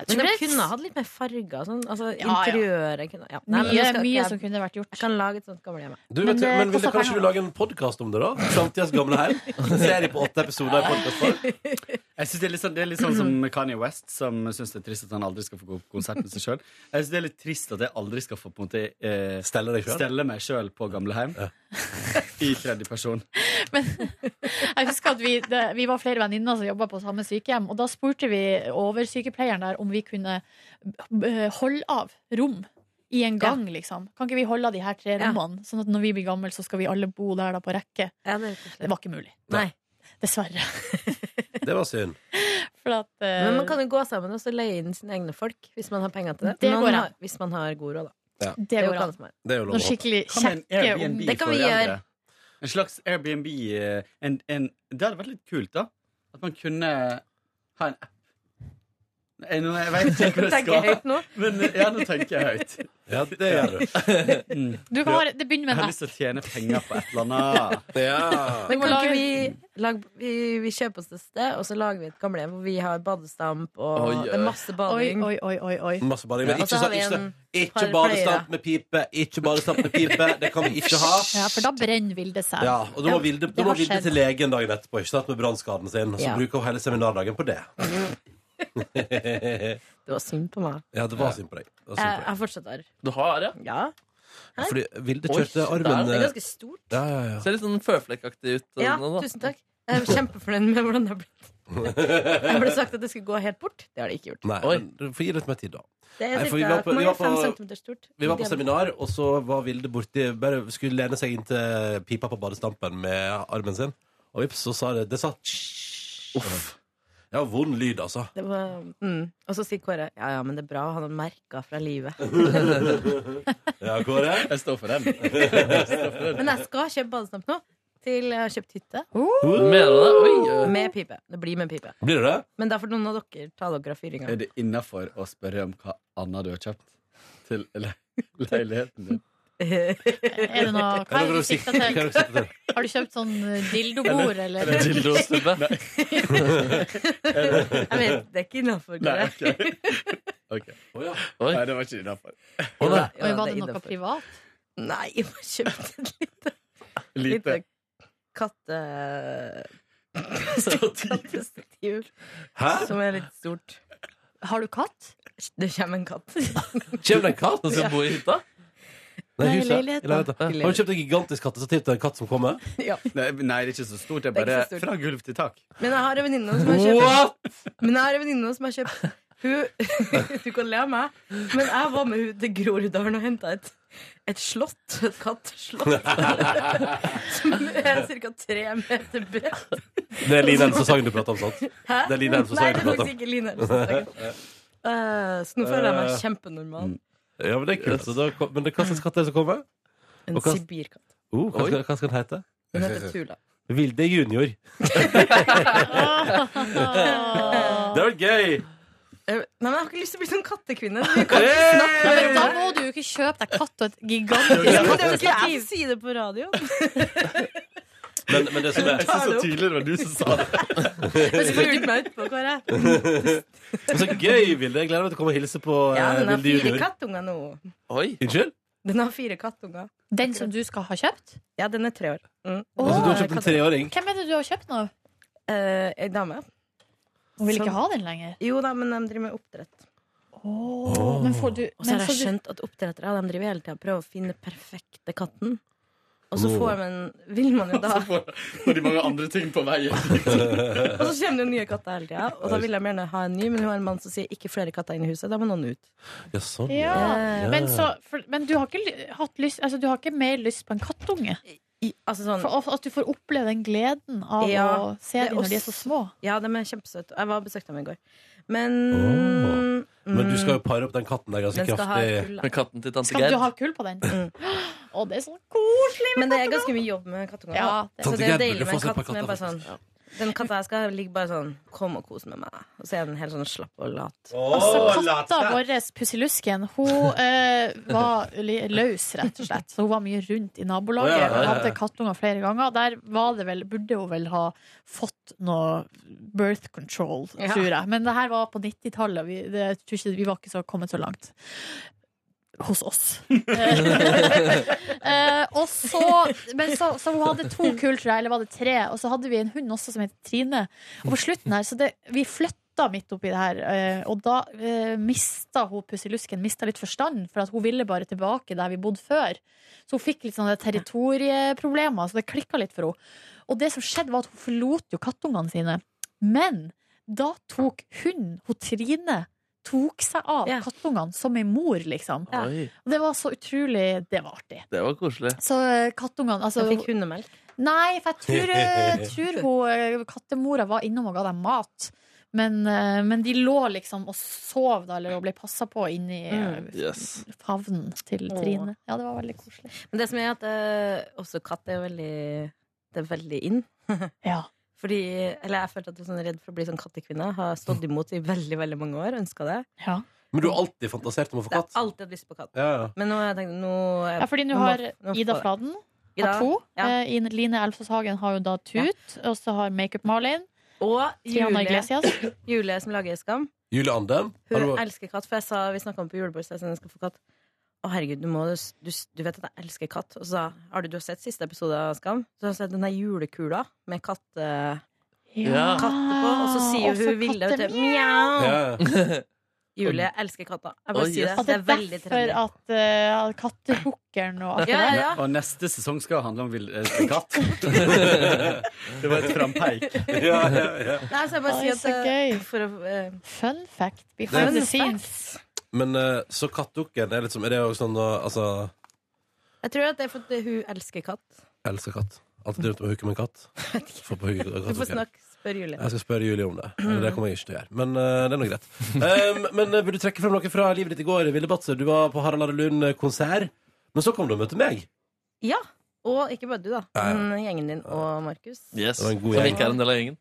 jeg Men tror de det- kunne hatt litt mer farger. Sånn, altså, Ja, ja. interiøret kunne ja. men Mye- nå skal ikke mye jeg- som kunne vært gjort. Jeg kan lage et sånt gamlehjem. jeg. Du, vet, du- men vil det kanskje du lage en podkast om det, da? Framtidas gamle hjem? En Serie på åtte episoder i podkast. Jeg synes det, er litt sånn, det er litt sånn som Kanye West, som syns det er trist at han aldri skal få gå på konsert med seg sjøl. Jeg synes det er litt trist at jeg aldri skal få på en måte eh, stelle, selv? meg sjøl på gamleheim. [laughs] I tredje person. Jeg husker at vi, det, vi var flere venninner som jobba på samme sykehjem, og da spurte vi oversykepleieren der om vi kunne eh, holde av rom i en gang, liksom. Kan ikke vi holde av de her tre rommene, sånn at når vi blir gamle, så skal vi alle bo der da på rekke? det, var ikke mulig. Dessverre. [laughs] Det var synd. For at, eh, Men man kan jo gå sammen og så leie inn sine egne folk hvis man har penger til det. Det Noen går an. har, hvis man har god råd, da. Ja. Det går an. Det er jo lov å Noen skikkelig Hva med en kjekke Airbnb ungdommer. Det kan for vi eldre? gjøre. En slags Airbnb eh, en, en, Det hadde vært litt kult, da. At man kunne ha en app. Nei, nå- Jeg vet ikke hvor jeg Tenker skal. jeg høyt nå? Men, eh, ja, nå tenker jeg høyt. Ja, det gjør du. Mm. Du kan ha- det begynner med en Jeg har lyst til å tjene penger på et eller annet. Ja. Men Vi må kan ikke lage- vi, lage, vi, vi kjøper oss et sted, og så lager vi et gamlehjem hvor vi har badestamp og Oi, det er masse bading. Oi, oi, oi, oi. Masse bading. Men Ja. ikke, Og så har sånn, vi ikke, sånn, en ikke par badestamp med pipe, ikke badestamp med pipe. Det kan vi ikke ha. Ja, for da brenner Vilde seg. Ja, og da må Vilde, da Det må har Vilde skjedd. til legen dagen etterpå, ikke sant, med brannskaden sin. Så Ja. bruker hun hele seminardagen på det. Det var synd på meg. Ja, det var synd på deg. Det var synd på Jeg, jeg deg. har fortsatt arr. Du har ja? Ja. Hæ? Fordi Vilde Oi, kjørte der. armen eh, Det er ganske stort. Ja, ja, ja. Ser litt sånn føflekkaktig ut. eh, Ja, nå, da. [laughs] tusen takk. Jeg er kjempefornøyd med hvordan det har blitt. Jeg ble sagt at det skulle gå helt bort. Det har det ikke gjort. Nei, Oi. men du får gi litt mer tid, da. Det er Nei, for vi cirka var på- vi var fem på- centimeter stort. Vi var på Diameter. seminar, og så var Vilde borti Bare skulle lene seg inn til pipa på badestampen med armen sin, og vips, så sa det Det sa Uff. Ja, vond lyd, altså. Det var, mm. Og så sier Kåre ja, ja, men det er bra å ha noen merker fra [laughs] livet. ja, Kåre? Jeg står for den. Men jeg skal kjøpe badestamp nå. Til jeg har kjøpt hytte. Mener du det? Oi, eh. Med pipe. Det blir med pipe. Blir det det? Men da får noen av dere ta dere av fyringa. [laughs] Er det innafor å spørre om hva annet du har kjøpt til le leiligheten din? Er det noe, hva er det du [laughs] sikter til? Har du kjøpt sånn eh, dildobord, eller? Dildostubbe? Jeg vet, det er ikke innafor. Nei, ok. Ok. Nei, det var ikke innafor. Oi, var det noe privat? Nei, jeg har kjøpt et lite Lite. lite katte... Kattestativ. Hæ? Som er litt stort. Har du katt? Det kommer en katt. Kjem det en katt? Som skal bo i hytta? Nei, Nei, i huset. I leiligheten. leiligheten. Har du kjøpt en gigantisk kattestativ til en katt som kommer? Nei, nei, det er ikke så stort. Det er Det er bare ikke så stort. fra gulv til tak. Men jeg har en venninne som har kjøpt Men jeg har en venninne som har kjøpt hun, [laughs] Du kan le av meg, men jeg var med hun til Groruddalen og henta et, et slott. Et [laughs] katteslott. som er ca. tre meter bredt. Det er Line Elvsås Sagen du prater om, sant? Hæ? Det er Line Elvsås Nei, Sagen det du er prater om. faktisk Eh, mm. ikke Line Elvsås Sagen. Eh, så nå føler jeg meg kjempenormal. Ja, men det er kult. Så da, kom- men det- hva slags katt er det som kommer? En Og hva- sibirkatt. Oh, hva, Oi. skal, hva skal den hete? Den heter Tula. Vilde junior. Ah. det var gøy! Eh, Nei, men Jeg har ikke lyst til å bli sånn [laughs] kattekvinne. Vi kan ikke snakke Nei, om men det. da må du jo ikke kjøpe deg katt og et Ja, men gigantisk det er jo ikke jeg kattestativ. som sier det på [laughs] radio. Men, men det som er Jeg synes det var tidligere det var du som sa det. Men så får du meg utpå, Kåre. [laughs] Men Så gøy, Vilde. Jeg gleder meg til å komme og hilse på Ja, eh, den Vilde har fire junior. kattunger nå. Oi. Unnskyld? Den har fire kattunger. [laughs] Den som du skal ha kjøpt? Ja, den er tre år. Mm. Altså, du har kjøpt en treåring? Hvem er det du har kjøpt nå? Eh, Ei dame. Hun vil ikke Som- ha den lenger. Jo da, men de driver med oppdrett. Åh, Men får du Og så men har jeg får du- skjønt at oppdrettere de driver hele tida og prøver å finne perfekte katten. Og så Oh. får man, vil man jo da [laughs] Og Og de mange andre ting på veien. [laughs] så kommer det nye katter hele tida, og da vil de gjerne ha en ny, men hun har en mann som sier 'ikke flere katter inn i huset', da må noen ut. Ja, sånn. Ja. Ja. Men, så, for, men du har ikke ly- hatt lyst Altså, du har ikke mer lyst på en kattunge? I, altså sånn, For at- at du får oppleve den gleden av å se det dem når de er så også- små? Ja, de er kjempesøte. Jeg var og besøkte dem i går. Men Åh. Men du skal jo mm, pare opp den katten der ganske Den skal ha et kraftig. kull, da. Men katten til tante Skal du Gerd ha kull på den? Mm. [gasps] Å, det er sånn koselig! Men det er ganske mye jobb med kattunger. Ja, det- så Tante Gerd det er Sånn burde deilig med få seg et en par katt som er bare katter, sånn Den katta her skal ligge bare sånn Kom og kos med meg. Og så er den helt sånn slapp og lat. Altså, katta vår, Pusselusken, hun eh, var li- løs, rett og slett. Så hun var mye rundt i nabolaget. Å, ja, ja, ja. og Hadde kattunger flere ganger. Der var det vel, burde hun vel ha fått noe birth control, Ja. tror jeg. Men det her var på 90-tallet. Vi, det- jeg tror ikke- vi var ikke så kommet så langt. [laughs] Hos oss. Eh, og så, men så, så hun hadde to kull, tror jeg, eller var det tre? Og så hadde vi en hund også som het Trine. Og på slutten her, så det, vi flytta midt oppi det her, eh, og da uh, mista hun pusselusken mista litt forstand, for at hun ville bare tilbake der vi bodde før. Så hun fikk litt sånne territorieproblemer, så det klikka litt for henne. Og det som skjedde, var at hun forlot jo kattungene sine. Men da tok hun, hun Trine, tok seg av Ja. kattungene som ei mor, liksom. Oi, Og det var så utrolig Det var artig. det var koselig. Så eh, kattungene altså, Så fikk hundemelk. Nei, for jeg tror, jeg tror hun, eh, kattemora var innom og ga dem mat. Men, eh, men de lå liksom og sov da, eller og ble passa på inni eh, Yes. favnen til Mm. Åh. Trine. Ja, det var veldig koselig. Men det som er at eh, også katt er veldig Det er veldig in. Ja. Fordi, eller jeg følte at jeg var sånn redd for å bli sånn kattekvinne. Har stått imot i veldig veldig mange år. Ønska det. Ja, Men du har alltid fantasert om å få Det har katt? alltid hatt lyst på katt. Ja, ja. Men nå har jeg tenkt nå, er- ja fordi nå må- har nå Ida får- Fladen Ida, har to. ja. Eh, Ine- Line Elfsås Hagen har jo da Tut, og så har Makeup-Malin. Og Triana Julie, Iglesias. Julie som lager Skam. Julie Andem? Har Hun du... elsker katt. For jeg sa, vi snakka om på julebord, så jeg sa jeg skal få katt. Å, herregud, du, må, du, du vet at jeg elsker katt. Og så sa jeg, har du, du har sett siste episode av Skam? Så har jeg sett den der julekula med katte, Ja. katte på, og så sier så hun Vilde katte- til mjau. Ja, [laughs] ja. Julie jeg elsker katter. Jeg Oi, bare sier yes. det. At Det er veldig derfor trendy. at uh, kattehukkeren og akkurat Ja, ja, ja. Og neste sesong skal handle om vill- eh, katt. [laughs] Det var et frampeik. ja, ja, ja. Nei, så jeg bare Oi, sier at så eh, gøy. for å eh, Fun fact behind the Fun scenes. Men eh, så kattdukken er liksom Er det jo sånn da Altså, Jeg tror at det er fordi hun elsker katt. jeg elsker katt. Alltid drevet med å hooke med en katt. Få på hugge- Du får kattdukken. snakke, spør Julie. Jeg skal spørre Julie om det. Eller det kommer jeg ikke til å gjøre. Men eh, det er nå greit. Um, men eh, vil du trekke frem noe fra livet ditt i går, Ville Batser? Du var på Harald Are Lund-konsert. Men så kom du og møtte meg. Ja. Og ikke bare du, da. Ja, ja. Men gjengen din og Markus. Yes. Det var en god Som gjeng. ikke er en del av gjengen.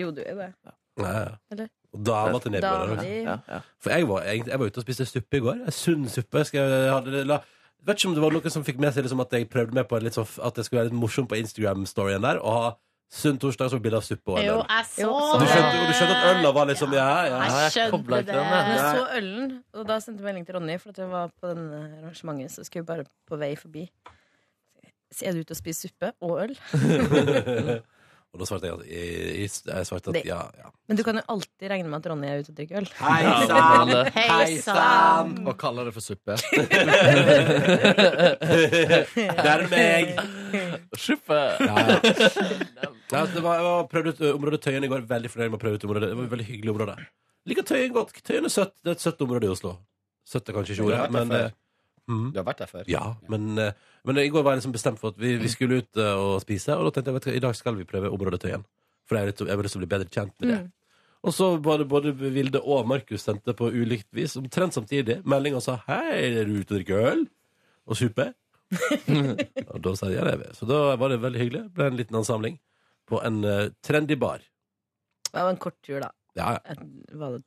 Jo, du er det. Ja, ja. Eller? Og dama til Da nedbøren. var de Ja, ja. For jeg var, egentlig, jeg var ute og spiste suppe i går. En Sunn suppe. Skal jeg, jeg hadde, la, vet ikke om det var noen som fikk med seg liksom, at jeg prøvde meg på en litt sånn, f- at jeg skulle være litt morsom på Instagram-storyen der. Og ha sunn torsdag som bilde av suppe og en Jo, øl. jeg så Jo, Du jeg- skjønte, og du skjønte at øla var liksom Ja, ja. Ja, jeg Jeg skjønte koblet det. ikke den, jeg. Men jeg Nei. så ølen, og da sendte jeg melding til Ronny, for at jeg var på den eh, arrangementet. Så skulle vi bare på vei forbi. Så Er du ute og spiser suppe og øl? [laughs] Og da svarte jeg at, i- i- jeg svarte at Det- ja, ja. Men du kan jo alltid regne med at Ronny er ute og drikker øl. Hei Ja, men, eh, Hei sann! Og kaller det for suppe. Der er meg! Suppe! Ja, [laughs] ja. Ja, så det var, jeg var prøvd ut ø, området Tøyen i går. Veldig fornøyd med å prøve ut området. Det var et veldig hyggelig område. Liker Tøyen godt. Tøyen er søtt. Det er et søtt område i Oslo. Søtt er kanskje ikke ordet, Ja, det er men fair. eh, mhm. Du har vært der før. Ja, men, eh, men i går var jeg liksom bestemt for at vi, vi skulle ut eh, og spise, og da tenkte jeg vet du hva, i dag skal vi prøve området Tøyen. For jeg har lyst til- jeg har lyst til å bli bedre liksom kjent med det. Og så var det både Vilde og Markus sendte på ulikt vis, omtrent samtidig, melding og sa 'Hei, er du ute og drikker øl?' og supe. og da sa jeg ja, det er vi. Så da var det veldig hyggelig. Ble en liten ansamling på en eh, trendy bar. Det var en kort tur, da. Ja, ja. En- Var det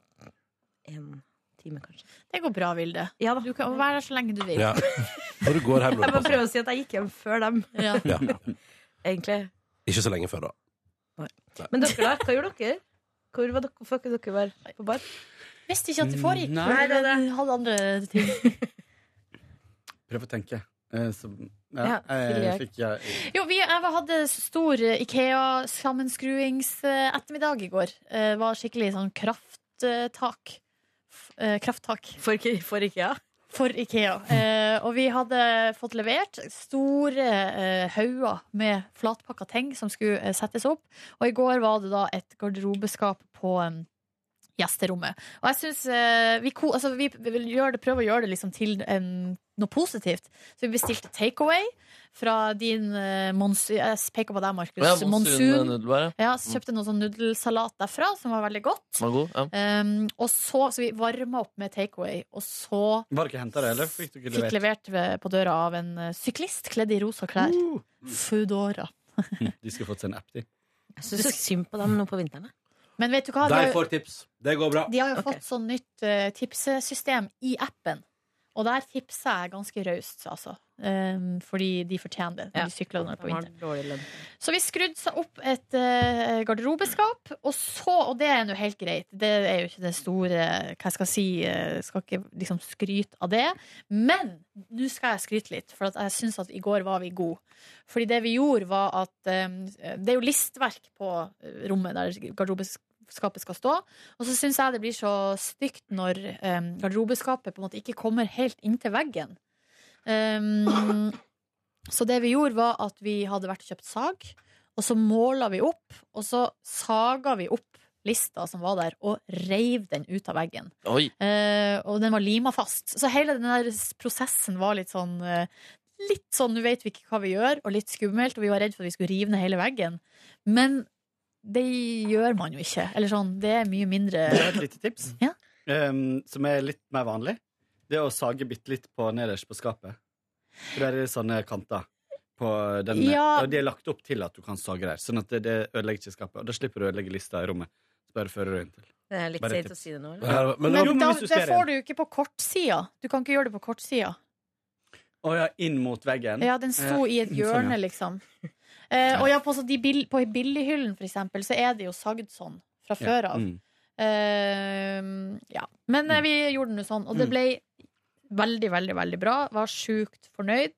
en time, kanskje? Det går bra, Vilde. Du kan være her så lenge du vil. ja. Og du går hjem Jeg når bare det passer. prøver å si at jeg gikk hjem før dem, Ja. egentlig. Ikke så lenge før, da. Men dere, da? Hva gjorde dere? Hvor var dere, hvorfor var ikke dere var på bar? Visste ikke at det foregikk. Nei. Nei, det, det. Hadde andre ting. Prøv å tenke. Eh, Så, ja, Ja, eh, filiert. fikk jeg Jo, vi jeg hadde stor eh, Ikea-sammenskruings-ettermiddag i går. Eh, Det var skikkelig sånn krafttak. F- eh, Krafttak. For, for Ikea? For Ikea. Eh, og vi hadde fått levert store eh, hauger med flatpakka ting som skulle eh, settes opp. Og i går var det da et garderobeskap på em, gjesterommet. Og jeg syns eh, vi, ko- altså, vi, vi vil gjøre det, prøve å gjøre det liksom til en, noe positivt. Så vi bestilte takeaway fra din eh, monsun... Jeg peker på deg, Markus. Ja, monsun, monsun. nudelbær, ja. Ja, så kjøpte noe sånn nudelsalat derfra, som var veldig godt. Den var god, ja. Em, og så, så vi varma opp med takeaway, og så Var dere henta det, eller fikk dere Fikk levert? Uh! levert ved- på døra av en eh, syklist kledd i rosa klær. Foodora. De skulle fått seg en app, de. Jeg syns så synd på dem nå på vinteren. Men vet du hva? De har, jo- tips. Det går bra. de har jo fått sånn nytt eh, tipsesystem i appen. Og der tipser jeg ganske raust, altså. Em, fordi de fortjener det når de sykler når på De har vinteren. dårlig lønn. Så vi skrudde seg opp et eh, garderobeskap, og så Og det er nå helt greit. Det er jo ikke det store Hva jeg skal si, eh, skal ikke liksom skryte av det. Men nå skal jeg skryte litt, for at jeg syns at i går var vi gode. Fordi det vi gjorde, var at eh, Det er jo listverk på eh, rommet der garderobeskapet skal stå. Og så syns jeg det blir så stygt når eh, garderobeskapet på en måte ikke kommer helt inntil veggen. Um, så det vi gjorde var at vi hadde vært og kjøpt sag, og så måla vi opp, og så saga vi opp lista som var der, og reiv den ut av veggen. Oi. Eh, og den var lima fast. Så hele den der s- prosessen var litt sånn eh, Litt sånn, nå vet vi ikke hva vi gjør, og litt skummelt, og vi var redd for at vi skulle rive ned hele veggen. Men det gjør man jo ikke. Eller sånn, det er mye mindre Det var et lite tips, Ja. em, som er litt mer vanlig. Det er å sage bitte litt på nederst på skapet. For der er det sånne kanter. På den, Ja. Og de er lagt opp til at du kan sage der, sånn at det, det ødelegger ikke skapet. Og da slipper du å ødelegge lista i rommet. Så bare fører du inn til. Det er litt Bare seigt tips. å si det nå. eller? Ja, men, Men, Jo, men da, hvis du det ser får du jo ikke på kortsida. Du kan ikke gjøre det på kortsida. Å ja, inn mot veggen. Ja, den sto i et Sånn, hjørne, ja. liksom. Eh, og ja, på, så de bill på billighyllen, for eksempel, så er det jo sagd sånn fra før av. Mm. Eh, ja. Men eh, vi gjorde den jo sånn, og det Mm. ble veldig, veldig, veldig bra. Var sjukt fornøyd.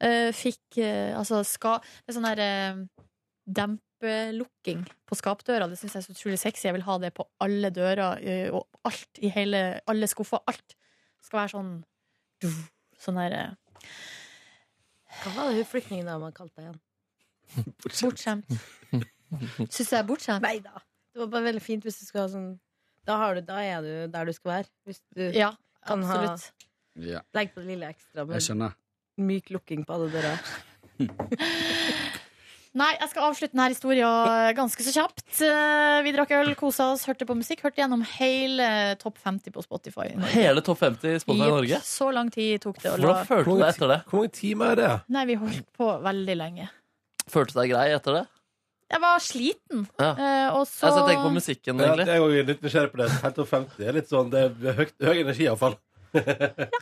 Eh, fikk eh, altså ska... Det er sånn der eh, dempelukking på skapdøra. Det syns jeg er så utrolig sexy. Jeg vil ha det på alle dører eh, og alt i hele Alle skuffer. Alt skal være sånn Sånn der eh, Hva var det hun flyktningdama kalte deg igjen? Bortskjemt. Syns du jeg er bortskjemt? Nei da. Det var bare veldig fint hvis du skal ha sånn Da, har du, da er du der du skal være. Hvis du Ja, Kan ha- absolutt. Ja, legger på det lille ekstra jeg med skjønner. myk lukking på alle dører. Nei, jeg skal avslutte denne historien ganske så kjapt. Eh, Vi drakk øl, kosa oss, hørte på musikk. Hørte gjennom hele topp 50 på Spotify. Hele topp 50 i Spotify Jepp, i Norge. Så lang tid tok det å la Hvordan følte du deg etter det? hvor mange timer er det? Nei, vi holdt på veldig lenge. Følte du deg grei etter det? Jeg var sliten, Ja. Altså, eh, og så Jeg skal tenke på musikken, Ja, egentlig. jeg er jo litt nysgjerrig på det. Helt opp 50. Det er litt sånn, det er høyt, høy energi, iallfall.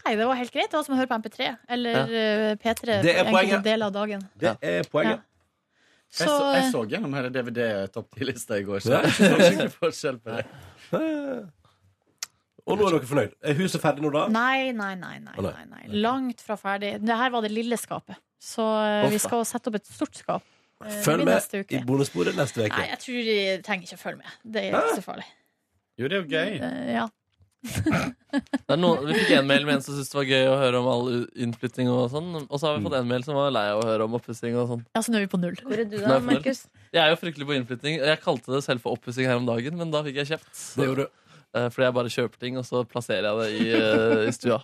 Nei, det var helt greit. Det var som å høre på MP3 eller Ja. eh, P3 Det er på poenget. enkelte deler av dagen. Det er poenget. Jeg Så, så, jeg eh, så gjennom hele DVD-topp 10-lista i går, så [laughs] Ja. jeg skjønner ikke forskjell på det. Og nå er dere fornøyd. Er huset ferdig nå, da? Nei, nei, nei, nei, Å, nei. nei, nei. Langt fra ferdig. Det her var det lille skapet. Så eh, Uff, da. vi skal sette opp et stort skap. eh, Følg med neste uke. i bonusbordet neste uke. Nei, jeg tror de trenger ikke å følge med. Det er ikke så farlig. Jo, det er jo gøy. Eh, Ja. Det er noen, vi fikk en mail med en som syntes det var gøy å høre om all u- innflytting og sånn. Og så har vi fått en mail som var lei av å høre om oppussing og sånn. Altså, nå er vi på null. Hvor er du Nei, da, for- Markus? Jeg er jo fryktelig på innflytting. og Jeg kalte det selv for oppussing her om dagen, men da fikk jeg kjeft. Det gjorde du. Eh, Fordi jeg bare kjøper ting, [laughs] og så plasserer jeg det i, eh, i stua.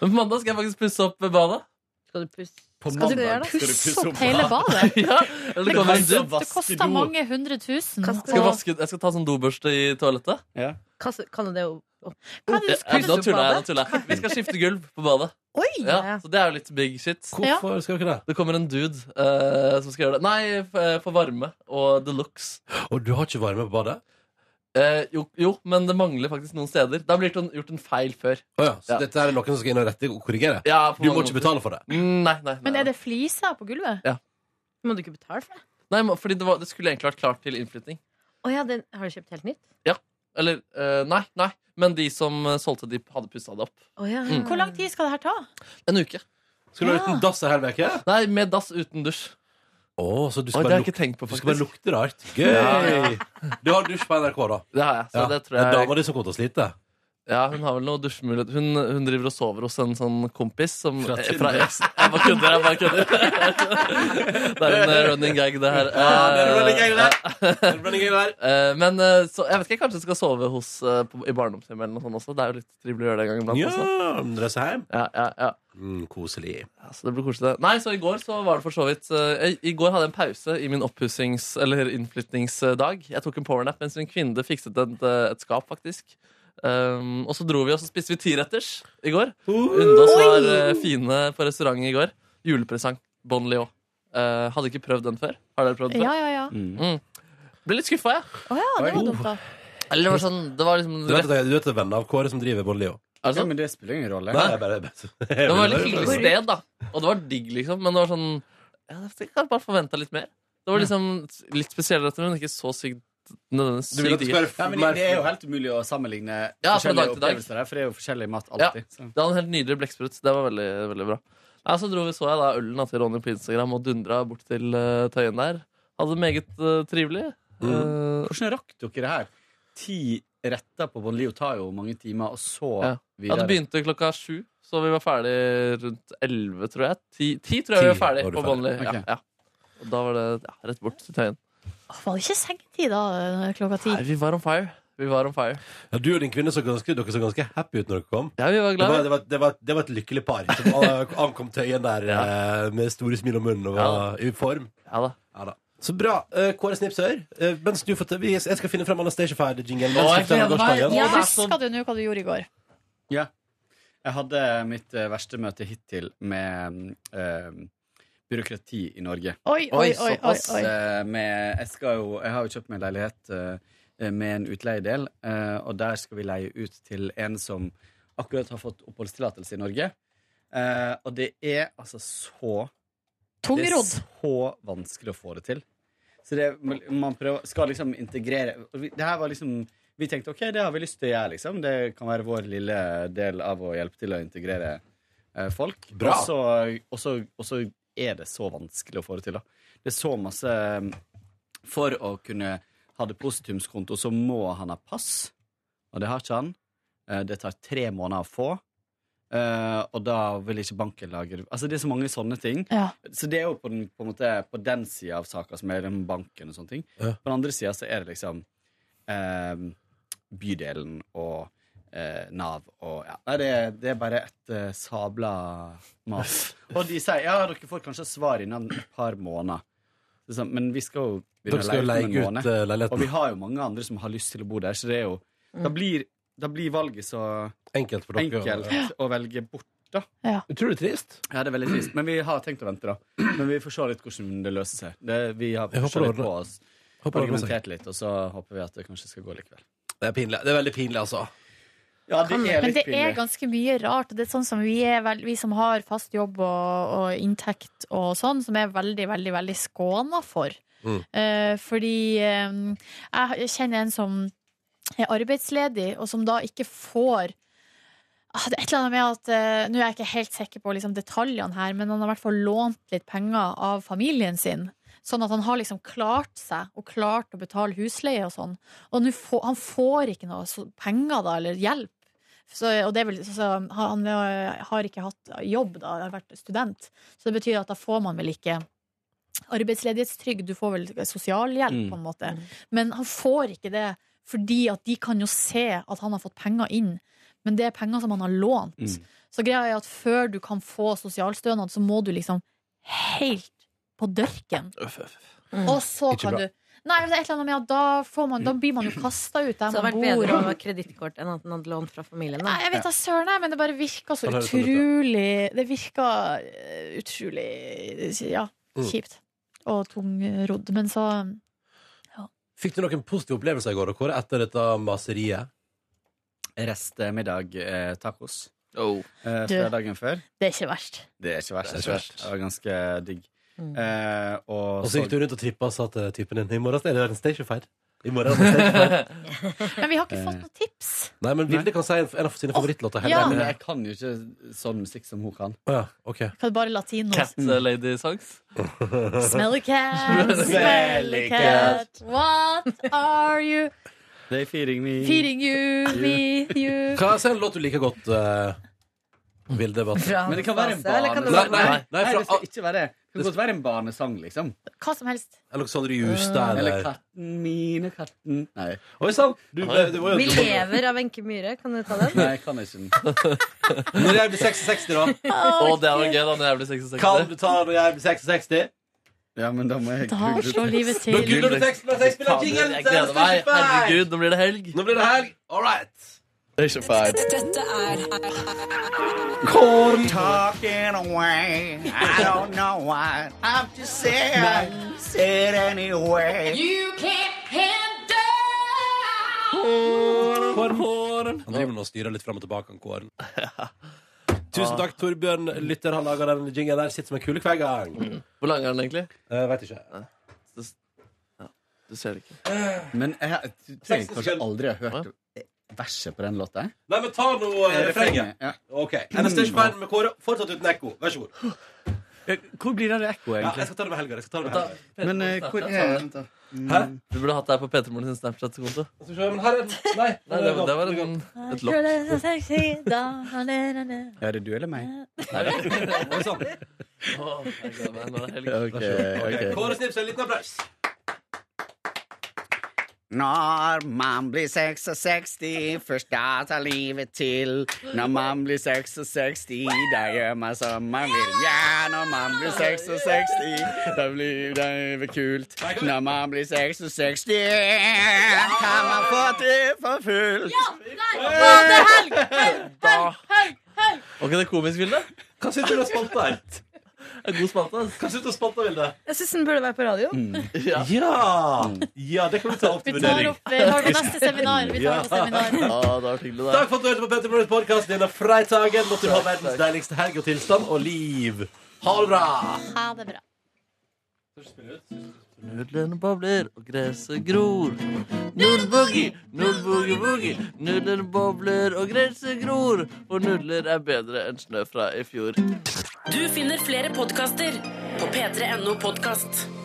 Men på mandag skal jeg faktisk pusse opp badet. Skal du pusse På Skal du gjøre det? Pusse opp hele badet? [laughs] ja, eller Det kan man koster, det vaske koster do? mange hundre tusen. Skal jeg, å- vaske, jeg skal ta sånn dobørste i toalettet. Ja. Hva kaller du det å Kan du- kan du- Nå tuller jeg. nå tuller jeg. Vi skal skifte gulv på badet. Ja, så det er jo litt big shit. Hvorfor skal dere ikke det? Det kommer en dude eh, som skal gjøre det. Nei, f- eh, for varme og the looks. Og du har ikke varme på badet? Eh, jo, jo, men det mangler faktisk noen steder. Da blir det gjort en- gjort en feil før. Å ja, så dette er noen som skal inn og rette og korrigere? Ja, på du må mange ikke måter. betale for det? Mm, Nei, nei, nei. Men er det fliser på gulvet? Ja. Må du ikke betale for det? nei men fordi det, var, det skulle egentlig vært klart til innflytting. Å ja, den har du kjøpt helt nytt? Ja, eller eh, Nei, nei. Men de som eh, solgte, de hadde pussa det opp. Å ja. Mm. Hvor lang tid skal det her ta? En uke. Skal du ha uten dass ei hel uke? Nei, med dass uten dusj. Å, så du Oi, skal, det har bare jeg ikke lukte, tenkt på, du skal bare faktisk. lukte [laughs] rart? Ja, Gøy! Du har dusj på NRK, da? Det har jeg. Så Ja, det tror det er jeg dama di som kommer til å slite. Ja, hun har vel noe dusjmulighet. Hun, hun driver og sover hos en sånn kompis som Fra eh, Tinder. X. Jeg bare kødder, jeg bare kødder. [laughs] Det er en eh, running gag, det her. Ja, det er en running gag, det. [laughs] det er en running gag, det Men eh, så, jeg vet ikke, jeg kanskje skal sove hos, eh, på, i barndomshjemmet eller noe sånt også. Det er jo litt trivelig å gjøre det en gang iblant. Ja, også. reise hjem. Mm, Ja, ja, ja. koselig. Ja, så det blir koselig. det. Nei, så i går så var det for så vidt eh, I i går hadde jeg en pause i min oppussings- eller innflytningsdag. Jeg tok en powernap mens min kvinne fikset et, eh, et skap, faktisk. Um, og så dro vi og så spiste vi tiretters i går. Undås var eh, fine på restaurant i går. Julepresang. Bon Leo. Eh, hadde ikke prøvd den før. Har dere prøvd den? Ja, ja, ja. Mm. Ble litt skuffa, jeg. Å ja, det Mm. var dumt, da. Eller det var sånn Det var liksom Du vet, at- du vet at venner av Kåre som driver Bon Leo? Er det sånn? Altså, men det spiller ingen rolle. Nei, jeg bare, [laughs] jeg bare. Det var et veldig hyggelig sted, da. Og det var digg, liksom. Men det var sånn ja, Jeg hadde bare forventa litt mer. Det var liksom litt spesiell rett, men ikke så sykt nødvendigvis Du sykt vil at det digg. skal være f- Ja, men det- det er jo helt umulig å sammenligne Ja, fra dag forskjellige til dag. opplevelser her, for det er jo forskjellig mat Ja, alltid. det hadde en helt nydelig blekksprut. Det var veldig, veldig bra. Ja, så dro vi, så jeg da ølen da, til Ronny på Instagram og dundra bort til eh, Tøyen der. Hadde det meget eh, trivelig. Eh, Hvordan rakk dere det her? Ti retter på Bon Leo tar jo mange timer, og så ja. ja, videre. det begynte klokka sju, så vi var ferdig rundt elleve, tror jeg. Ti, ti tror jeg vi var Ti ferdig var du på ferdig. Bonli. Ok. Ja, ja. Og da var det ja, rett bort til Tøyen. Var det ikke sengetid da, eh, klokka ti? Nei, vi var on fire. Vi var on fire. Ja, du og din kvinne så ganske, dere så ganske happy ut når dere kom. Ja, vi var glad. Det var, det var, det var, det var et lykkelig par [laughs] som a- ankom Tøyen der eh, med store smil om munnen og var i form. Ja da. Så bra. Eh, Kåre Snipsøyer, eh, mens du får ta- vi- jeg skal finne frem Anastacia-ferdig-jingelen. Å, jeg gleder meg. Ja, Å, det er så- husker du nå hva du gjorde i går? Ja. Jeg hadde mitt eh, verste møte hittil med eh, byråkrati i Norge. Oi, oi, oi, såpass, oi, oi. eh, Med, jeg, skal jo, jeg har jo kjøpt meg en leilighet eh, med en utleiedel, eh, og der skal vi leie ut til en som akkurat har fått oppholdstillatelse i Norge. Eh, og det er altså så Tungrodd. Det er så vanskelig å få det til. Så det, man prøver, skal liksom integrere og vi- Det her var liksom Vi tenkte OK, det har vi lyst til å gjøre, liksom. Det kan være vår lille del av å hjelpe til å integrere eh, folk. Bra. Og så, og, så, og så er det så vanskelig å få det til, da. Det er så masse um, For å kunne ha depositumskonto, så må han ha pass, og det har ikke han. Eh, Det tar tre måneder å få. Eh, og da vil ikke banken lage Altså Det er så mange sånne ting. Ja. Så det er jo på den, på en måte, på den sida av saka som er den banken og sånne ting. Ja. På den andre sida så er det liksom eh, bydelen og eh, Nav og ja. Nei, det, er- det er bare et eh, sabla mas. [laughs] Og de sier ja, dere får kanskje svar innen et par måneder. Så sånn, Men vi skal jo Dere skal jo leie ut om en leie ut, måned. eh, leiligheten. Og vi har jo mange andre som har lyst til å bo der, så det er jo Da blir, da blir valget så Enkelt for dere. enkelt å velge bort. Utrolig trist. Ja, det er veldig trist. Men vi har tenkt å vente, da. Men vi får se litt hvordan det løser seg. Det, vi har Jeg håper pusha det litt ordner- på oss. håper det ordner seg. Argumentert litt, og så håper vi at det kanskje skal gå likevel. Det er pinlig. Det er veldig pinlig, altså. Ja, det er Men litt det er pinlig. ganske mye rart. Det er sånn som vi, er vel, vi som har fast jobb og, og inntekt og sånn, som er veldig, veldig, veldig skåna for. Mm. Eh, fordi eh, jeg kjenner en som er arbeidsledig, og som da ikke får Ah, det er et eller annet med at eh, Nå er jeg ikke helt sikker på liksom, detaljene her, men han har i hvert fall lånt litt penger av familien sin. Sånn at han har liksom klart seg, og klart å betale husleie og sånn. Og nå får, han får ikke noe så, penger, da, eller hjelp. Så, og det er vel, så, så, han eh, har ikke hatt jobb, da, har vært student. Så det betyr at da får man vel ikke arbeidsledighetstrygd, du får vel sosialhjelp, Mm. på en måte. Men han får ikke det, fordi at de kan jo se at han har fått penger inn. Men Mm. det er penger som han har lånt. Så greia er at før du kan få sosialstønad, så må du liksom helt på dørken. Øff, øff. Og så Mm. Ikke kan bra. du Nei, men det er et eller annet med at da, får man, da blir man jo kasta ut Så der det hadde man vært bor. bedre å ha og- kredittkort enn at den hadde lånt fra familien. Nei, jeg vet da søren, jeg, men det bare virka så Kan høres sånn ut, ja. utrolig Det virka eh, utrolig Ja, Mm. kjipt. Og tungrodd. Men så Fikk du noen positive opplevelser i går, Kåre, etter dette maseriet? Rest eh, middag eh, tacos. Oh. Eh, Du. fra dagen før. det er ikke verst. Det er ikke verst. Det er Det, ikke verst. det var ganske digg. Mm. Eh, og, Og så gikk du rundt og trippa og sa til typen din I morgen er det en stationfire. I morgen er det en stationfire. Men vi har ikke fått noe tips. [laughs] Nei, men Vilde kan si en en av sine favorittlåter. ja. Men jeg kan jo ikke sånn musikk som hun kan. Å ja, ok. Kan bare latino. Cat eh, Lady Songs. Smelly cat, smelly cat, what are you? They feeding me. Feeding you, me, you. Hva er en låt du liker godt, eh, Vilde? Bare- Men det kan være en Fransk base, eller kan det barnesang. være- Nei, nei, Nei, nei, fra- det skal ikke være det. Det kan godt være en barnesang, liksom. Hva som helst. Alexander Justad Eh, Eller eller katten min og katten Nei. Oi sann! Du, ble- du var jo Vi lever av Wenche Myhre. Kan du ta den? Nei, jeg kan ikke den. Når jeg blir 66, da? Å, det hadde vært gøy da når jeg blir 66. Kan du ta når jeg blir 66? Ja, men da må jeg Da slår livet til. Nå googler du teksten mens jeg spiller Fader, jingle! Jeg gleder meg. Herregud, nå blir det helg. Nå blir det helg. All right. Dette er Korn. Talking away. I don't know what I'm to say. I say it anyway. You can't handle. Han driver nå og styrer litt fram og tilbake, han Kåren. [laughs] Tusen takk, Torbjørn. Lytter har laga den jingen der. Sitter som en kule hver gang. Hvor lang er den egentlig? Jeg vet ikke. Du, ja, du ser det ikke. Men jeg, jeg tror jeg kanskje aldri har hørt verset på den låta. Nei, men ta nå eh, refrenget. Mm. Ja. OK. NST-sperren med Kåre, fortsatt uten ekko. Vær så god. Hvor blir det av ekko, Ja, egentlig? jeg skal ta det med helga. Jeg skal ta det med helga. Men eh, hvor er Vent, da. Hæ? Du burde hatt deg på P3 Morgen sin Snapchat-konto. Skal vi se, men her er den. Nei, Nei, det, det var en, et lokk. Er det du eller meg? Oi sann. Å, jeg gleder meg. Nå er det helg. Ok, ok. Kåre Snips, en liten applaus. Når man blir 66, først da tar livet til. Når man blir 66, da gjør man som man vil. Ja, når man blir 66, da blir det kult. Når man blir 66, kan man få til for fullt. Ok, det er komisk, Vilde. Hva syns du om den spalta her? [laughs] En god spalte. ass. Hva syns du om spalta, Vilde? Jeg syns den burde være på radio. Ja. Ja! ja! Det kan vi ta opp til Vi tar vurdering. opp vi tar det på neste seminar. Vi tar det på seminar. Ja, det var hyggelig, det. Takk for at du hørte på Petter Morgens podkast denne fredagen. Måtte du ha verdens deiligste helg og tilstand og liv. Ha det bra! Ha det bra. Nudlene bobler, og gresset gror. Nudboogie, nudboogie-boogie. Nudlene bobler, og gresset gror. For nudler er bedre enn snø fra i fjor. Du finner flere podkaster på p3.no podkast.